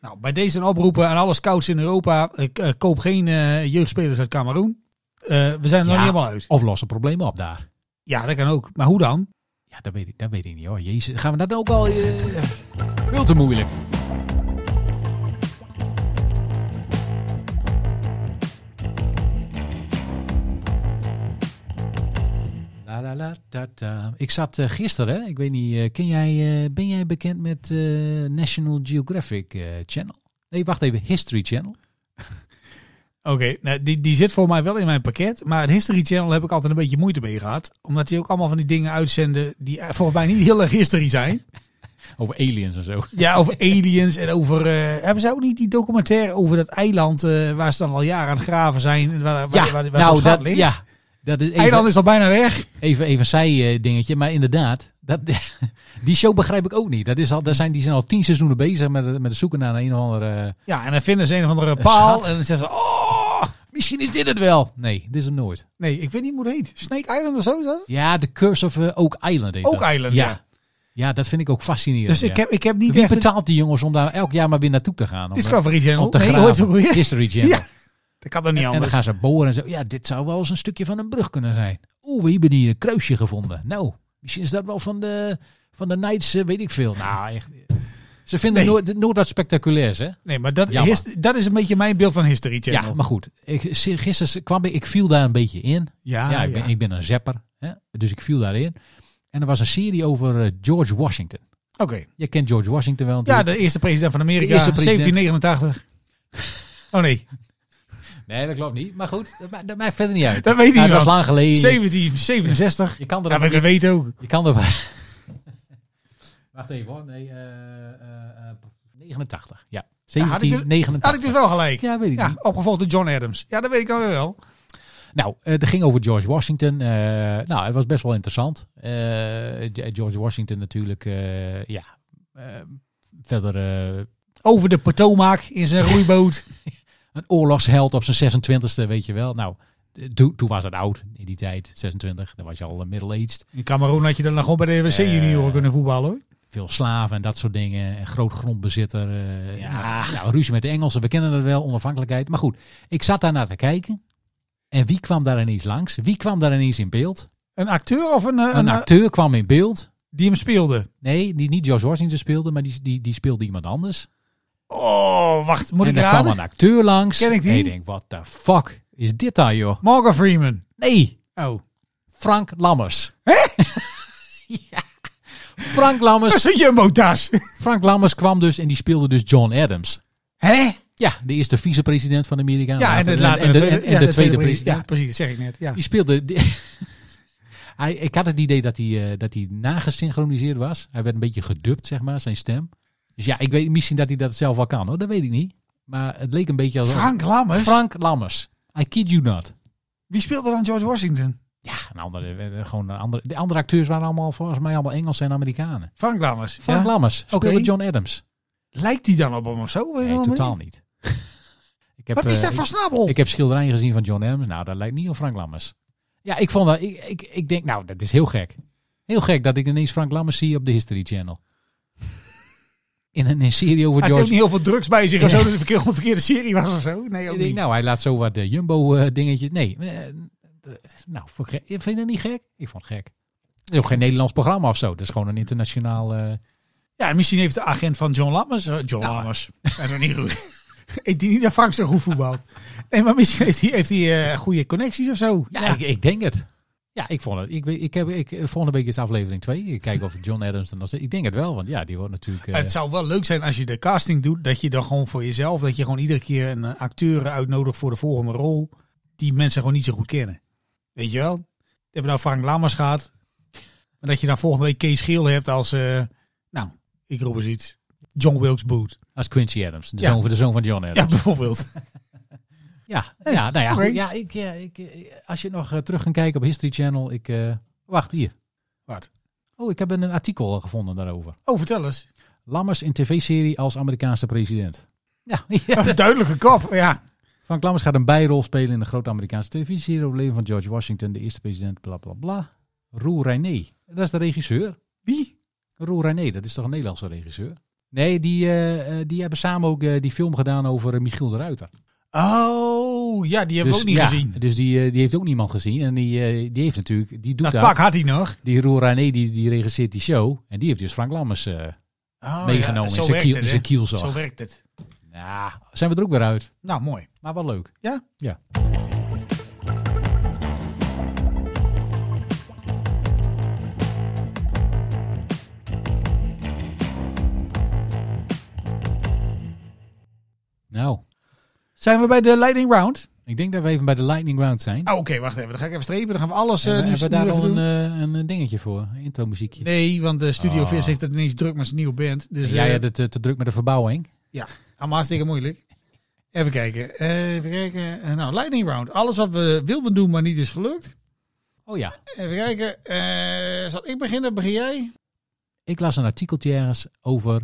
Speaker 6: Nou, bij deze een oproepen aan alle scouts in Europa. Ik, eh, koop geen eh, jeugdspelers uit Cameroen. Eh, we zijn er nog
Speaker 5: Ja.
Speaker 6: niet helemaal uit.
Speaker 5: Of los een probleem op daar.
Speaker 6: Ja, dat kan ook. Maar hoe dan?
Speaker 5: Ja, dat weet ik, dat weet ik niet hoor. Jezus, gaan we dat ook al. eh, veel te moeilijk. La, la, la, da, da. Ik zat eh, gisteren, hè, ik weet niet, eh, ken jij, eh, ben jij bekend met eh, National Geographic eh, Channel? Nee, wacht even, History Channel.
Speaker 6: Oké, nou, die, die zit voor mij wel in mijn pakket. Maar het History Channel heb ik altijd een beetje moeite mee gehad. Omdat die ook allemaal van die dingen uitzenden die eh, volgens mij niet heel erg history zijn.
Speaker 5: Over aliens en zo.
Speaker 6: Ja, over aliens en over... eh, hebben ze ook niet die documentaire over dat eiland eh, waar ze dan al jaren aan het graven zijn? en Waar, waar, waar, waar zo'n
Speaker 5: nou,
Speaker 6: schat
Speaker 5: dat,
Speaker 6: ligt?
Speaker 5: ja, dat is even-
Speaker 6: Eiland is al bijna weg.
Speaker 5: Even, even een zij-dingetje, maar inderdaad, dat, die show begrijp ik ook niet. Dat is al, daar zijn, die zijn al tien seizoenen bezig met, het- met het zoeken naar een of andere... eh,
Speaker 6: Ja, en dan vinden ze een of andere
Speaker 5: Een
Speaker 6: paal.
Speaker 5: schat.
Speaker 6: En dan zeggen ze... Oh!
Speaker 5: misschien is dit het wel. Nee, dit is het nooit.
Speaker 6: Nee, ik weet niet hoe het heet. Snake Island of zo is dat?
Speaker 5: Ja, The Curse of eh, Oak Island heet
Speaker 6: Oak
Speaker 5: dat.
Speaker 6: Island, ja.
Speaker 5: Ja, dat vind ik ook fascinerend.
Speaker 6: Dus ik
Speaker 5: ja.
Speaker 6: heb, ik heb niet
Speaker 5: Wie
Speaker 6: echt een
Speaker 5: betaalt die jongens om daar elk jaar maar weer naartoe te gaan? Om, eh,
Speaker 6: Discovery Channel.
Speaker 5: om te
Speaker 6: Nee,
Speaker 5: graven?
Speaker 6: hoe heet het ook weer?
Speaker 5: History Channel.
Speaker 6: Ja, Dat kan toch niet
Speaker 5: en dan
Speaker 6: anders?
Speaker 5: gaan ze boren en zo. Ja, dit zou wel eens een stukje van een brug kunnen zijn. Oeh, we hebben hier een kruisje gevonden. Nou, misschien is dat wel van de, van de Knights, eh, weet ik veel. Nou, echt. Ze vinden
Speaker 6: Nee.
Speaker 5: nooit, nooit wat spectaculairs, hè?
Speaker 6: Nee, maar dat,
Speaker 5: Jammer.
Speaker 6: his- dat is een beetje mijn beeld van History Channel.
Speaker 5: Ja, maar goed. Ik, gisteren kwam ik, ik viel daar een beetje in.
Speaker 6: Ah, ja,
Speaker 5: ja, ik ben, ik ben een zepper. Hè? Dus ik viel daarin. En er was een serie over eh, George Washington.
Speaker 6: Oké.
Speaker 5: Je kent George Washington wel.
Speaker 6: Ja,
Speaker 5: natuurlijk.
Speaker 6: de eerste president van Amerika,
Speaker 5: De eerste president.
Speaker 6: 1789. Oh nee,
Speaker 5: Nee, dat klopt niet. Maar goed, dat, ma- dat maakt verder niet uit.
Speaker 6: dat weet ik
Speaker 5: Nou,
Speaker 6: niet.
Speaker 5: dat was
Speaker 6: man.
Speaker 5: lang geleden.
Speaker 6: 1767.
Speaker 5: Je kan er
Speaker 6: Dat weet ik weet ook.
Speaker 5: Je kan er Wacht even hoor. Nee, eh, eh, eh, 89. Ja,
Speaker 6: had ik dus-
Speaker 5: 1789.
Speaker 6: Had ik dus wel gelijk. Ja,
Speaker 5: Ja, weet ik niet.
Speaker 6: opgevolgd door John Adams. Ja, dat weet ik dan weer wel.
Speaker 5: Nou, eh dat ging over George Washington. Eh, nou, het was best wel interessant. Eh, Ge- George Washington natuurlijk, eh, ja, eh, verder eh,
Speaker 6: Over de Potomac in zijn roeiboot.
Speaker 5: een oorlogsheld op zijn 26e, weet je wel. Nou, eh, toen toen was het oud in die tijd, 26. Dan was je al eh, middle-aged.
Speaker 6: In Cameroen had je dan nog gewoon bij de WC
Speaker 5: Eh,
Speaker 6: junioren kunnen voetballen hoor.
Speaker 5: Veel slaven en dat soort dingen. En groot grondbezitter. eh,
Speaker 6: Ja.
Speaker 5: Nou, nou, ruzie met de Engelsen. We kennen dat wel, onafhankelijkheid. Maar goed, ik zat daar naar te kijken. En wie kwam daar ineens langs? Wie kwam daar ineens in beeld?
Speaker 6: Een acteur of een, eh, een,
Speaker 5: Een
Speaker 6: eh,
Speaker 5: acteur kwam in beeld.
Speaker 6: die hem speelde?
Speaker 5: Nee, die niet George Washington speelde, maar die, die, die speelde iemand anders.
Speaker 6: Oh, wacht, moet
Speaker 5: en
Speaker 6: ik
Speaker 5: daar kwam
Speaker 6: raden?
Speaker 5: een acteur langs.
Speaker 6: Ken ik die?
Speaker 5: En ik denk, what the fuck is dit daar, joh?
Speaker 6: Morgan Freeman.
Speaker 5: Nee,
Speaker 6: Oh.
Speaker 5: Frank Lammers. Hè? ja. Frank
Speaker 6: Dat is
Speaker 5: Lammers,
Speaker 6: een jumbo-tas.
Speaker 5: Frank Lammers kwam dus en die speelde dus John Adams.
Speaker 6: Hè?
Speaker 5: Ja, de eerste vicepresident van Amerika.
Speaker 6: Ja, en de, later
Speaker 5: en
Speaker 6: de
Speaker 5: de,
Speaker 6: tweede,
Speaker 5: en- en
Speaker 6: ja,
Speaker 5: de tweede
Speaker 6: de tweede
Speaker 5: president.
Speaker 6: Ja, precies, dat zeg ik net. Ja.
Speaker 5: Die speelde... die- hij, ik had het idee dat hij, eh, dat hij nagesynchroniseerd was. Hij werd een beetje gedubt, zeg maar, zijn stem. Dus ja, ik weet misschien dat hij dat zelf wel kan, hoor. Dat weet ik niet. Maar het leek een beetje als...
Speaker 6: Frank Lammers?
Speaker 5: Frank Lammers. I kid you not.
Speaker 6: Wie speelde dan George Washington?
Speaker 5: Ja, een andere, eh, gewoon een andere, de andere acteurs waren allemaal volgens mij allemaal Engelsen en Amerikanen.
Speaker 6: Frank Lammers.
Speaker 5: Frank
Speaker 6: ja.
Speaker 5: Lammers speelde
Speaker 6: Oké.
Speaker 5: John Adams.
Speaker 6: Lijkt die dan op hem of zo? Op een
Speaker 5: Nee,
Speaker 6: andere
Speaker 5: totaal
Speaker 6: manier?
Speaker 5: niet. ik heb,
Speaker 6: Wat is
Speaker 5: eh,
Speaker 6: dat
Speaker 5: ik-
Speaker 6: voor snabbel?
Speaker 5: Ik heb schilderijen gezien van John Adams. Nou, dat lijkt niet op Frank Lammers. Ja, ik vond dat. Ik, ik, ik denk, nou, dat is heel gek. Heel gek dat ik ineens Frank Lammers zie op de History Channel. In een, een serie over
Speaker 6: Hij heeft ook
Speaker 5: George.
Speaker 6: niet heel veel drugs bij zich of zo. Dat het een verkeerde, een verkeerde serie was of zo. Nee, ook
Speaker 5: Ik denk,
Speaker 6: niet.
Speaker 5: nou, hij laat zo wat Jumbo-dingetjes. nee. eh, eh, nou, voor gek- vind je dat niet gek? Ik vond het gek. Het is ook geen Nederlands programma of zo. Dat is gewoon een internationaal. eh,
Speaker 6: Ja, misschien heeft de agent van John Lammers... eh, John
Speaker 5: Nou,
Speaker 6: Lammers. Dat is ook niet goed. ik denk niet dat Frank zo goed voetbalt. Nee, maar misschien heeft hij, heeft hij eh, goede connecties of zo.
Speaker 5: Ja, Ik, ik denk het. Ja, ik vond het. Ik, weet- ik heb, ik, volgende week is aflevering 2. Ik kijk of John Adams er nog steeds- Ik denk het wel, want ja, die wordt natuurlijk. eh,
Speaker 6: Het zou wel leuk zijn als je de casting doet, dat je dan gewoon voor jezelf, dat je gewoon iedere keer een eh, acteur uitnodigt voor de volgende rol, die mensen gewoon niet zo goed kennen. Weet je wel? We hebben nou Frank Lammers gehad, maar dat je dan volgende week Kees Geel hebt als, eh, nou, ik roep eens iets, John Wilkes Booth.
Speaker 5: Als Quincy Adams, de,
Speaker 6: Ja.
Speaker 5: zoon, de zoon van John
Speaker 6: Ja,
Speaker 5: Adams.
Speaker 6: bijvoorbeeld.
Speaker 5: Ja, ja, nou ja,
Speaker 6: oké.
Speaker 5: goed, ja, ik, ja ik, eh, als je nog eh, terug gaat kijken op History Channel, ik... eh, wacht, eh, hier.
Speaker 6: Wat?
Speaker 5: Op Oh, ik heb een artikel gevonden daarover.
Speaker 6: Oh, vertel eens.
Speaker 5: Lammers in tv-serie als Amerikaanse president. Ja, ja,
Speaker 6: Een duidelijke kop, ja.
Speaker 5: Frank Lammers gaat een bijrol spelen in de grote Amerikaanse televisieserie over het leven van George Washington, de eerste president, bla bla bla. Roel Reiné, dat is de regisseur.
Speaker 6: Wie?
Speaker 5: Roel Reiné, dat is toch een Nederlandse regisseur? Nee, die, eh, eh, die hebben samen ook eh, die film gedaan over eh, Michiel de Ruiter.
Speaker 6: Oh, ja, die hebben we ook niet
Speaker 5: ja,
Speaker 6: gezien.
Speaker 5: Dus die, eh, die heeft ook niemand gezien. En die, eh, die heeft natuurlijk, die doet
Speaker 6: Dat
Speaker 5: dat.
Speaker 6: pak had hij nog.
Speaker 5: Die Roel Reiné, die, die regisseert die show. En die heeft dus Frank Lammers eh,
Speaker 6: Oh,
Speaker 5: meegenomen in
Speaker 6: ja, zo
Speaker 5: zijn
Speaker 6: werkt
Speaker 5: kiel-
Speaker 6: het,
Speaker 5: in
Speaker 6: hè.
Speaker 5: zijn kielzog.
Speaker 6: Zo werkt het.
Speaker 5: Nou, zijn we er ook weer uit.
Speaker 6: Nou, mooi.
Speaker 5: Maar wel leuk.
Speaker 6: Ja?
Speaker 5: Ja. Nou,
Speaker 6: Zijn we bij de Lightning Round?
Speaker 5: ik denk dat we even bij de lightning round zijn.
Speaker 6: Oh, Oké, wacht even. Dan ga ik even strepen. Dan gaan we alles eh, Ah.
Speaker 5: hebben,
Speaker 6: nu,
Speaker 5: hebben we
Speaker 6: nu
Speaker 5: daar
Speaker 6: even
Speaker 5: al een,
Speaker 6: doen.
Speaker 5: eh, een eh, dingetje voor? Een intro muziekje?
Speaker 6: Nee, want de Studio
Speaker 5: Oh.
Speaker 6: Vis heeft het ineens druk met zijn nieuwe band. Dus
Speaker 5: ja,
Speaker 6: eh,
Speaker 5: ja, dat, eh, te druk met de verbouwing.
Speaker 6: allemaal hartstikke moeilijk. Even kijken. Eh, even kijken. Eh, nou, Lightning Round. Alles wat we wilden doen, maar niet is gelukt.
Speaker 5: Oh ja,
Speaker 6: Even kijken. Eh, zal ik beginnen? Begin jij?
Speaker 5: ik las een artikeltje ergens over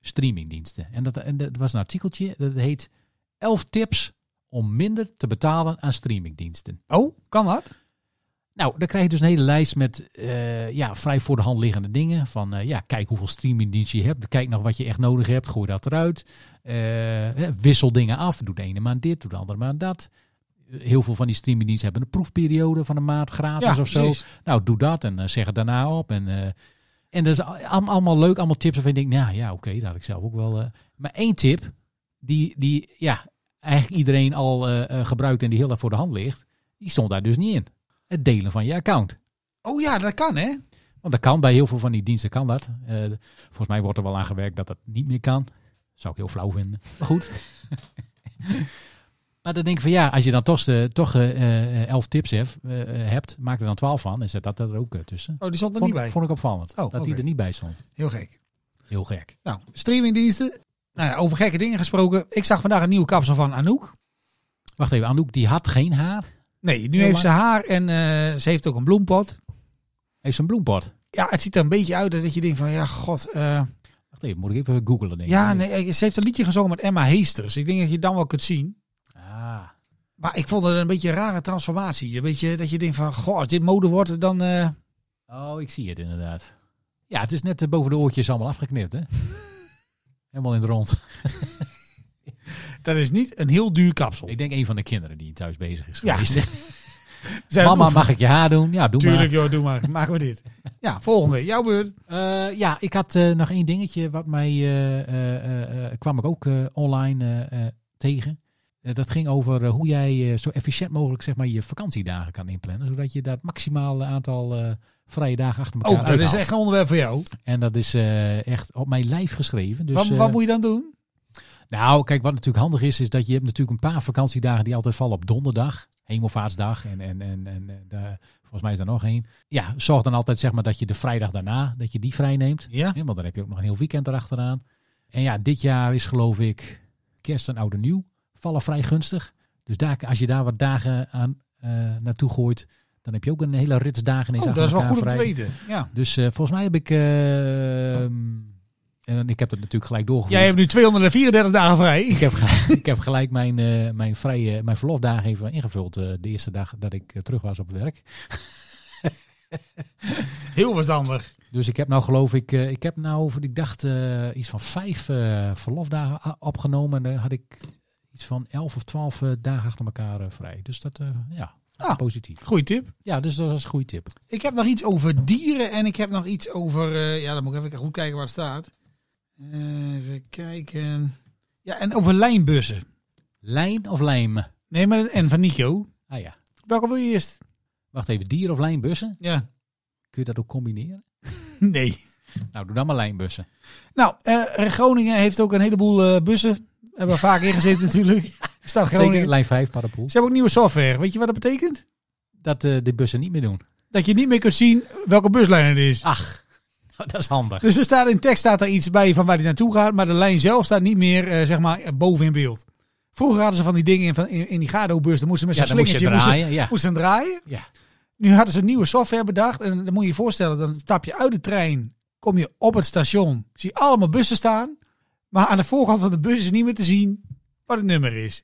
Speaker 5: streamingdiensten. En dat, en dat was een artikeltje dat heet 11 tips om minder te betalen aan streamingdiensten.
Speaker 6: Oh, kan dat?
Speaker 5: Nou, dan krijg je dus een hele lijst met eh, ja, vrij voor de hand liggende dingen. Van eh, ja, kijk hoeveel streamingdiensten je hebt. Kijk nog wat je echt nodig hebt. Gooi dat eruit. Eh, eh, wissel dingen af. Doe de ene maand dit, doe de andere maand dat. Eh, Heel veel van die streamingdiensten hebben een proefperiode van een maand gratis of zo.
Speaker 6: precies.
Speaker 5: Nou, doe dat en eh, zeg het daarna op. En, eh, en dat is al- allemaal- allemaal leuk, allemaal tips. Waarvan je denkt, nou ja, oké, dat had ik zelf ook wel. eh. Maar één tip, die, die ja, eigenlijk iedereen al eh, eh, gebruikt en die heel erg voor de hand ligt, die stond daar dus niet in. Het delen van je account.
Speaker 6: Oh ja, dat kan hè?
Speaker 5: Want dat kan bij heel veel van die diensten kan dat. Eh, volgens mij wordt er wel aan gewerkt dat dat niet meer kan. Zou ik heel flauw vinden. Maar goed. maar dan denk ik van ja, als je dan toch, eh, toch eh, eh, elf tips hebt, eh, eh, hebt, maak er dan twaalf van en zet dat er ook eh, tussen.
Speaker 6: Oh, die stond er
Speaker 5: Vond,
Speaker 6: niet bij.
Speaker 5: vond ik opvallend.
Speaker 6: Oh,
Speaker 5: dat die
Speaker 6: oké.
Speaker 5: er niet bij stond.
Speaker 6: Heel gek.
Speaker 5: Heel gek.
Speaker 6: Nou, streamingdiensten. Nou ja, over gekke dingen gesproken. Ik zag vandaag een nieuwe kapsel van Anouk.
Speaker 5: Wacht even, Anouk die had geen haar.
Speaker 6: Nee, nu
Speaker 5: Heel
Speaker 6: heeft ze haar en eh, ze heeft ook een bloempot.
Speaker 5: Heeft ze een bloempot.
Speaker 6: Ja, het ziet er een beetje uit dat je denkt van, ja, god. eh,
Speaker 5: Wacht even, moet ik even googlen denk ik.
Speaker 6: ja, nee, eh, ze heeft een liedje gezongen met Emma Heesters. Ik denk dat je dan wel kunt zien.
Speaker 5: Ah,
Speaker 6: Maar ik vond het een beetje een rare transformatie. Een beetje dat je denkt van, goh, als dit mode wordt, dan... eh,
Speaker 5: oh, ik zie het inderdaad. Ja, het is net eh, boven de oortjes allemaal afgeknipt hè. Helemaal in het rond.
Speaker 6: dat is niet een heel duur kapsel.
Speaker 5: Ik denk een van de kinderen die thuis bezig is
Speaker 6: Ja.
Speaker 5: geweest.
Speaker 6: Zijn
Speaker 5: Mama,
Speaker 6: oefen-
Speaker 5: mag ik je haar doen? Ja, doe
Speaker 6: Tuurlijk, joh, doe maar. Maken we dit. Ja, volgende. Jouw beurt.
Speaker 5: maar. Eh, ja, ik had eh, nog één dingetje wat mij eh, eh, eh, eh, kwam ik ook eh, online eh, eh, tegen. Eh, dat ging over eh, hoe jij eh, zo efficiënt mogelijk zeg maar, je vakantiedagen kan inplannen. Zodat je dat maximaal aantal eh, vrije dagen achter elkaar
Speaker 6: Oh, dat is
Speaker 5: uithaalt.
Speaker 6: echt een onderwerp voor jou.
Speaker 5: En dat is eh, echt op mijn lijf geschreven. Dus,
Speaker 6: wat,
Speaker 5: eh,
Speaker 6: wat moet je dan doen?
Speaker 5: Nou, kijk, wat natuurlijk handig is, is dat je hebt natuurlijk een paar vakantiedagen die altijd vallen op donderdag. Hemelvaartsdag en, en, en, en eh, de- volgens mij is daar nog één. Ja, zorg dan altijd zeg maar dat je de vrijdag daarna, dat je die vrij neemt.
Speaker 6: Ja.
Speaker 5: Hè, Want dan heb je ook nog een heel weekend erachteraan. En ja, dit jaar is geloof ik kerst en oud en nieuw vallen vrij gunstig. Dus daar, als je daar wat dagen aan eh, naartoe gooit, dan heb je ook een hele rits dagen in
Speaker 6: Oh, dat is wel goed om te weten. Ja.
Speaker 5: Dus eh, volgens mij heb ik, eh, en ik heb dat natuurlijk gelijk doorgevoerd.
Speaker 6: Jij hebt nu 234 dagen vrij.
Speaker 5: Ik heb, ge- ik heb gelijk mijn, eh, mijn, vrije, mijn verlofdagen even ingevuld. eh, de eerste dag dat ik eh, terug was op werk.
Speaker 6: Heel verstandig.
Speaker 5: Dus ik heb nou geloof ik, eh, ik heb nou, ik dacht eh, iets van vijf eh, verlofdagen a- opgenomen. En dan had ik iets van elf of twaalf eh, dagen achter elkaar eh, vrij. Dus dat, eh, ja,
Speaker 6: Ah.
Speaker 5: positief.
Speaker 6: Goeie tip.
Speaker 5: Ja, dus dat was een goede tip.
Speaker 6: Ik heb nog iets over dieren en ik heb nog iets over... eh, ja, dan moet ik even goed kijken waar het staat. Eh, even kijken. Ja, en over lijnbussen.
Speaker 5: Lijn of lijm?
Speaker 6: Nee, maar en van Nico.
Speaker 5: Ah ja,
Speaker 6: Welke wil je eerst?
Speaker 5: wacht even, dier of lijnbussen?
Speaker 6: Ja.
Speaker 5: Kun je dat ook combineren?
Speaker 6: Nee.
Speaker 5: Nou, doe dan maar lijnbussen.
Speaker 6: Nou, eh, Groningen heeft ook een heleboel eh, bussen. Hebben we vaak ingezeten natuurlijk. Staat
Speaker 5: Zeker
Speaker 6: Groningen.
Speaker 5: lijn 5 paddenpoel.
Speaker 6: Ze hebben ook nieuwe software. Weet je wat dat betekent?
Speaker 5: Dat eh, de bussen niet meer doen.
Speaker 6: Dat je niet meer kunt zien welke buslijn het is.
Speaker 5: Ach, dat is handig.
Speaker 6: Dus er staat in tekst staat er iets bij van waar hij naartoe gaat, maar de lijn zelf staat niet meer eh, zeg maar eh, boven in beeld. Vroeger hadden ze van die dingen in, van, in, in die Gado-bus, dan moesten ze met
Speaker 5: Ja,
Speaker 6: zo'n
Speaker 5: dan moest je
Speaker 6: slingertje moesten-
Speaker 5: draaien. Ja.
Speaker 6: moesten draaien.
Speaker 5: Ja.
Speaker 6: Nu hadden ze nieuwe software bedacht. En dan moet je je voorstellen, dan stap je uit de trein. Kom je op het station. Zie je allemaal bussen staan. Maar aan de voorkant van de bus is niet meer te zien wat het nummer is.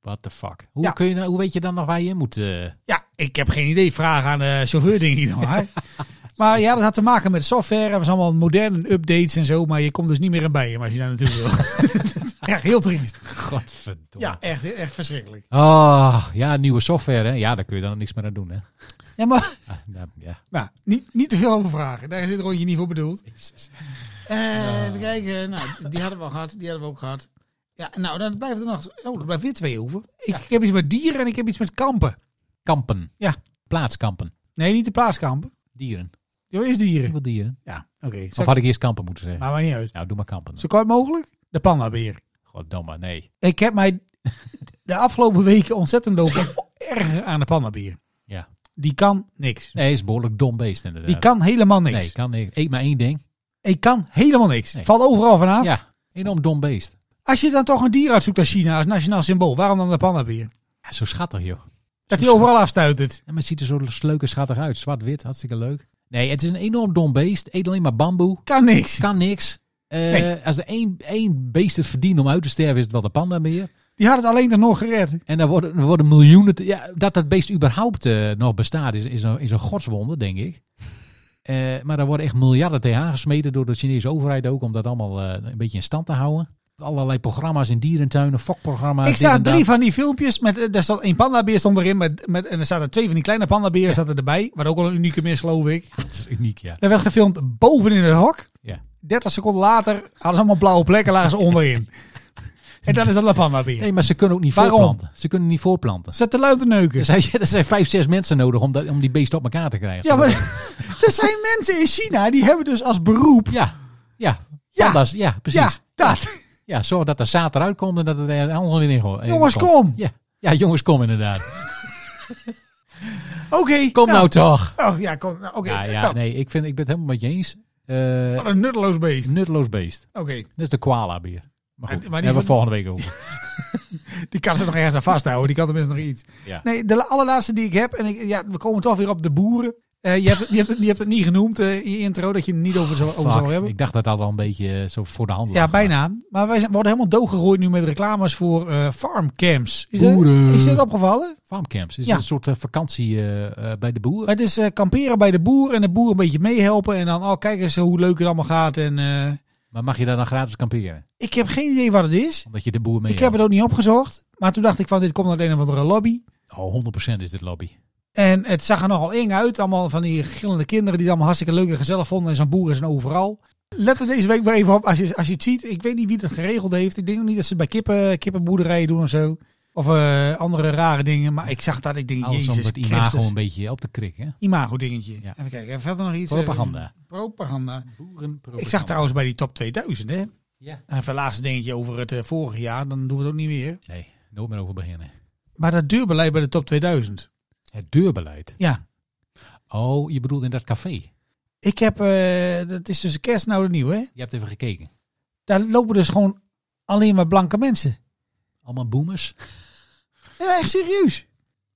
Speaker 5: What the fuck? Hoe,
Speaker 6: Ja.
Speaker 5: kun je, nou- hoe weet je dan nog waar je in moet? eh?
Speaker 6: Ja, ik heb geen idee. Vraag aan de chauffeur, denk ik dan maar. Maar ja, dat had te maken met software. Er was allemaal moderne updates en zo. Maar je komt dus niet meer aan bij hem als je daar naartoe wil. echt heel triest.
Speaker 5: Godverdomme.
Speaker 6: Ja, echt, echt verschrikkelijk.
Speaker 5: Oh, ja, nieuwe software. Hè? Ja, daar kun je dan niks meer aan doen. Hè?
Speaker 6: Ja, maar
Speaker 5: Ah, nou, ja.
Speaker 6: nou, niet, niet te veel over vragen. Daar is dit rondje niet voor bedoeld. Eh, Even kijken. Nou, die hadden we al gehad. Die hadden we ook gehad. Ja, nou, dan blijft er nog... Oh, er blijft weer twee over. Ik, ik heb iets met dieren en ik heb iets met kampen.
Speaker 5: Kampen.
Speaker 6: Ja.
Speaker 5: Plaatskampen.
Speaker 6: Nee, niet de plaatskampen.
Speaker 5: Dieren.
Speaker 6: Dat is
Speaker 5: Ik
Speaker 6: dieren.
Speaker 5: wil dieren.
Speaker 6: Ja, oké.
Speaker 5: Of had ik eerst kampen moeten zeggen?
Speaker 6: Maar maakt niet uit.
Speaker 5: Nou, doe maar kampen.
Speaker 6: Zo kort mogelijk. De pandabeer.
Speaker 5: Goddomme, nee.
Speaker 6: Ik heb mij de afgelopen weken ontzettend lopen erger aan de pandabeer.
Speaker 5: Ja.
Speaker 6: Die kan niks.
Speaker 5: Nee, is een behoorlijk dom beest inderdaad.
Speaker 6: Die kan helemaal niks.
Speaker 5: Nee, kan niks. Eet maar één ding.
Speaker 6: Ik kan helemaal niks.
Speaker 5: Nee.
Speaker 6: Valt overal vanaf.
Speaker 5: Ja, enorm dom beest.
Speaker 6: Als je dan toch een dier uitzoekt als China als nationaal symbool, waarom dan de pandabeer?
Speaker 5: Ja, zo schattig, joh.
Speaker 6: Dat die overal afstuitert.
Speaker 5: Ja, maar het ziet er zo leuk en schattig uit. Zwart-wit, hartstikke leuk. Nee, het is een enorm dom beest. Eet alleen maar bamboe.
Speaker 6: Kan niks.
Speaker 5: Kan niks. Eh,
Speaker 6: Nee.
Speaker 5: Als er één, één beest het verdient om uit te sterven, is het wel de pandabeer.
Speaker 6: Die had het alleen dan nog gered.
Speaker 5: En daar worden, er worden miljoenen... te- ja, dat dat beest überhaupt eh, nog bestaat is, is, een, is een godswonder, denk ik. Eh, maar daar worden echt miljarden tegen aangesmeten door de Chinese overheid ook... om dat allemaal eh, een beetje in stand te houden. Allerlei programma's in dierentuinen, fokprogramma's.
Speaker 6: ik
Speaker 5: dit
Speaker 6: zag
Speaker 5: en dat.
Speaker 6: drie van die filmpjes. Met, eh, daar stond een pandabeer stond erin. Met, met, en er zaten twee van die kleine pandaberen zaten erbij. Wat ook wel een unieke is, geloof ik.
Speaker 5: Dat is uniek, ja.
Speaker 6: Er werd gefilmd boven in het hok.
Speaker 5: Ja.
Speaker 6: 30 seconden later hadden ze allemaal blauwe plekken, lagen ze onderin. en dat is dan de pandabeer.
Speaker 5: Nee, maar ze kunnen ook niet
Speaker 6: Waarom?
Speaker 5: voorplanten. Ze kunnen niet voorplanten.
Speaker 6: Zet de lui te neuken.
Speaker 5: Er zijn, er zijn vijf, zes mensen nodig om, dat, om die beesten op elkaar te krijgen.
Speaker 6: Ja, maar er zijn mensen in China die hebben dus als beroep.
Speaker 5: Ja, ja.
Speaker 6: Ja.
Speaker 5: Panda's, ja, precies.
Speaker 6: Ja, dat.
Speaker 5: Ja. zorg dat er zaad eruit komt en dat het er anders weer in go- in
Speaker 6: Jongens,
Speaker 5: komt.
Speaker 6: kom.
Speaker 5: Ja. ja, jongens, kom inderdaad.
Speaker 6: Oké.
Speaker 5: Kom nou, toch.
Speaker 6: Oh ja, kom. nou, Oké.
Speaker 5: Ja, ja,
Speaker 6: nou,
Speaker 5: nee, ik, vind, ik ben het helemaal met je eens. Eh,
Speaker 6: Wat een nutteloos beest.
Speaker 5: nutteloos beest.
Speaker 6: Oké.
Speaker 5: Dat is de koala-beer. Maar goed,
Speaker 6: Maar die
Speaker 5: daar hebben we
Speaker 6: van-
Speaker 5: volgende week over.
Speaker 6: Die kan ze nog ergens aan vasthouden. Die kan tenminste nog iets.
Speaker 5: Ja.
Speaker 6: Nee, de la- allerlaatste die ik heb. En ik, ja, we komen toch weer op de boeren. Eh, je, hebt, het- je, hebt het, je hebt het niet genoemd eh, in je intro dat je het niet over zou, over zou
Speaker 5: Fuck,
Speaker 6: hebben.
Speaker 5: ik dacht dat dat al een beetje eh, zo voor de hand
Speaker 6: Ja,
Speaker 5: lag.
Speaker 6: bijna. Maar wij zijn- worden helemaal doodgegooid nu met reclames voor eh farmcamps. Is
Speaker 5: Boeren.
Speaker 6: dat, is dat opgevallen?
Speaker 5: Farmcamps is
Speaker 6: Ja.
Speaker 5: een soort eh, vakantie eh, eh, bij de boer.
Speaker 6: Het is eh, kamperen bij de boer en de boer een beetje meehelpen. En dan, oh, kijk eens hoe leuk het allemaal gaat. En, eh,
Speaker 5: Maar mag je daar dan gratis kamperen?
Speaker 6: ik heb geen idee wat het is.
Speaker 5: Omdat je de boer mee
Speaker 6: ik heb het ook niet opgezocht. Maar toen dacht ik van, dit komt uit een of andere lobby.
Speaker 5: Oh, 100% is dit lobby.
Speaker 6: En het zag er nogal eng uit. Allemaal van die gillende kinderen die het allemaal hartstikke leuk en gezellig vonden. En zo'n boer is een overal. Let er deze week maar even op als je, als je het ziet. Ik weet niet wie het geregeld heeft. Ik denk ook niet dat ze het bij kippen, kippenboerderijen doen of zo. Of eh, andere rare dingen. Maar ik zag dat. Ik denk,
Speaker 5: Alles om
Speaker 6: jezus
Speaker 5: het imago
Speaker 6: Christus.
Speaker 5: een beetje op te krikken.
Speaker 6: Imago dingetje.
Speaker 5: Ja.
Speaker 6: Even kijken. Verder nog iets. eh,
Speaker 5: Propaganda.
Speaker 6: propaganda.
Speaker 5: Boerenpropaganda.
Speaker 6: Ik zag trouwens bij die top 2000 hè.
Speaker 5: Ja.
Speaker 6: En Even laatste dingetje over het eh, vorige jaar. Dan doen we het ook niet meer.
Speaker 5: Nee, nooit meer over beginnen.
Speaker 6: Maar dat duurbeleid bij de top 2000.
Speaker 5: Het deurbeleid.
Speaker 6: Ja.
Speaker 5: Oh, je bedoelt in dat café.
Speaker 6: Ik heb, eh, dat is tussen kerst nou de nieuw hè.
Speaker 5: Je hebt even gekeken.
Speaker 6: Daar lopen dus gewoon alleen maar blanke mensen.
Speaker 5: Allemaal boomers.
Speaker 6: Ja, echt serieus.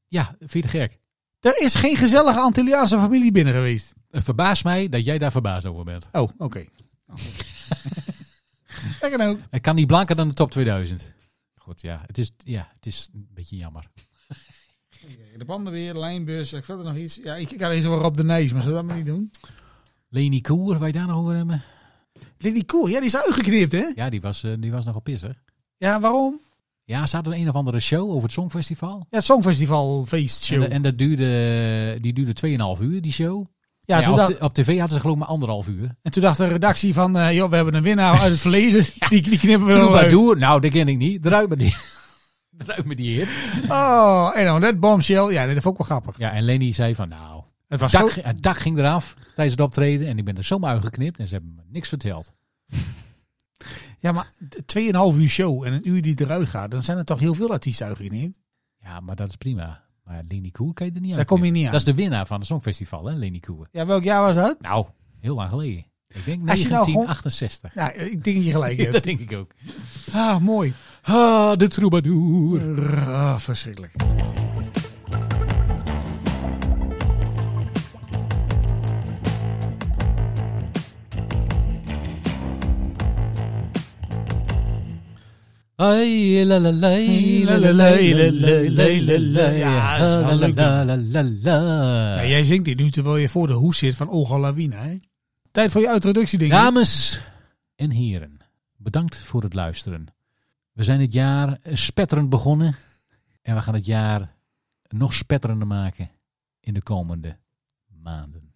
Speaker 5: Ja, vind je het gek?
Speaker 6: Er is geen gezellige Antilliaanse familie binnen geweest.
Speaker 5: Het verbaast mij dat jij daar verbaasd over bent.
Speaker 6: Oh, oké. Lekker nou. ook.
Speaker 5: Het kan niet blanker dan de top 2000. Goed, ja. Het is, ja, het is een beetje jammer.
Speaker 6: De panden weer, de lijnbus, ik verder nog iets. Ja, ik kan eens wel op de neus, maar zullen we dat maar niet doen?
Speaker 5: Leni Koer, waar je daar nog over hebben?
Speaker 6: Lily Cool, ja, die is uitgeknipt, hè?
Speaker 5: Ja, die was, eh, die was nogal pissig.
Speaker 6: Ja, waarom?
Speaker 5: Ja, ze hadden een of andere show over het Songfestival.
Speaker 6: Ja, het Songfestival feestshow.
Speaker 5: En, de- en dat duurde, die duurde 2,5 uur, die show.
Speaker 6: ja,
Speaker 5: Ja,
Speaker 6: toen
Speaker 5: op,
Speaker 6: dacht,
Speaker 5: t- op tv hadden ze geloof ik maar anderhalf uur.
Speaker 6: en toen dacht de redactie van, eh, joh, we hebben een winnaar uit het verleden. Die, die knippen we er wel uit.
Speaker 5: Troubadour? Nou, dat ken ik niet. Druim me die. Druim me die in.
Speaker 6: Oh, en dan dat bombshell. Ja, nee, dat vond ik wel grappig.
Speaker 5: Ja, en Lenny zei van nou,
Speaker 6: Het was
Speaker 5: dak,
Speaker 6: zo-
Speaker 5: het dak ging eraf tijdens het optreden en ik ben er zomaar uitgeknipt en ze hebben me niks verteld.
Speaker 6: Ja, maar 2,5 uur show en een uur die eruit gaat, dan zijn er toch heel veel artiesten uitgeknipt.
Speaker 5: Ja, maar dat is prima. Maar Lenny Koer kan je er niet uit.
Speaker 6: kom je niet aan.
Speaker 5: Dat is de winnaar van het Songfestival, hè, Lenny Koer.
Speaker 6: Ja, welk jaar was dat?
Speaker 5: Nou, heel lang geleden. Ik denk
Speaker 6: Als je nou gewoon-
Speaker 5: 1968.
Speaker 6: Nou, ik denk dat je gelijk
Speaker 5: dat
Speaker 6: hebt.
Speaker 5: denk ik ook.
Speaker 6: Ah, mooi.
Speaker 5: Ah, de troubadour.
Speaker 6: Ah, verschrikkelijk.
Speaker 5: Ai, la, la, la, la, la, la, la, la, la, la.
Speaker 6: Ja, dat is wel leuk.
Speaker 5: La, la, la, la, la.
Speaker 6: Ja, jij zingt dit nu terwijl je voor de hoes zit van Olga Lawina. Hè? Tijd voor je introductie, denk ik.
Speaker 5: Dames en heren, bedankt voor het luisteren. We zijn dit jaar eh, spetterend begonnen. En we gaan het jaar nog spetterender maken in de komende maanden.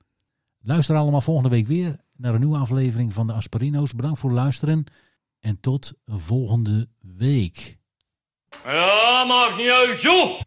Speaker 5: Luister allemaal volgende week weer naar een nieuwe aflevering van de Asperino's. Bedankt voor het luisteren. En tot volgende week.
Speaker 4: Ja, maakt niet uit, joh!